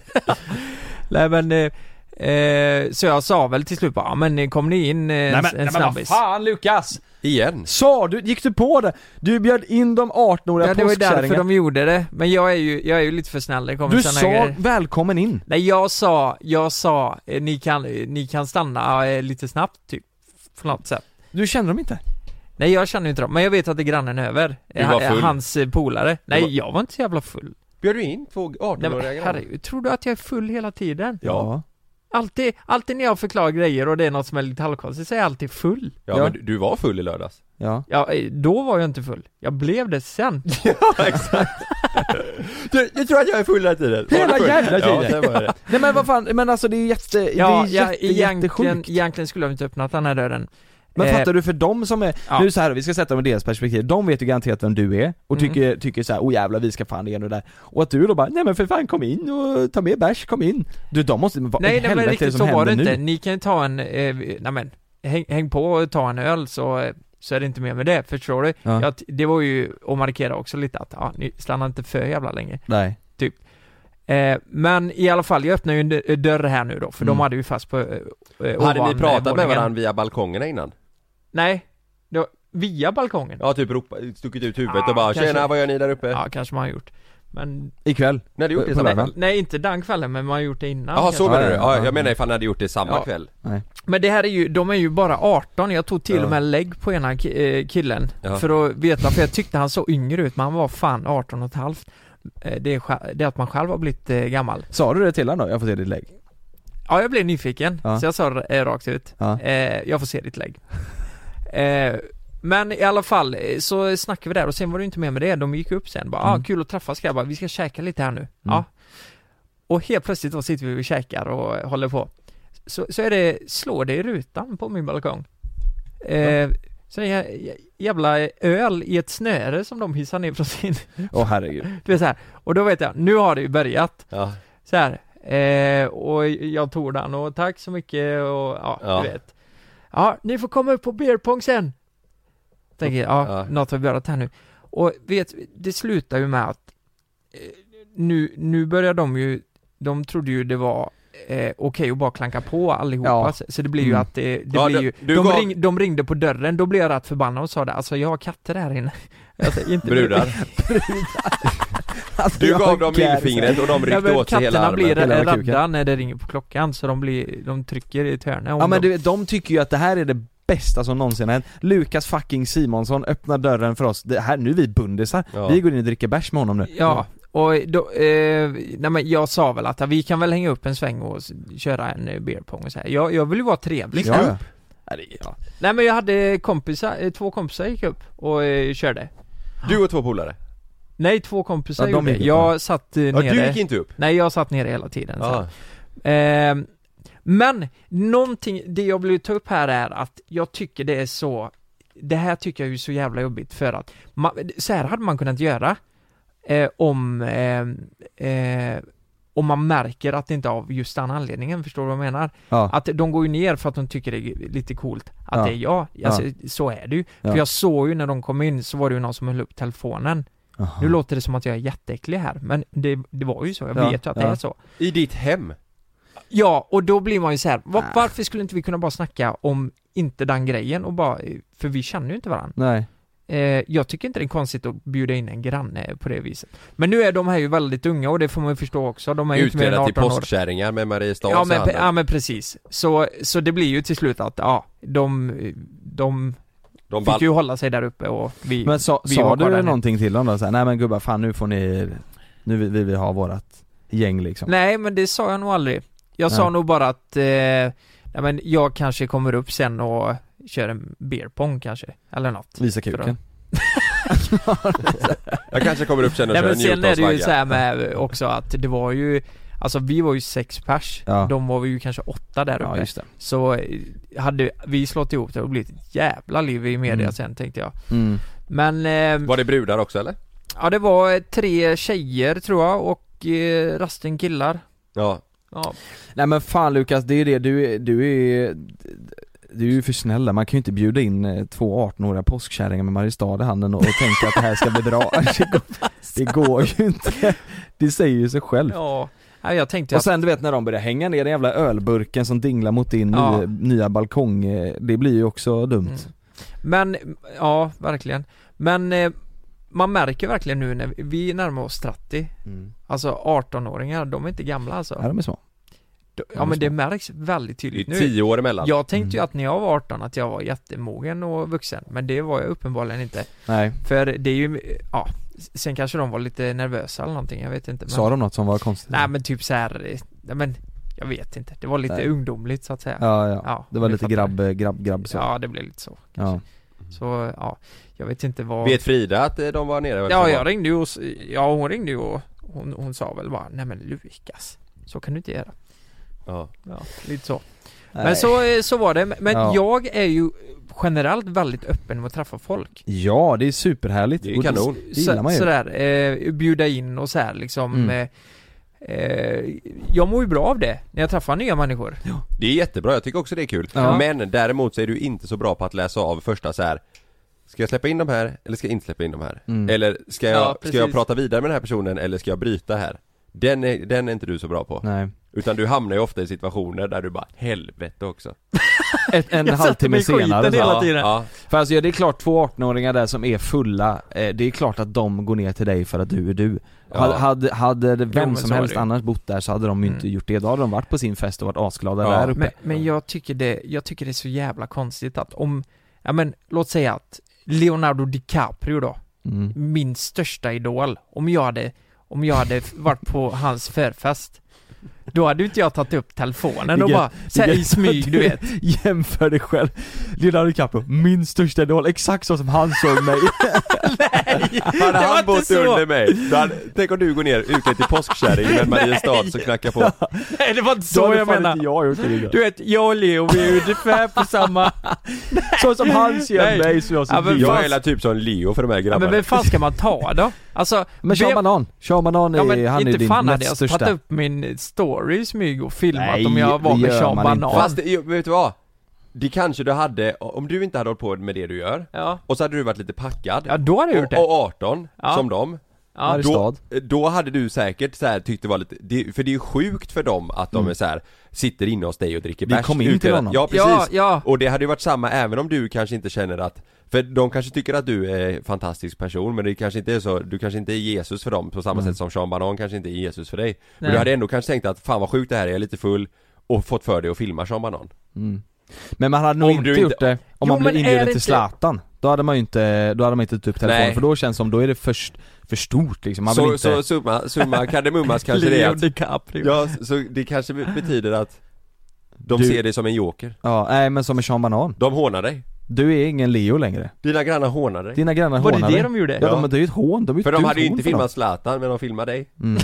Speaker 7: Nej men, eh, eh, så jag sa väl till slut bara, "Ja, men eh, kom ni in eh, en, en snabbis?
Speaker 6: fan Lukas!
Speaker 10: Igen?
Speaker 6: Sa du, gick du på det? Du bjöd in de 18-åriga
Speaker 7: Ja det var ju därför
Speaker 6: påskkärringarna.
Speaker 7: de gjorde det, men jag är ju, jag är ju lite för snäll, det kommer
Speaker 6: Du
Speaker 7: såna
Speaker 6: sa
Speaker 7: grejer.
Speaker 6: välkommen in.
Speaker 7: Nej jag sa, jag sa, eh, ni kan, eh, ni kan stanna eh, lite snabbt typ, på något sätt
Speaker 6: Du känner dem inte?
Speaker 7: Nej jag känner ju inte dem, men jag vet att det är grannen över,
Speaker 10: Du var
Speaker 7: Eh,
Speaker 10: full.
Speaker 7: hans eh, polare Nej
Speaker 10: var-
Speaker 7: jag var inte så jävla full
Speaker 10: Bjöd du in två
Speaker 7: Nej, men
Speaker 10: 18-åriga grannar?
Speaker 7: herregud, tror du att jag är full hela tiden?
Speaker 10: Ja.
Speaker 7: Alltid, alltid när jag förklarar grejer och det är något som är lite halvkonstigt, så är jag alltid full
Speaker 10: Ja, men du, du var full i lördags?
Speaker 6: Ja.
Speaker 7: Ja, eh, då var jag inte full. Jag blev det sen.
Speaker 10: Du, jag tror att jag är full hela tiden! Var
Speaker 6: Hela
Speaker 10: du full?
Speaker 6: jävla
Speaker 10: Ja,
Speaker 6: tiden.
Speaker 10: det var det.
Speaker 6: Nej men vad fan, men alltså det är ju jätte,
Speaker 7: Ja,
Speaker 6: det är
Speaker 7: ja
Speaker 6: jätte,
Speaker 7: egentligen,
Speaker 6: jättesjukt.
Speaker 7: egentligen skulle jag inte Typ öppnat den här dörren
Speaker 6: Men
Speaker 7: Eh,
Speaker 6: fattar du för dem som är,
Speaker 7: ja.
Speaker 6: nu så här, vi ska sätta dem i deras perspektiv, de vet ju garanterat vem du är och
Speaker 7: Mm.
Speaker 6: tycker, tycker så här, oh jävlar vi ska fan det ena och det där. Och att du då bara, nej men för fan kom in och ta med bärs, kom in. Du de måste, vad i
Speaker 7: Nej, nej men
Speaker 6: helvete är det
Speaker 7: riktigt så
Speaker 6: som
Speaker 7: var det
Speaker 6: händer
Speaker 7: inte.
Speaker 6: nu?
Speaker 7: Ni kan ju ta en, eh, nej men, häng, häng på och ta en öl så, eh, så är det inte mer med det, förstår du?
Speaker 6: Ja.
Speaker 7: Jag, det var ju att markera också lite att, ja, ni stannar inte för jävla länge.
Speaker 6: Nej.
Speaker 7: Typ. Eh, men i alla fall, jag öppnar ju en dö- eh, dörr här nu då, för
Speaker 6: Mm.
Speaker 7: de hade ju fast på eh, eh,
Speaker 10: Hade
Speaker 7: ovan,
Speaker 10: ni
Speaker 7: eh,
Speaker 10: pratat med
Speaker 7: våningen.
Speaker 10: varandra via balkongerna innan?
Speaker 7: Nej, det var via balkongen.
Speaker 10: Ja, typ ropat, stuckit ut huvudet
Speaker 7: Ja,
Speaker 10: och bara
Speaker 7: kanske.
Speaker 10: 'Tjena, vad gör ni där uppe?'
Speaker 7: Ja, kanske man har gjort. Men,
Speaker 6: Ikväll.
Speaker 10: Nej, det gjorde
Speaker 6: På
Speaker 10: det samma
Speaker 6: lördagen.
Speaker 10: kväll
Speaker 7: nej inte den kvällen, men man har gjort det innan.
Speaker 10: Jaha,
Speaker 7: kanske.
Speaker 10: så menar du?
Speaker 6: Ja, ja,
Speaker 10: Ja,
Speaker 6: ja.
Speaker 10: jag menar ifall ni hade gjort det samma
Speaker 7: Ja.
Speaker 10: kväll
Speaker 6: Nej.
Speaker 7: Men det här är ju, de är ju bara 18, jag tog till
Speaker 10: Ja.
Speaker 7: och med lägg på ena ki- eh, killen
Speaker 10: Ja.
Speaker 7: För att veta, för jag tyckte han såg yngre ut, men han var fan 18 och ett halvt Eh, det är, sj- det är att man själv har blivit eh, gammal
Speaker 6: Sa du det till honom då? Jag får se ditt lägg.
Speaker 7: Ja, jag blev nyfiken,
Speaker 6: Ja.
Speaker 7: så jag sa eh, rakt ut
Speaker 6: Ja.
Speaker 7: eh, Jag får se ditt lägg eh, Men i alla fall, eh, så snackade vi där och sen var det ju inte mer med det, de gick upp sen bara ah,
Speaker 6: Mm.
Speaker 7: kul att träffas grabbar, vi ska käka lite här nu Ja Och helt plötsligt då sitter vi och käkar och håller på Så, så är det, slår det i rutan på min balkong eh, Så är det jä- jävla öl i ett snöre som de hissar ner från sin
Speaker 6: Åh herregud.
Speaker 7: Du vet så här. och då vet jag, nu har det ju börjat
Speaker 10: Ja,
Speaker 7: så här. Eh, och jag tog den och tack så mycket och ja,
Speaker 10: Ja.
Speaker 7: du vet Ja, ni får komma upp på beerpong sen Tänker jag, ja,
Speaker 10: Ja.
Speaker 7: något har börjat här nu Och vet, det slutar ju med att eh, nu, nu börjar de ju, de trodde ju det var eh, okej att bara klanka på allihopa
Speaker 6: Ja.
Speaker 7: så, så det blir ju
Speaker 6: Mm.
Speaker 7: att det, det
Speaker 10: Ja,
Speaker 7: blir
Speaker 10: du-
Speaker 7: ju,
Speaker 10: du
Speaker 7: de,
Speaker 10: gav-
Speaker 7: ring, de ringde på dörren, då blev jag rätt förbannad och sa det, alltså jag har katter här inne alltså, inte
Speaker 10: brudar
Speaker 6: Alltså,
Speaker 10: Du
Speaker 6: jag
Speaker 10: gav dem
Speaker 6: är
Speaker 10: lillfingret och de
Speaker 7: Ja,
Speaker 10: ryckte
Speaker 7: men
Speaker 10: åt sig hela
Speaker 7: katterna
Speaker 10: armen
Speaker 7: blir
Speaker 6: Hela jävla kuken.
Speaker 7: rädda när det ringer på klockan så de, blir, de trycker i ett hörne om
Speaker 6: Ja men
Speaker 7: de-
Speaker 6: du, vet, de tycker ju att det här är det bästa som någonsin har hänt. Lukas fucking Simonsson öppnar dörren för oss. Det här, nu är vi bundisar.
Speaker 10: Ja.
Speaker 6: Vi går in och dricker bärs med honom nu.
Speaker 7: Ja, och då, eh, nej men jag sa väl att ja, vi kan väl hänga upp en sväng och s- köra en eh, beer pong och så här. Jag, jag vill ju vara trevlig
Speaker 6: Ja, ja.
Speaker 7: Ja, det- ja. Nej men jag hade kompisar, eh, två kompisar gick upp och eh, körde
Speaker 10: Du och två polare?
Speaker 7: Nej två kompisar
Speaker 6: Ja, de
Speaker 7: gjorde
Speaker 6: gick upp,
Speaker 7: det, jag
Speaker 6: ja.
Speaker 7: satt eh,
Speaker 10: Ja,
Speaker 7: nere
Speaker 10: du gick inte upp?
Speaker 7: Nej jag satt nere hela tiden så.
Speaker 10: Ja,
Speaker 7: Ehm, men någonting, det jag vill ta upp här är att jag tycker det är så Det här tycker jag är ju så jävla jobbigt för att man, så här hade man kunnat göra eh, om eh, eh, om man märker att det inte är av just den anledningen, förstår du vad jag menar?
Speaker 6: Ja.
Speaker 7: Att de går ju ner för att de tycker det är lite coolt att
Speaker 6: Ja.
Speaker 7: det är jag, alltså så är det ju.
Speaker 6: Ja.
Speaker 7: För jag såg ju när de kom in så var det ju någon som höll upp telefonen.
Speaker 6: Jaha.
Speaker 7: Nu låter det som att jag är jätteäcklig här, men det, det var ju så, jag
Speaker 6: Ja,
Speaker 7: vet ju att
Speaker 6: ja.
Speaker 7: det är så.
Speaker 10: I ditt hem?
Speaker 7: Ja, och då blir man ju så här, var, varför skulle inte vi kunna bara snacka om inte den grejen och bara, för vi känner ju inte varandra.
Speaker 6: Nej. Eh, jag tycker inte det är konstigt att bjuda in en granne på det viset. Men nu är de här ju väldigt unga och det får man ju förstå också. De är ju inte mer än
Speaker 5: Utklädda
Speaker 6: 18 år.
Speaker 5: till
Speaker 7: typ,
Speaker 5: påskkärringar med Mariestad
Speaker 6: Ja
Speaker 5: i
Speaker 6: men,
Speaker 5: handen.
Speaker 6: ja men precis. Så, så det blir ju till slut att, ja, de, de,
Speaker 5: De
Speaker 6: fick
Speaker 5: ball-
Speaker 6: ju hålla sig där uppe och vi
Speaker 7: Men sa,
Speaker 6: vi
Speaker 7: sa
Speaker 6: var
Speaker 7: du
Speaker 6: kvar där nere.
Speaker 7: någonting till dem då? Så här, nej men gubbar, fan nu får ni, nu vill vill vi ha vårat gäng liksom.
Speaker 6: Nej men det sa jag nog aldrig. Jag sa
Speaker 7: Nej.
Speaker 6: nog bara att, eh, nej men jag kanske kommer upp sen och kör en beer pong kanske, eller något.
Speaker 7: Visa
Speaker 6: För att-
Speaker 7: kuken.
Speaker 5: Jag kanske kommer upp sen och kör
Speaker 6: Nej men
Speaker 5: en
Speaker 6: sen är det ju
Speaker 5: Newtons
Speaker 6: så här med också att det var ju Alltså vi var ju sex pers,
Speaker 7: Ja.
Speaker 6: de var ju kanske åtta där
Speaker 7: Ja,
Speaker 6: uppe
Speaker 7: just det.
Speaker 6: Så eh, hade vi slått ihop det och blivit ett jävla liv i media
Speaker 5: Mm.
Speaker 6: sen tänkte jag
Speaker 7: Mm.
Speaker 6: Men eh,
Speaker 5: Var det brudar också eller?
Speaker 6: ja det var eh, tre tjejer tror jag och eh, rasten killar
Speaker 5: Ja.
Speaker 6: Ja,
Speaker 7: Nej men fan Lukas, det är det, du, är- du är du är ju för snäll där. man kan ju inte bjuda in eh, två 18-åriga påskkärringar med Mariestad i handen och, och tänka att det här ska bli bra. Det går, det går ju inte. Det säger ju sig själv.
Speaker 6: ja Nej, jag tänkte
Speaker 7: Och
Speaker 6: att,
Speaker 7: sen du vet när de börjar hänga ner den jävla ölburken som dinglar mot din
Speaker 6: Ja. Mm.
Speaker 7: nya, nya balkong, eh, det blir ju också dumt.
Speaker 6: men ja verkligen Men eh, man märker verkligen nu när vi närmar oss 30 Alltså 18-åringar, de är inte gamla alltså
Speaker 7: Mm. Ja, de är små.
Speaker 6: Ja men det märks väldigt tydligt
Speaker 5: Det
Speaker 6: nu
Speaker 5: är tio år emellan.
Speaker 6: Jag
Speaker 7: Mm.
Speaker 6: tänkte ju att när jag var 18 att jag var jättemogen och vuxen Men det var jag uppenbarligen inte
Speaker 7: Nej.
Speaker 6: För det är ju, ja Sen kanske de var lite nervösa eller någonting, jag vet inte men...
Speaker 7: Sa de något som var konstigt?
Speaker 6: Nej men typ så här, eh, nej men Jag vet inte, det var lite
Speaker 7: Nej.
Speaker 6: ungdomligt så att säga
Speaker 7: Ja, ja. det var
Speaker 6: ni
Speaker 7: lite
Speaker 6: fattar.
Speaker 7: grabb, grabb, grabb så.
Speaker 6: Ja det blev lite så
Speaker 7: ja.
Speaker 6: Så ja, jag vet inte vad
Speaker 5: Vet Frida att eh, de var nere? och
Speaker 6: Ja
Speaker 5: hälsade
Speaker 6: jag
Speaker 5: på?
Speaker 6: ringde ju och, s- ja hon ringde ju och hon, hon sa väl bara Nej men Lukas, så kan du inte göra
Speaker 5: Ja.
Speaker 6: Ja, lite så
Speaker 7: Nej.
Speaker 6: Men så, eh, så var det, men
Speaker 7: Ja.
Speaker 6: jag är ju generellt väldigt öppen med att träffa folk
Speaker 7: ja, det är superhärligt.
Speaker 5: Det är
Speaker 7: Och
Speaker 5: kanon.
Speaker 7: Det gillar man ju.
Speaker 6: Så, sådär, eh, bjuda in och så här liksom
Speaker 7: Mm.
Speaker 6: eh, eh, Jag mår ju bra av det, när jag träffar nya människor
Speaker 5: Det är jättebra, jag tycker också det är kul.
Speaker 6: Ja.
Speaker 5: Men däremot så är du inte så bra på att läsa av första så här. Ska jag släppa in de här eller ska jag inte släppa in de här?
Speaker 7: Mm.
Speaker 5: Eller ska jag,
Speaker 6: Ja,
Speaker 5: ska jag
Speaker 6: precis.
Speaker 5: prata vidare med den här personen eller ska jag bryta här? Den är, den är inte du så bra på.
Speaker 7: Nej.
Speaker 5: Utan du hamnar ju ofta i situationer där du bara helvete också.
Speaker 7: Ett,
Speaker 6: Jag satte
Speaker 7: en
Speaker 6: mig
Speaker 7: halvtimme
Speaker 6: i skiten
Speaker 7: senare så-
Speaker 6: hela
Speaker 7: Ja,
Speaker 6: tiden.
Speaker 7: ja. För alltså ja, det är klart två 18-åringar där som är fulla, eh, det är klart att de går ner till dig för att du är du Hade, hade, hade det vem
Speaker 6: men
Speaker 7: som
Speaker 6: så är
Speaker 7: helst
Speaker 6: det ju.
Speaker 7: annars bott där så hade de ju inte
Speaker 6: Mm.
Speaker 7: gjort det, då hade de varit på sin fest och varit asglada där uppe
Speaker 6: men, men jag tycker det, jag tycker det är så jävla konstigt att om, ja men låt säga att Leonardo DiCaprio då,
Speaker 7: Mm.
Speaker 6: min största idol, om jag hade, om jag hade varit på hans förfest då hade ju inte jag tagit upp telefonen och
Speaker 7: Vilket-
Speaker 6: bara såhär i
Speaker 7: vilket-
Speaker 6: smyg du vet
Speaker 7: Jämför dig själv, Leonardo DiCaprio, min största idol, exakt så som han såg mig
Speaker 5: Hade
Speaker 6: var
Speaker 5: han
Speaker 6: inte
Speaker 5: bott
Speaker 6: så.
Speaker 5: under mig, då hade, tänk om du går ner utklädd till påskkärring med Mariestad som knackar på.
Speaker 6: Nej det var inte
Speaker 7: Då
Speaker 6: så
Speaker 7: hade
Speaker 6: jag
Speaker 7: fan
Speaker 6: menar
Speaker 7: inte jag gjort det Linda.
Speaker 6: Du vet, jag och Leo vi är ju ungefär på samma
Speaker 7: Så som han ser
Speaker 6: Nej.
Speaker 7: mig så jag
Speaker 6: Ja,
Speaker 7: ser
Speaker 6: men
Speaker 7: Leo
Speaker 5: Jag
Speaker 6: fan-
Speaker 5: är hela typ som Leo för de här
Speaker 6: Ja,
Speaker 5: grabbarna.
Speaker 6: men vem fan ska man ta då? Alltså,
Speaker 7: Men Sean
Speaker 6: vem-
Speaker 7: Banan, Sean Banan är,
Speaker 6: Ja men
Speaker 7: han är ju
Speaker 6: inte
Speaker 7: din
Speaker 6: fan hade
Speaker 7: näst
Speaker 6: jag
Speaker 7: största
Speaker 6: tagit upp min story i smyg och filmat
Speaker 7: Nej,
Speaker 6: om jag var
Speaker 7: det
Speaker 6: med
Speaker 7: gör
Speaker 6: Sean
Speaker 7: man
Speaker 6: Banan
Speaker 7: inte.
Speaker 5: Fast det, jo, vet du vad? Det kanske du hade, om du inte hade hållit på med det du gör
Speaker 6: Ja.
Speaker 5: Och så hade du varit lite packad
Speaker 6: Ja, då hade jag gjort det.
Speaker 5: Och, och 18,
Speaker 6: Ja.
Speaker 5: som dem
Speaker 6: Ja.
Speaker 5: då, eh, då hade du säkert så här, tyckt det var lite, det, för det är ju sjukt för dem att de
Speaker 7: Mm.
Speaker 5: är så här, sitter inne hos dig och dricker
Speaker 7: Vi
Speaker 5: bärs
Speaker 7: kom in
Speaker 5: ute
Speaker 7: till
Speaker 5: hela-
Speaker 7: honom.
Speaker 5: Ja precis,
Speaker 6: Ja, ja.
Speaker 5: och det hade ju varit samma även om du kanske inte känner att för de kanske tycker att du är en fantastisk person men det kanske inte är så, du kanske inte är Jesus för dem på samma sätt som Sean Banan kanske inte är Jesus för dig Men du
Speaker 6: Nej.
Speaker 5: hade ändå kanske tänkt att fan vad sjukt det här är, jag är lite full och fått för dig att filma Sean Banan
Speaker 7: Mm. Men man hade nog
Speaker 5: Om
Speaker 7: inte
Speaker 5: du inte-
Speaker 7: gjort det om
Speaker 6: Jo,
Speaker 7: man blev
Speaker 6: men är
Speaker 7: inbjuden
Speaker 6: det
Speaker 7: till
Speaker 6: inte-
Speaker 7: Zlatan. Då hade man ju inte, då hade man inte tagit upp telefonen
Speaker 5: Nej.
Speaker 7: för då känns det som, då är det för, st- för stort liksom. Man vill
Speaker 5: så, så
Speaker 7: inte...
Speaker 5: summa, summa kardemummas kanske det är
Speaker 6: Leo
Speaker 5: att,
Speaker 6: DiCaprio
Speaker 5: Ja, så det kanske betyder att de
Speaker 7: Du-
Speaker 5: ser dig som en joker
Speaker 7: Ja, nej men som en Sean Banan.
Speaker 5: De hånar dig
Speaker 7: Du är ingen Leo längre.
Speaker 5: Dina grannar hånar dig
Speaker 7: Dina grannar
Speaker 6: Var det
Speaker 7: hånar
Speaker 6: det
Speaker 7: dig.
Speaker 6: de gjorde?
Speaker 7: Ja,
Speaker 5: Ja.
Speaker 7: de, det är ju ett hån. De är
Speaker 5: För de
Speaker 7: ett
Speaker 5: hade ju
Speaker 7: hån
Speaker 5: inte
Speaker 7: för dem.
Speaker 5: filmat Zlatan men de filmade dig
Speaker 7: Mm.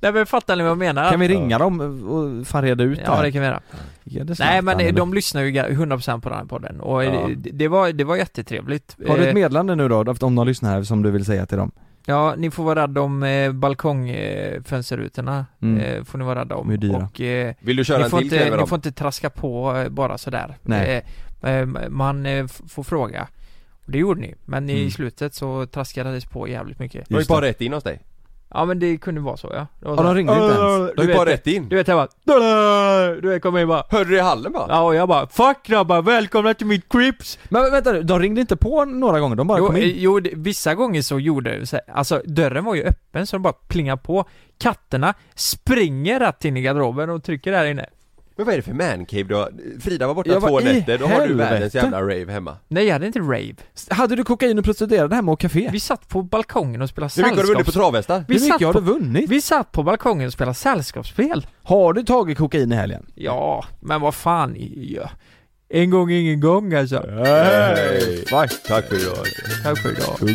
Speaker 6: Nej men fattar ni vad jag menar?
Speaker 7: Kan vi ringa dem och fan reda ut
Speaker 6: Ja det kan vi göra
Speaker 7: Ge det
Speaker 6: Nej
Speaker 7: Zlatan,
Speaker 6: men eh,
Speaker 7: eller?
Speaker 6: de lyssnar ju ga- 100% på den här podden och eh,
Speaker 5: Ja.
Speaker 6: det, det, var, det var jättetrevligt
Speaker 7: Har du
Speaker 6: Eh,
Speaker 7: ett meddelande nu då, om de lyssnar här, som du vill säga till dem?
Speaker 6: Ja, ni får vara rädda om eh, balkongfönsterrutorna
Speaker 7: Mm.
Speaker 6: eh, Får ni vara rädda om
Speaker 7: De är dyra.
Speaker 6: och eh,
Speaker 5: Vill du köra
Speaker 6: ni,
Speaker 5: en
Speaker 6: får
Speaker 5: till kväll
Speaker 6: inte,
Speaker 5: med
Speaker 6: ni
Speaker 5: dem?
Speaker 6: får inte traska på eh, bara sådär
Speaker 7: Nej.
Speaker 6: Eh, eh, Man eh, f- får fråga Och Det gjorde ni, men i
Speaker 7: Mm.
Speaker 6: slutet så traskades på jävligt mycket
Speaker 5: De gick
Speaker 7: Just
Speaker 5: bara
Speaker 7: det.
Speaker 5: rätt in hos dig
Speaker 6: Ja men det kunde vara så ja. Det var
Speaker 11: Ja,
Speaker 6: så här,
Speaker 11: de ringde inte
Speaker 6: "Åh,
Speaker 11: ens.
Speaker 6: åh, åh",
Speaker 11: De
Speaker 6: du
Speaker 11: gick
Speaker 6: vet
Speaker 11: bara
Speaker 6: det.
Speaker 11: rätt in.
Speaker 6: Du vet jag bara Du vet kom in bara
Speaker 5: Hörde du i hallen bara?
Speaker 6: Ja och jag bara 'Fuck grabbar, välkomna till mitt Crips'
Speaker 11: Men vänta nu, de ringde inte på några gånger, de bara
Speaker 6: jo,
Speaker 11: kom
Speaker 6: eh,
Speaker 11: in?
Speaker 6: Jo, det- vissa gånger så gjorde så här, alltså dörren var ju öppen så de bara plingade på. Katterna springer rätt in i garderoben och trycker där inne.
Speaker 5: Men vad är det för mancave du har? Frida var borta
Speaker 6: Ja,
Speaker 5: två
Speaker 6: vad i
Speaker 5: nätter, då har du världens
Speaker 6: helvete?
Speaker 5: jävla rave hemma
Speaker 6: Nej jag hade inte rave.
Speaker 11: Hade du kokain och prostituerade hemma och café?
Speaker 6: Vi satt på balkongen och spelade
Speaker 5: Hur mycket har du vunnit på
Speaker 6: sällskaps-
Speaker 5: travhästar?
Speaker 6: Vi
Speaker 11: Hur mycket
Speaker 6: satt
Speaker 11: har
Speaker 6: på-
Speaker 11: du vunnit?
Speaker 6: Vi satt på balkongen och spelade sällskapsspel.
Speaker 11: Har du tagit kokain i helgen?
Speaker 6: Ja, men vad fan. Ja. En gång ingen gång alltså.
Speaker 5: Nej. Tack för idag
Speaker 6: Tack för idag.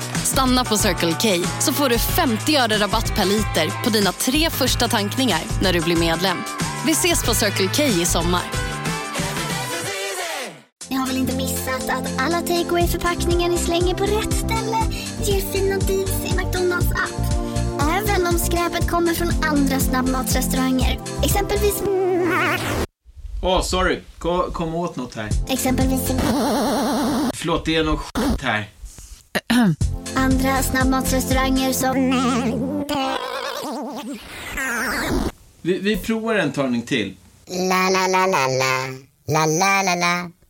Speaker 12: Stanna på Circle K så får du 50 öre rabatt per liter på dina tre första tankningar när du blir medlem. Vi ses på Circle K i sommar.
Speaker 7: Ni har väl inte missat att alla typ, takeaway förpackningar ni slänger på rätt ställe ger fina deals i McDonalds app. Även om skräpet kommer från andra snabbmatsrestauranger. Exempelvis...
Speaker 13: Åh, sorry. Kom, kom åt något här.
Speaker 7: Exempelvis...
Speaker 13: Förlåt, det är något skit här.
Speaker 7: Andra snabbmatsrestauranger som...
Speaker 13: Vi, vi provar en talning till.
Speaker 14: La la la la la. La la la la.